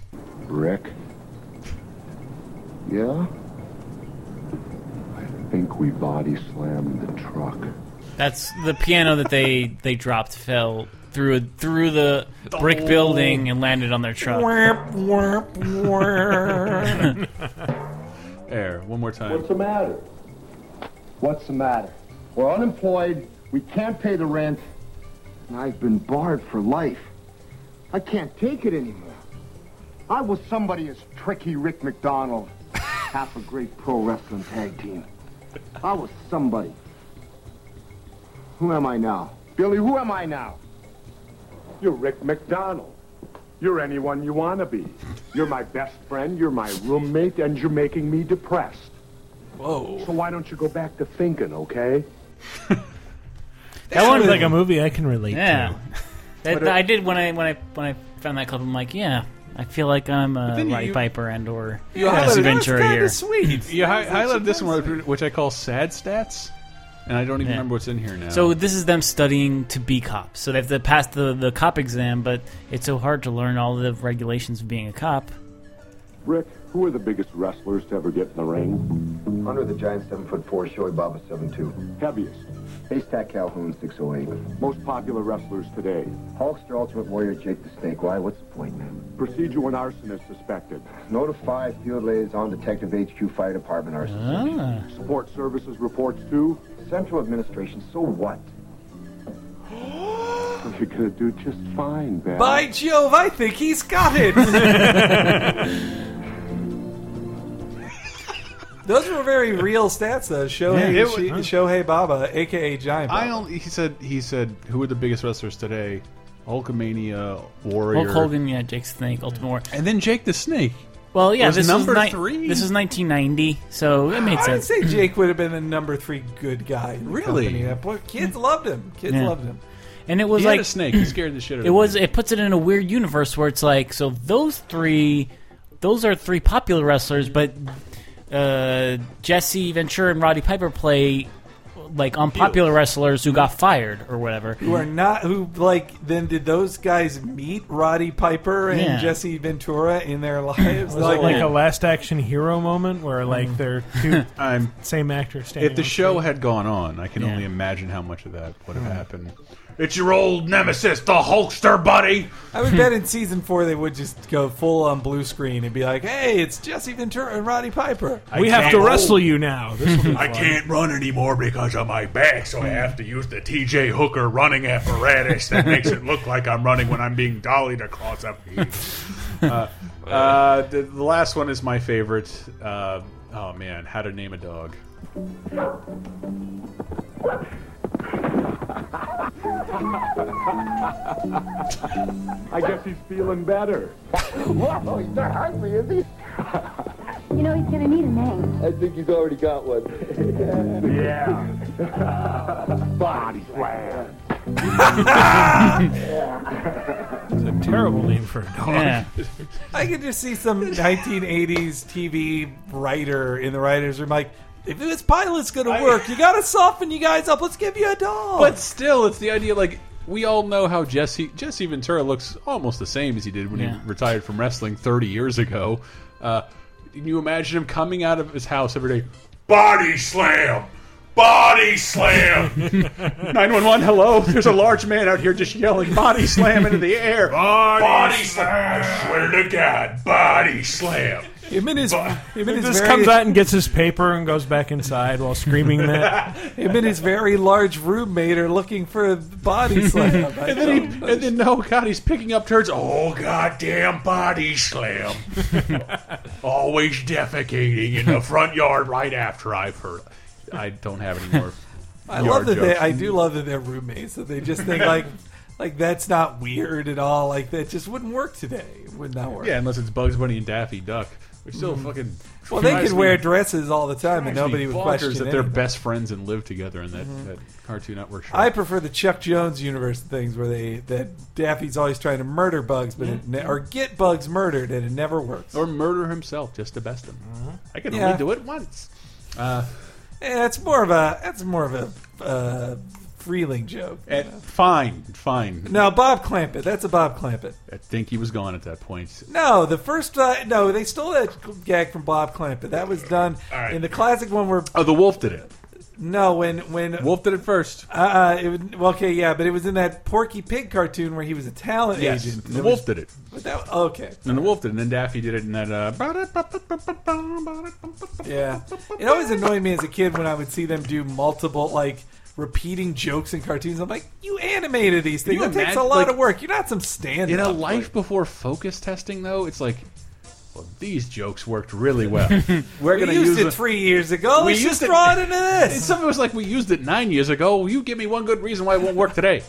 Speaker 10: Rick? Yeah? I think we body slammed the truck.
Speaker 6: That's the piano that they they dropped fell through through the brick building and landed on their truck.
Speaker 4: Wamp, wamp,
Speaker 3: Air. One more time.
Speaker 10: What's the matter? What's the matter? We're unemployed, we can't pay the rent, and I've been barred for life. I can't take it anymore. I was somebody as tricky Rick McDonald, half a great pro wrestling tag team. I was somebody. Who am I now? Billy, who am I now? You're Rick McDonald. You're anyone you want to be. You're my best friend, you're my roommate, and you're making me depressed.
Speaker 4: Whoa.
Speaker 10: So why don't you go back to thinking, okay?
Speaker 5: that one's like a movie I can relate
Speaker 6: Yeah,
Speaker 5: to.
Speaker 6: that,
Speaker 10: But
Speaker 3: uh,
Speaker 10: it-
Speaker 6: I did when I when I when I found that clip. I'm like, yeah, I feel like I'm a
Speaker 3: then you-
Speaker 6: Roddy Piper and or
Speaker 3: you
Speaker 6: Jesse
Speaker 3: highlighted- that was
Speaker 6: Ventura
Speaker 3: kinda
Speaker 6: here.
Speaker 4: sweet.
Speaker 3: You hi- highlighted this one, which I call sad stats, and I don't even
Speaker 6: Yeah.
Speaker 3: remember what's in here now.
Speaker 6: So this is them studying to be cops. So they have to pass the, the cop exam, but it's so hard to learn all the regulations of being a cop.
Speaker 10: Rick, who are the biggest wrestlers to ever get in the ring?
Speaker 22: Hunter the Giant, seven foot four. Shoei Baba, seven two.
Speaker 10: Heaviest.
Speaker 22: Haystack Calhoun, six oh eight.
Speaker 10: Most popular wrestlers today.
Speaker 22: Hulkster, Ultimate Warrior, Jake the Snake. Why? What's the point, man?
Speaker 10: Procedure when arson is suspected.
Speaker 22: Notify Field Liaison Detective HQ Fire Department arson.
Speaker 10: Support services reports to
Speaker 22: Central Administration. So what?
Speaker 10: You're gonna do just fine, Val.
Speaker 4: By Jove, I think he's got it. Those were very real stats, though. Shohei,
Speaker 3: Yeah, it was-
Speaker 4: Shi- Shohei Baba, aka Giant. Baba.
Speaker 3: I only, he said he said who are the biggest wrestlers today? Hulkamania, Warrior,
Speaker 6: Hulk Hogan, yeah, Jake Snake, Ultimate War.
Speaker 3: and then Jake the Snake.
Speaker 6: Well, yeah,
Speaker 3: was
Speaker 6: this
Speaker 3: number
Speaker 6: was ni-
Speaker 3: three.
Speaker 6: This was 1990, so it made
Speaker 4: I would
Speaker 6: sense.
Speaker 4: say Jake would have been the number three good guy. In the
Speaker 3: Really?
Speaker 4: company. That boy- kids
Speaker 3: Hmm.
Speaker 4: loved him. Kids
Speaker 6: Yeah.
Speaker 4: loved him.
Speaker 6: And it was
Speaker 3: He had
Speaker 6: like
Speaker 3: a snake. He scared the shit out of
Speaker 6: It was.
Speaker 3: me.
Speaker 6: It puts it in a weird universe where it's like, so those three, those are three popular wrestlers, but uh, Jesse Ventura and Roddy Piper play like unpopular wrestlers who got fired or whatever.
Speaker 4: Who are not? Who like? Then did those guys meet Roddy Piper and
Speaker 6: Yeah.
Speaker 4: Jesse Ventura in their lives?
Speaker 5: Was it like Mm. a last action hero moment where like they're two
Speaker 3: I'm-
Speaker 5: same actor standing?
Speaker 3: If the
Speaker 5: on
Speaker 3: show had gone on, I can
Speaker 5: Yeah.
Speaker 6: Hmm.
Speaker 3: only imagine how much of that would have happened. It's your old nemesis, the Hulkster, buddy.
Speaker 4: I would bet in season four they would just go full on blue screen and be like, "Hey, it's Jesse Ventura and Roddy Piper.
Speaker 5: We have to wrestle you now. This will be
Speaker 2: I
Speaker 5: fun.
Speaker 2: can't run anymore because of my back, so I have to use the TJ Hooker running apparatus that makes it look like I'm running when I'm being dollied across a field.
Speaker 3: uh, uh, the, the last one is my favorite. Uh, oh man, how to name a dog?
Speaker 10: I guess he's feeling better. Whoa, he's not hungry, is he?
Speaker 9: You know, he's gonna need a name.
Speaker 10: I think he's already got one. yeah. Body slam.
Speaker 5: It's a terrible name for a dog.
Speaker 4: I could just see some 1980s TV writer in the writers room like, if this pilot's gonna work, you gotta soften you guys up. Let's give you a dog.
Speaker 3: But still, it's the idea. Like we all know how Jesse Jesse Ventura looks almost the same as he did when
Speaker 4: Yeah.
Speaker 3: he retired from wrestling 30 years ago. Uh, can you imagine him coming out of his house every day? Body slam, body slam. 911, hello. There's a large man out here just yelling body slam into the air. Body, slam. I swear to God, body slam.
Speaker 4: Him and his, him and his
Speaker 5: Just
Speaker 4: very-
Speaker 5: comes out and gets his paper and goes back inside while screaming that.
Speaker 4: him and his very large roommate are looking for a body slam. I
Speaker 3: and then he,
Speaker 4: don't-
Speaker 3: and then no, God, he's picking up turds. Oh goddamn
Speaker 2: Body slam. Always defecating in the front yard right after I've heard.
Speaker 3: I don't have any more.
Speaker 4: I
Speaker 3: yard
Speaker 4: love that they,
Speaker 3: jokes.
Speaker 4: I do love that they're roommates. That they just think like, like that's not weird at all. Like that just wouldn't work today. It would not work.
Speaker 3: Yeah, unless it's Bugs Bunny and Daffy Duck. Which still
Speaker 2: Mm-hmm.
Speaker 4: Mhm.
Speaker 3: fucking.
Speaker 4: Well, they
Speaker 3: drives
Speaker 4: could
Speaker 3: me-
Speaker 4: wear dresses all the time and
Speaker 3: drives me
Speaker 4: nobody would
Speaker 3: bonkers
Speaker 4: question
Speaker 3: that they're
Speaker 4: anything.
Speaker 3: best friends and live together in that,
Speaker 4: Mhm.
Speaker 3: that Cartoon Network show.
Speaker 4: I prefer the Chuck Jones universe of things where they that Daffy's always trying to murder Bugs, but it ne- or get Bugs murdered, and it never works.
Speaker 3: Or murder himself just to best him. I can
Speaker 4: Mm-hmm. Yeah.
Speaker 3: only do it once. Uh,
Speaker 4: Eh, that's more of a that's more of a uh, Freeling joke. you
Speaker 3: eh,
Speaker 4: know.
Speaker 3: fine, fine.
Speaker 4: No, Bob Clampett. That's a Bob Clampett.
Speaker 3: I think he was gone at that point.
Speaker 4: No, the first uh, no, they stole that gag from Bob Clampett. That was done in the classic one where
Speaker 3: Oh, the wolf did it.
Speaker 4: No, when when
Speaker 3: Wolf did it first.
Speaker 4: Uh, uh, it was, well, okay, yeah, but it was in that Porky Pig cartoon where he was a talent
Speaker 3: Yes,
Speaker 4: agent.
Speaker 3: the wolf did it.
Speaker 4: But that, okay,
Speaker 3: And the wolf did it, and then Daffy did it in that. Uh,
Speaker 4: yeah. It always annoyed me as a kid when I would see them do multiple like repeating jokes in cartoons. I'm like, you animated these things.
Speaker 3: You
Speaker 4: That takes a
Speaker 3: imagine-
Speaker 4: lot
Speaker 3: like-
Speaker 4: of work. You're not some stand.
Speaker 3: in a life before focus testing, though, it's like, well, these jokes worked really well. We're
Speaker 4: We
Speaker 3: gonna
Speaker 4: used
Speaker 3: use
Speaker 4: it
Speaker 3: a-
Speaker 4: three years ago. Let's just draw it into this.
Speaker 3: And Some of it was like we used it nine years ago. Will you give me one good reason why it won't work today?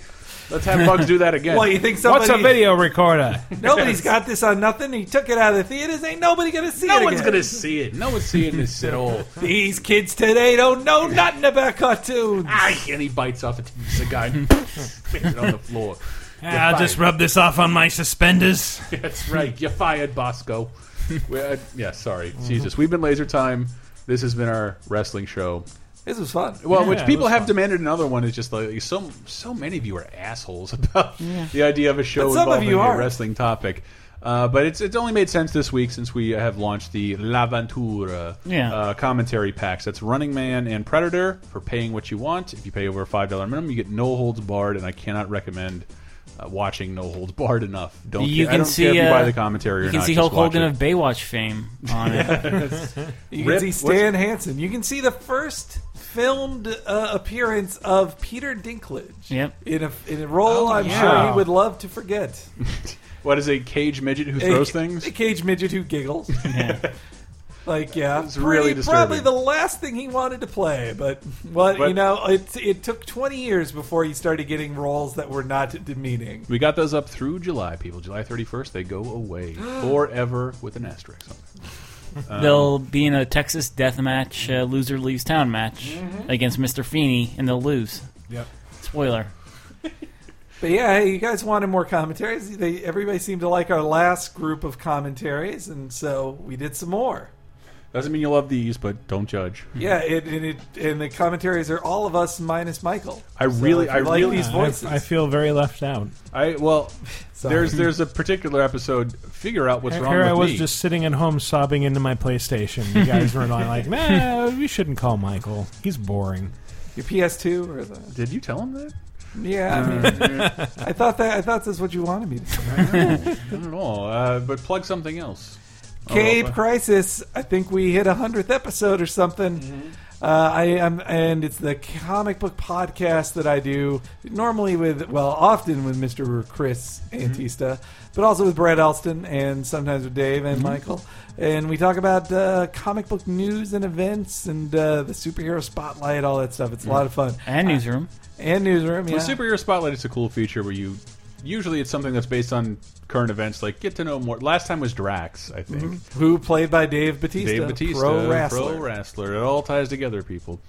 Speaker 3: Let's have Bugs do that again.
Speaker 4: Well, you think somebody-
Speaker 5: What's a video recorder?
Speaker 4: Nobody's got this on nothing. He took it out of the theaters. Ain't nobody gonna see
Speaker 3: No
Speaker 4: it.
Speaker 3: one's
Speaker 4: again.
Speaker 3: gonna see it. No one's seeing this at all.
Speaker 4: These kids today don't know nothing about cartoons.
Speaker 3: and he bites off a t- cigar and spits it on the floor.
Speaker 5: Ah,
Speaker 3: You're
Speaker 5: I'll just
Speaker 3: fired.
Speaker 5: rub this off on my suspenders.
Speaker 3: That's right. You're fired, Bosco. We're, uh, yeah, sorry. Jesus. We've been Laser Time. This has been our wrestling show.
Speaker 4: This was fun.
Speaker 3: Well,
Speaker 4: Yeah,
Speaker 3: which
Speaker 4: it
Speaker 3: people
Speaker 4: was
Speaker 3: have
Speaker 4: fun.
Speaker 3: demanded another one is just like so. So many of you are assholes about the idea of a show
Speaker 4: But some of
Speaker 3: involving
Speaker 4: you
Speaker 3: a
Speaker 4: aren't.
Speaker 3: wrestling topic. Uh, but it's it's only made sense this week since we have launched the L'Aventura
Speaker 6: Yeah.
Speaker 3: uh, commentary packs. That's Running Man and Predator for paying what you want. If you pay over a five dollar minimum, you get No Holds Barred, and I cannot recommend uh, watching No Holds Barred enough. Don't care,
Speaker 6: you can
Speaker 3: I don't
Speaker 6: see
Speaker 3: care if you
Speaker 6: uh,
Speaker 3: buy the commentary or
Speaker 6: You can
Speaker 3: not,
Speaker 6: see
Speaker 3: just
Speaker 6: Hulk
Speaker 3: watch
Speaker 6: Hogan
Speaker 3: it.
Speaker 6: of Baywatch fame on
Speaker 3: Yes.
Speaker 6: it.
Speaker 4: You
Speaker 3: Rip-
Speaker 4: can see
Speaker 3: what's-
Speaker 4: Stan Hansen. You can see the first filmed uh, appearance of Peter Dinklage.
Speaker 3: Yep.
Speaker 4: In a in a role I'm
Speaker 3: Oh, yeah.
Speaker 4: sure he would love to forget.
Speaker 3: What is a cage midget who
Speaker 4: A-
Speaker 3: throws things?
Speaker 4: A cage midget who giggles. Like yeah,
Speaker 3: It's really
Speaker 4: Pretty-
Speaker 3: disturbing.
Speaker 4: probably the last thing he wanted to play. But but,
Speaker 3: But-
Speaker 4: you know it it took 20 years before he started getting roles that were not demeaning.
Speaker 3: We got those up through July, people. July 31st, they go away forever with an asterisk on it. Um,
Speaker 6: they'll be in a Texas death match, uh, loser leaves town match against Mr. Feeney, and they'll lose.
Speaker 3: Mm-hmm. Yep.
Speaker 6: Spoiler.
Speaker 4: But yeah, hey, you guys wanted more commentaries. They, everybody seemed to like our last group of commentaries, and so we did some more.
Speaker 3: Doesn't mean you love these, but don't judge.
Speaker 4: Yeah, it, and it and the commentaries are all of us minus Michael.
Speaker 3: I
Speaker 4: So
Speaker 3: really-
Speaker 4: if you
Speaker 3: I
Speaker 4: like
Speaker 3: really-
Speaker 4: these
Speaker 3: I-
Speaker 4: voices.
Speaker 5: Uh, I feel very left out.
Speaker 3: I well,
Speaker 4: Sorry.
Speaker 3: there's there's a particular episode. Figure out what's
Speaker 5: Here
Speaker 3: wrong
Speaker 5: here
Speaker 3: with
Speaker 5: I was
Speaker 3: me.
Speaker 5: just sitting at home sobbing into my PlayStation. You guys were like, nah, we shouldn't call Michael. He's boring.
Speaker 4: Your PS2 or the?
Speaker 3: Did you tell him that?
Speaker 4: Yeah, I, mean, I thought that I thought that's what you wanted me to say.
Speaker 3: Not at all. Uh, but plug something else. Oh,
Speaker 4: Cape
Speaker 3: well,
Speaker 4: Crisis. I think we hit a hundredth episode or something. Uh, I am, and it's the comic book podcast that I do normally with, well, often with Mister Chris Antista, but also with Brad Elston and sometimes with Dave and
Speaker 1: Mhm.
Speaker 4: Michael. And we talk about uh, comic book news and events and uh, the superhero spotlight, all that stuff. It's a lot of fun.
Speaker 6: And newsroom.
Speaker 4: and newsroom.
Speaker 3: The
Speaker 4: Yeah.
Speaker 3: superhero spotlight is a cool feature where you usually it's something that's based on current events, like get to know more. Last time was Drax, I think.
Speaker 4: Mhm. Who played by Dave Batista,
Speaker 3: Dave Batista,
Speaker 4: pro wrestler.
Speaker 3: pro wrestler. It all ties together, people.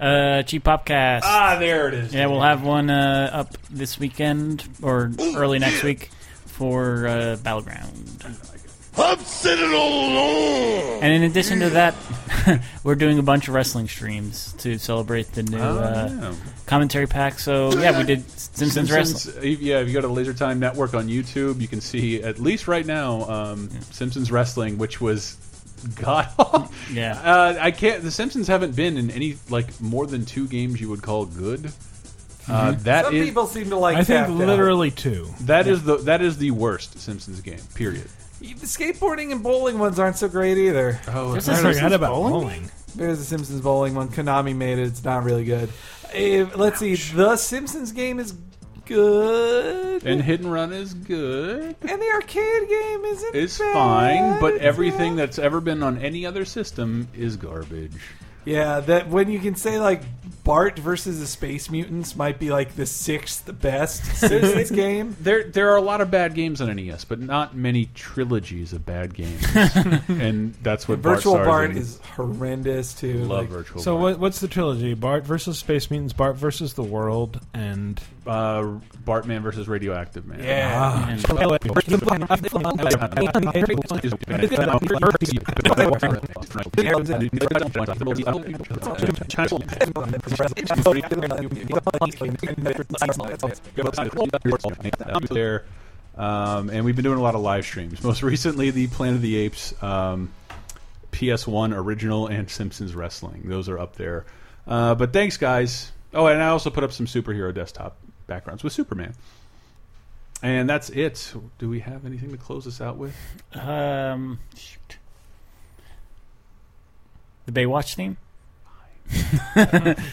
Speaker 6: Uh, Cheap Popcast.
Speaker 3: Ah, there it is.
Speaker 6: Yeah, we'll have one uh, up this weekend or early next week for uh, Battleground.
Speaker 12: I'm sitting all alone.
Speaker 6: And in addition to that, we're doing a bunch of wrestling streams to celebrate the new
Speaker 3: Oh,
Speaker 6: uh,
Speaker 3: yeah.
Speaker 6: commentary pack. So yeah, we did Simpsons, Wrestling.
Speaker 3: if- Yeah, if you go to the Laser Time Network on YouTube, you can see at least right now um, Simpsons Wrestling, which was god.
Speaker 6: yeah,
Speaker 3: uh, I can't. The Simpsons haven't been in any like more than two games you would call good. Uh,
Speaker 4: Mhm.
Speaker 3: that
Speaker 4: Some
Speaker 3: is-
Speaker 4: people seem to like I think Tapped Out. literally two.
Speaker 3: That
Speaker 4: Yeah.
Speaker 3: is the that is the worst Simpsons game. Period.
Speaker 4: The skateboarding and bowling ones aren't so great either.
Speaker 3: Oh, There's I a forgot Simpsons about bowling?
Speaker 4: There's a Simpsons bowling one. Konami made it. It's not really good. If- let's see. The Simpsons game is good,
Speaker 3: And Hit and Run is good.
Speaker 4: and the arcade game isn't.
Speaker 3: It's
Speaker 4: bad.
Speaker 3: fine, but everything that's ever been on any other system is garbage.
Speaker 4: Yeah, that when you can say like Bart versus the Space Mutants might be like the sixth best Simpsons game.
Speaker 3: There, there are a lot of bad games on NES, but not many trilogies of bad games, and that's what
Speaker 4: Virtual
Speaker 3: Bart,
Speaker 4: Bart
Speaker 3: Sarzan-
Speaker 4: is horrendous too.
Speaker 3: Love
Speaker 4: Like,
Speaker 3: Virtual
Speaker 5: So what, what's the trilogy? Bart versus Space Mutants, Bart versus the World, and
Speaker 3: uh, Bartman versus Radioactive Man.
Speaker 5: Yeah.
Speaker 3: And- there. Um, and we've been doing a lot of live streams. Most recently, the Planet of the Apes um, PS1 original and Simpsons Wrestling. Those are up there. Uh, but thanks, guys. Oh, and I also put up some superhero desktop backgrounds with Superman. And that's it. Do we have anything to close us out with?
Speaker 6: Um, shoot. The Baywatch theme.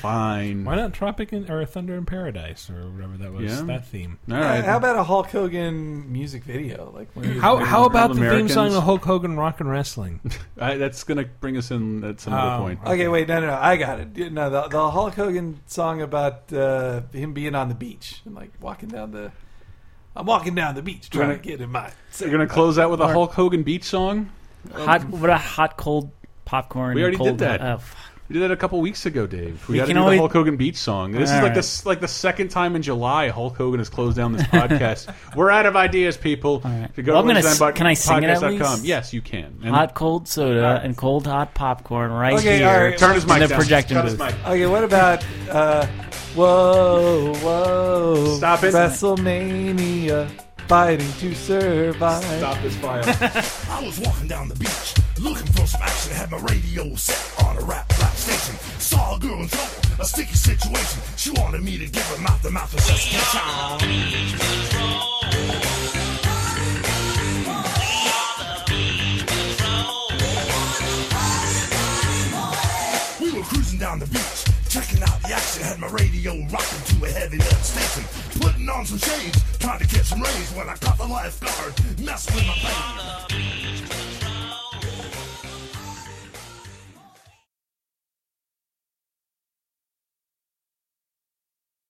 Speaker 3: Fine.
Speaker 5: Why not Tropic in, or Thunder in Paradise or whatever that was?
Speaker 3: Yeah.
Speaker 5: That theme.
Speaker 3: All
Speaker 4: Uh, How about a Hulk Hogan music video? Like when he was
Speaker 5: How
Speaker 4: very-
Speaker 5: how about the
Speaker 3: Americans.
Speaker 5: theme song of Hulk Hogan Rock and Wrestling?
Speaker 3: I, that's going to bring us in at some other
Speaker 5: Oh,
Speaker 3: point.
Speaker 4: Okay, wait, no, no, no, I got it. No, the, the Hulk Hogan song about uh, him being on the beach and like walking down the. I'm walking down the beach trying to get in my.
Speaker 3: You're going to close out with a Hulk Hogan beach song?
Speaker 6: Hot, what a hot cold popcorn.
Speaker 3: Um, We already
Speaker 6: cold,
Speaker 3: did that.
Speaker 6: uh,
Speaker 3: we did that a couple weeks ago, Dave. We,
Speaker 6: We
Speaker 3: got to
Speaker 6: can
Speaker 3: do
Speaker 6: always-
Speaker 3: the Hulk Hogan beach song. This is
Speaker 6: All
Speaker 3: like the
Speaker 6: right.
Speaker 3: s like the second time in July Hulk Hogan has closed down this podcast. We're out of ideas, people. If you go
Speaker 6: Well,
Speaker 3: to
Speaker 6: I'm gonna
Speaker 3: Listenbot-
Speaker 6: s- can I sing it at
Speaker 3: podcast.com.
Speaker 6: least?
Speaker 3: Yes, you can. And-
Speaker 6: hot cold soda and cold hot popcorn right
Speaker 4: Okay,
Speaker 6: here.
Speaker 4: all right. Turn his
Speaker 6: in
Speaker 4: mic
Speaker 6: the
Speaker 4: down.
Speaker 6: projection
Speaker 4: Cut his
Speaker 6: booth.
Speaker 4: mic. Okay, what about? Uh, whoa, whoa!
Speaker 3: Stop it.
Speaker 4: WrestleMania, fighting to survive.
Speaker 3: Stop this file.
Speaker 12: I was walking down the beach, looking for some action. Had my radio set on a rap rap station. Saw a girl in trouble, a sticky situation. She wanted me to give her mouth to mouth assessment time. We were cruising down the beach, checking out the action. Had my radio rocking to a heavy metal station. Putting on some shades, trying to catch some rays when I caught the lifeguard messing with my baby.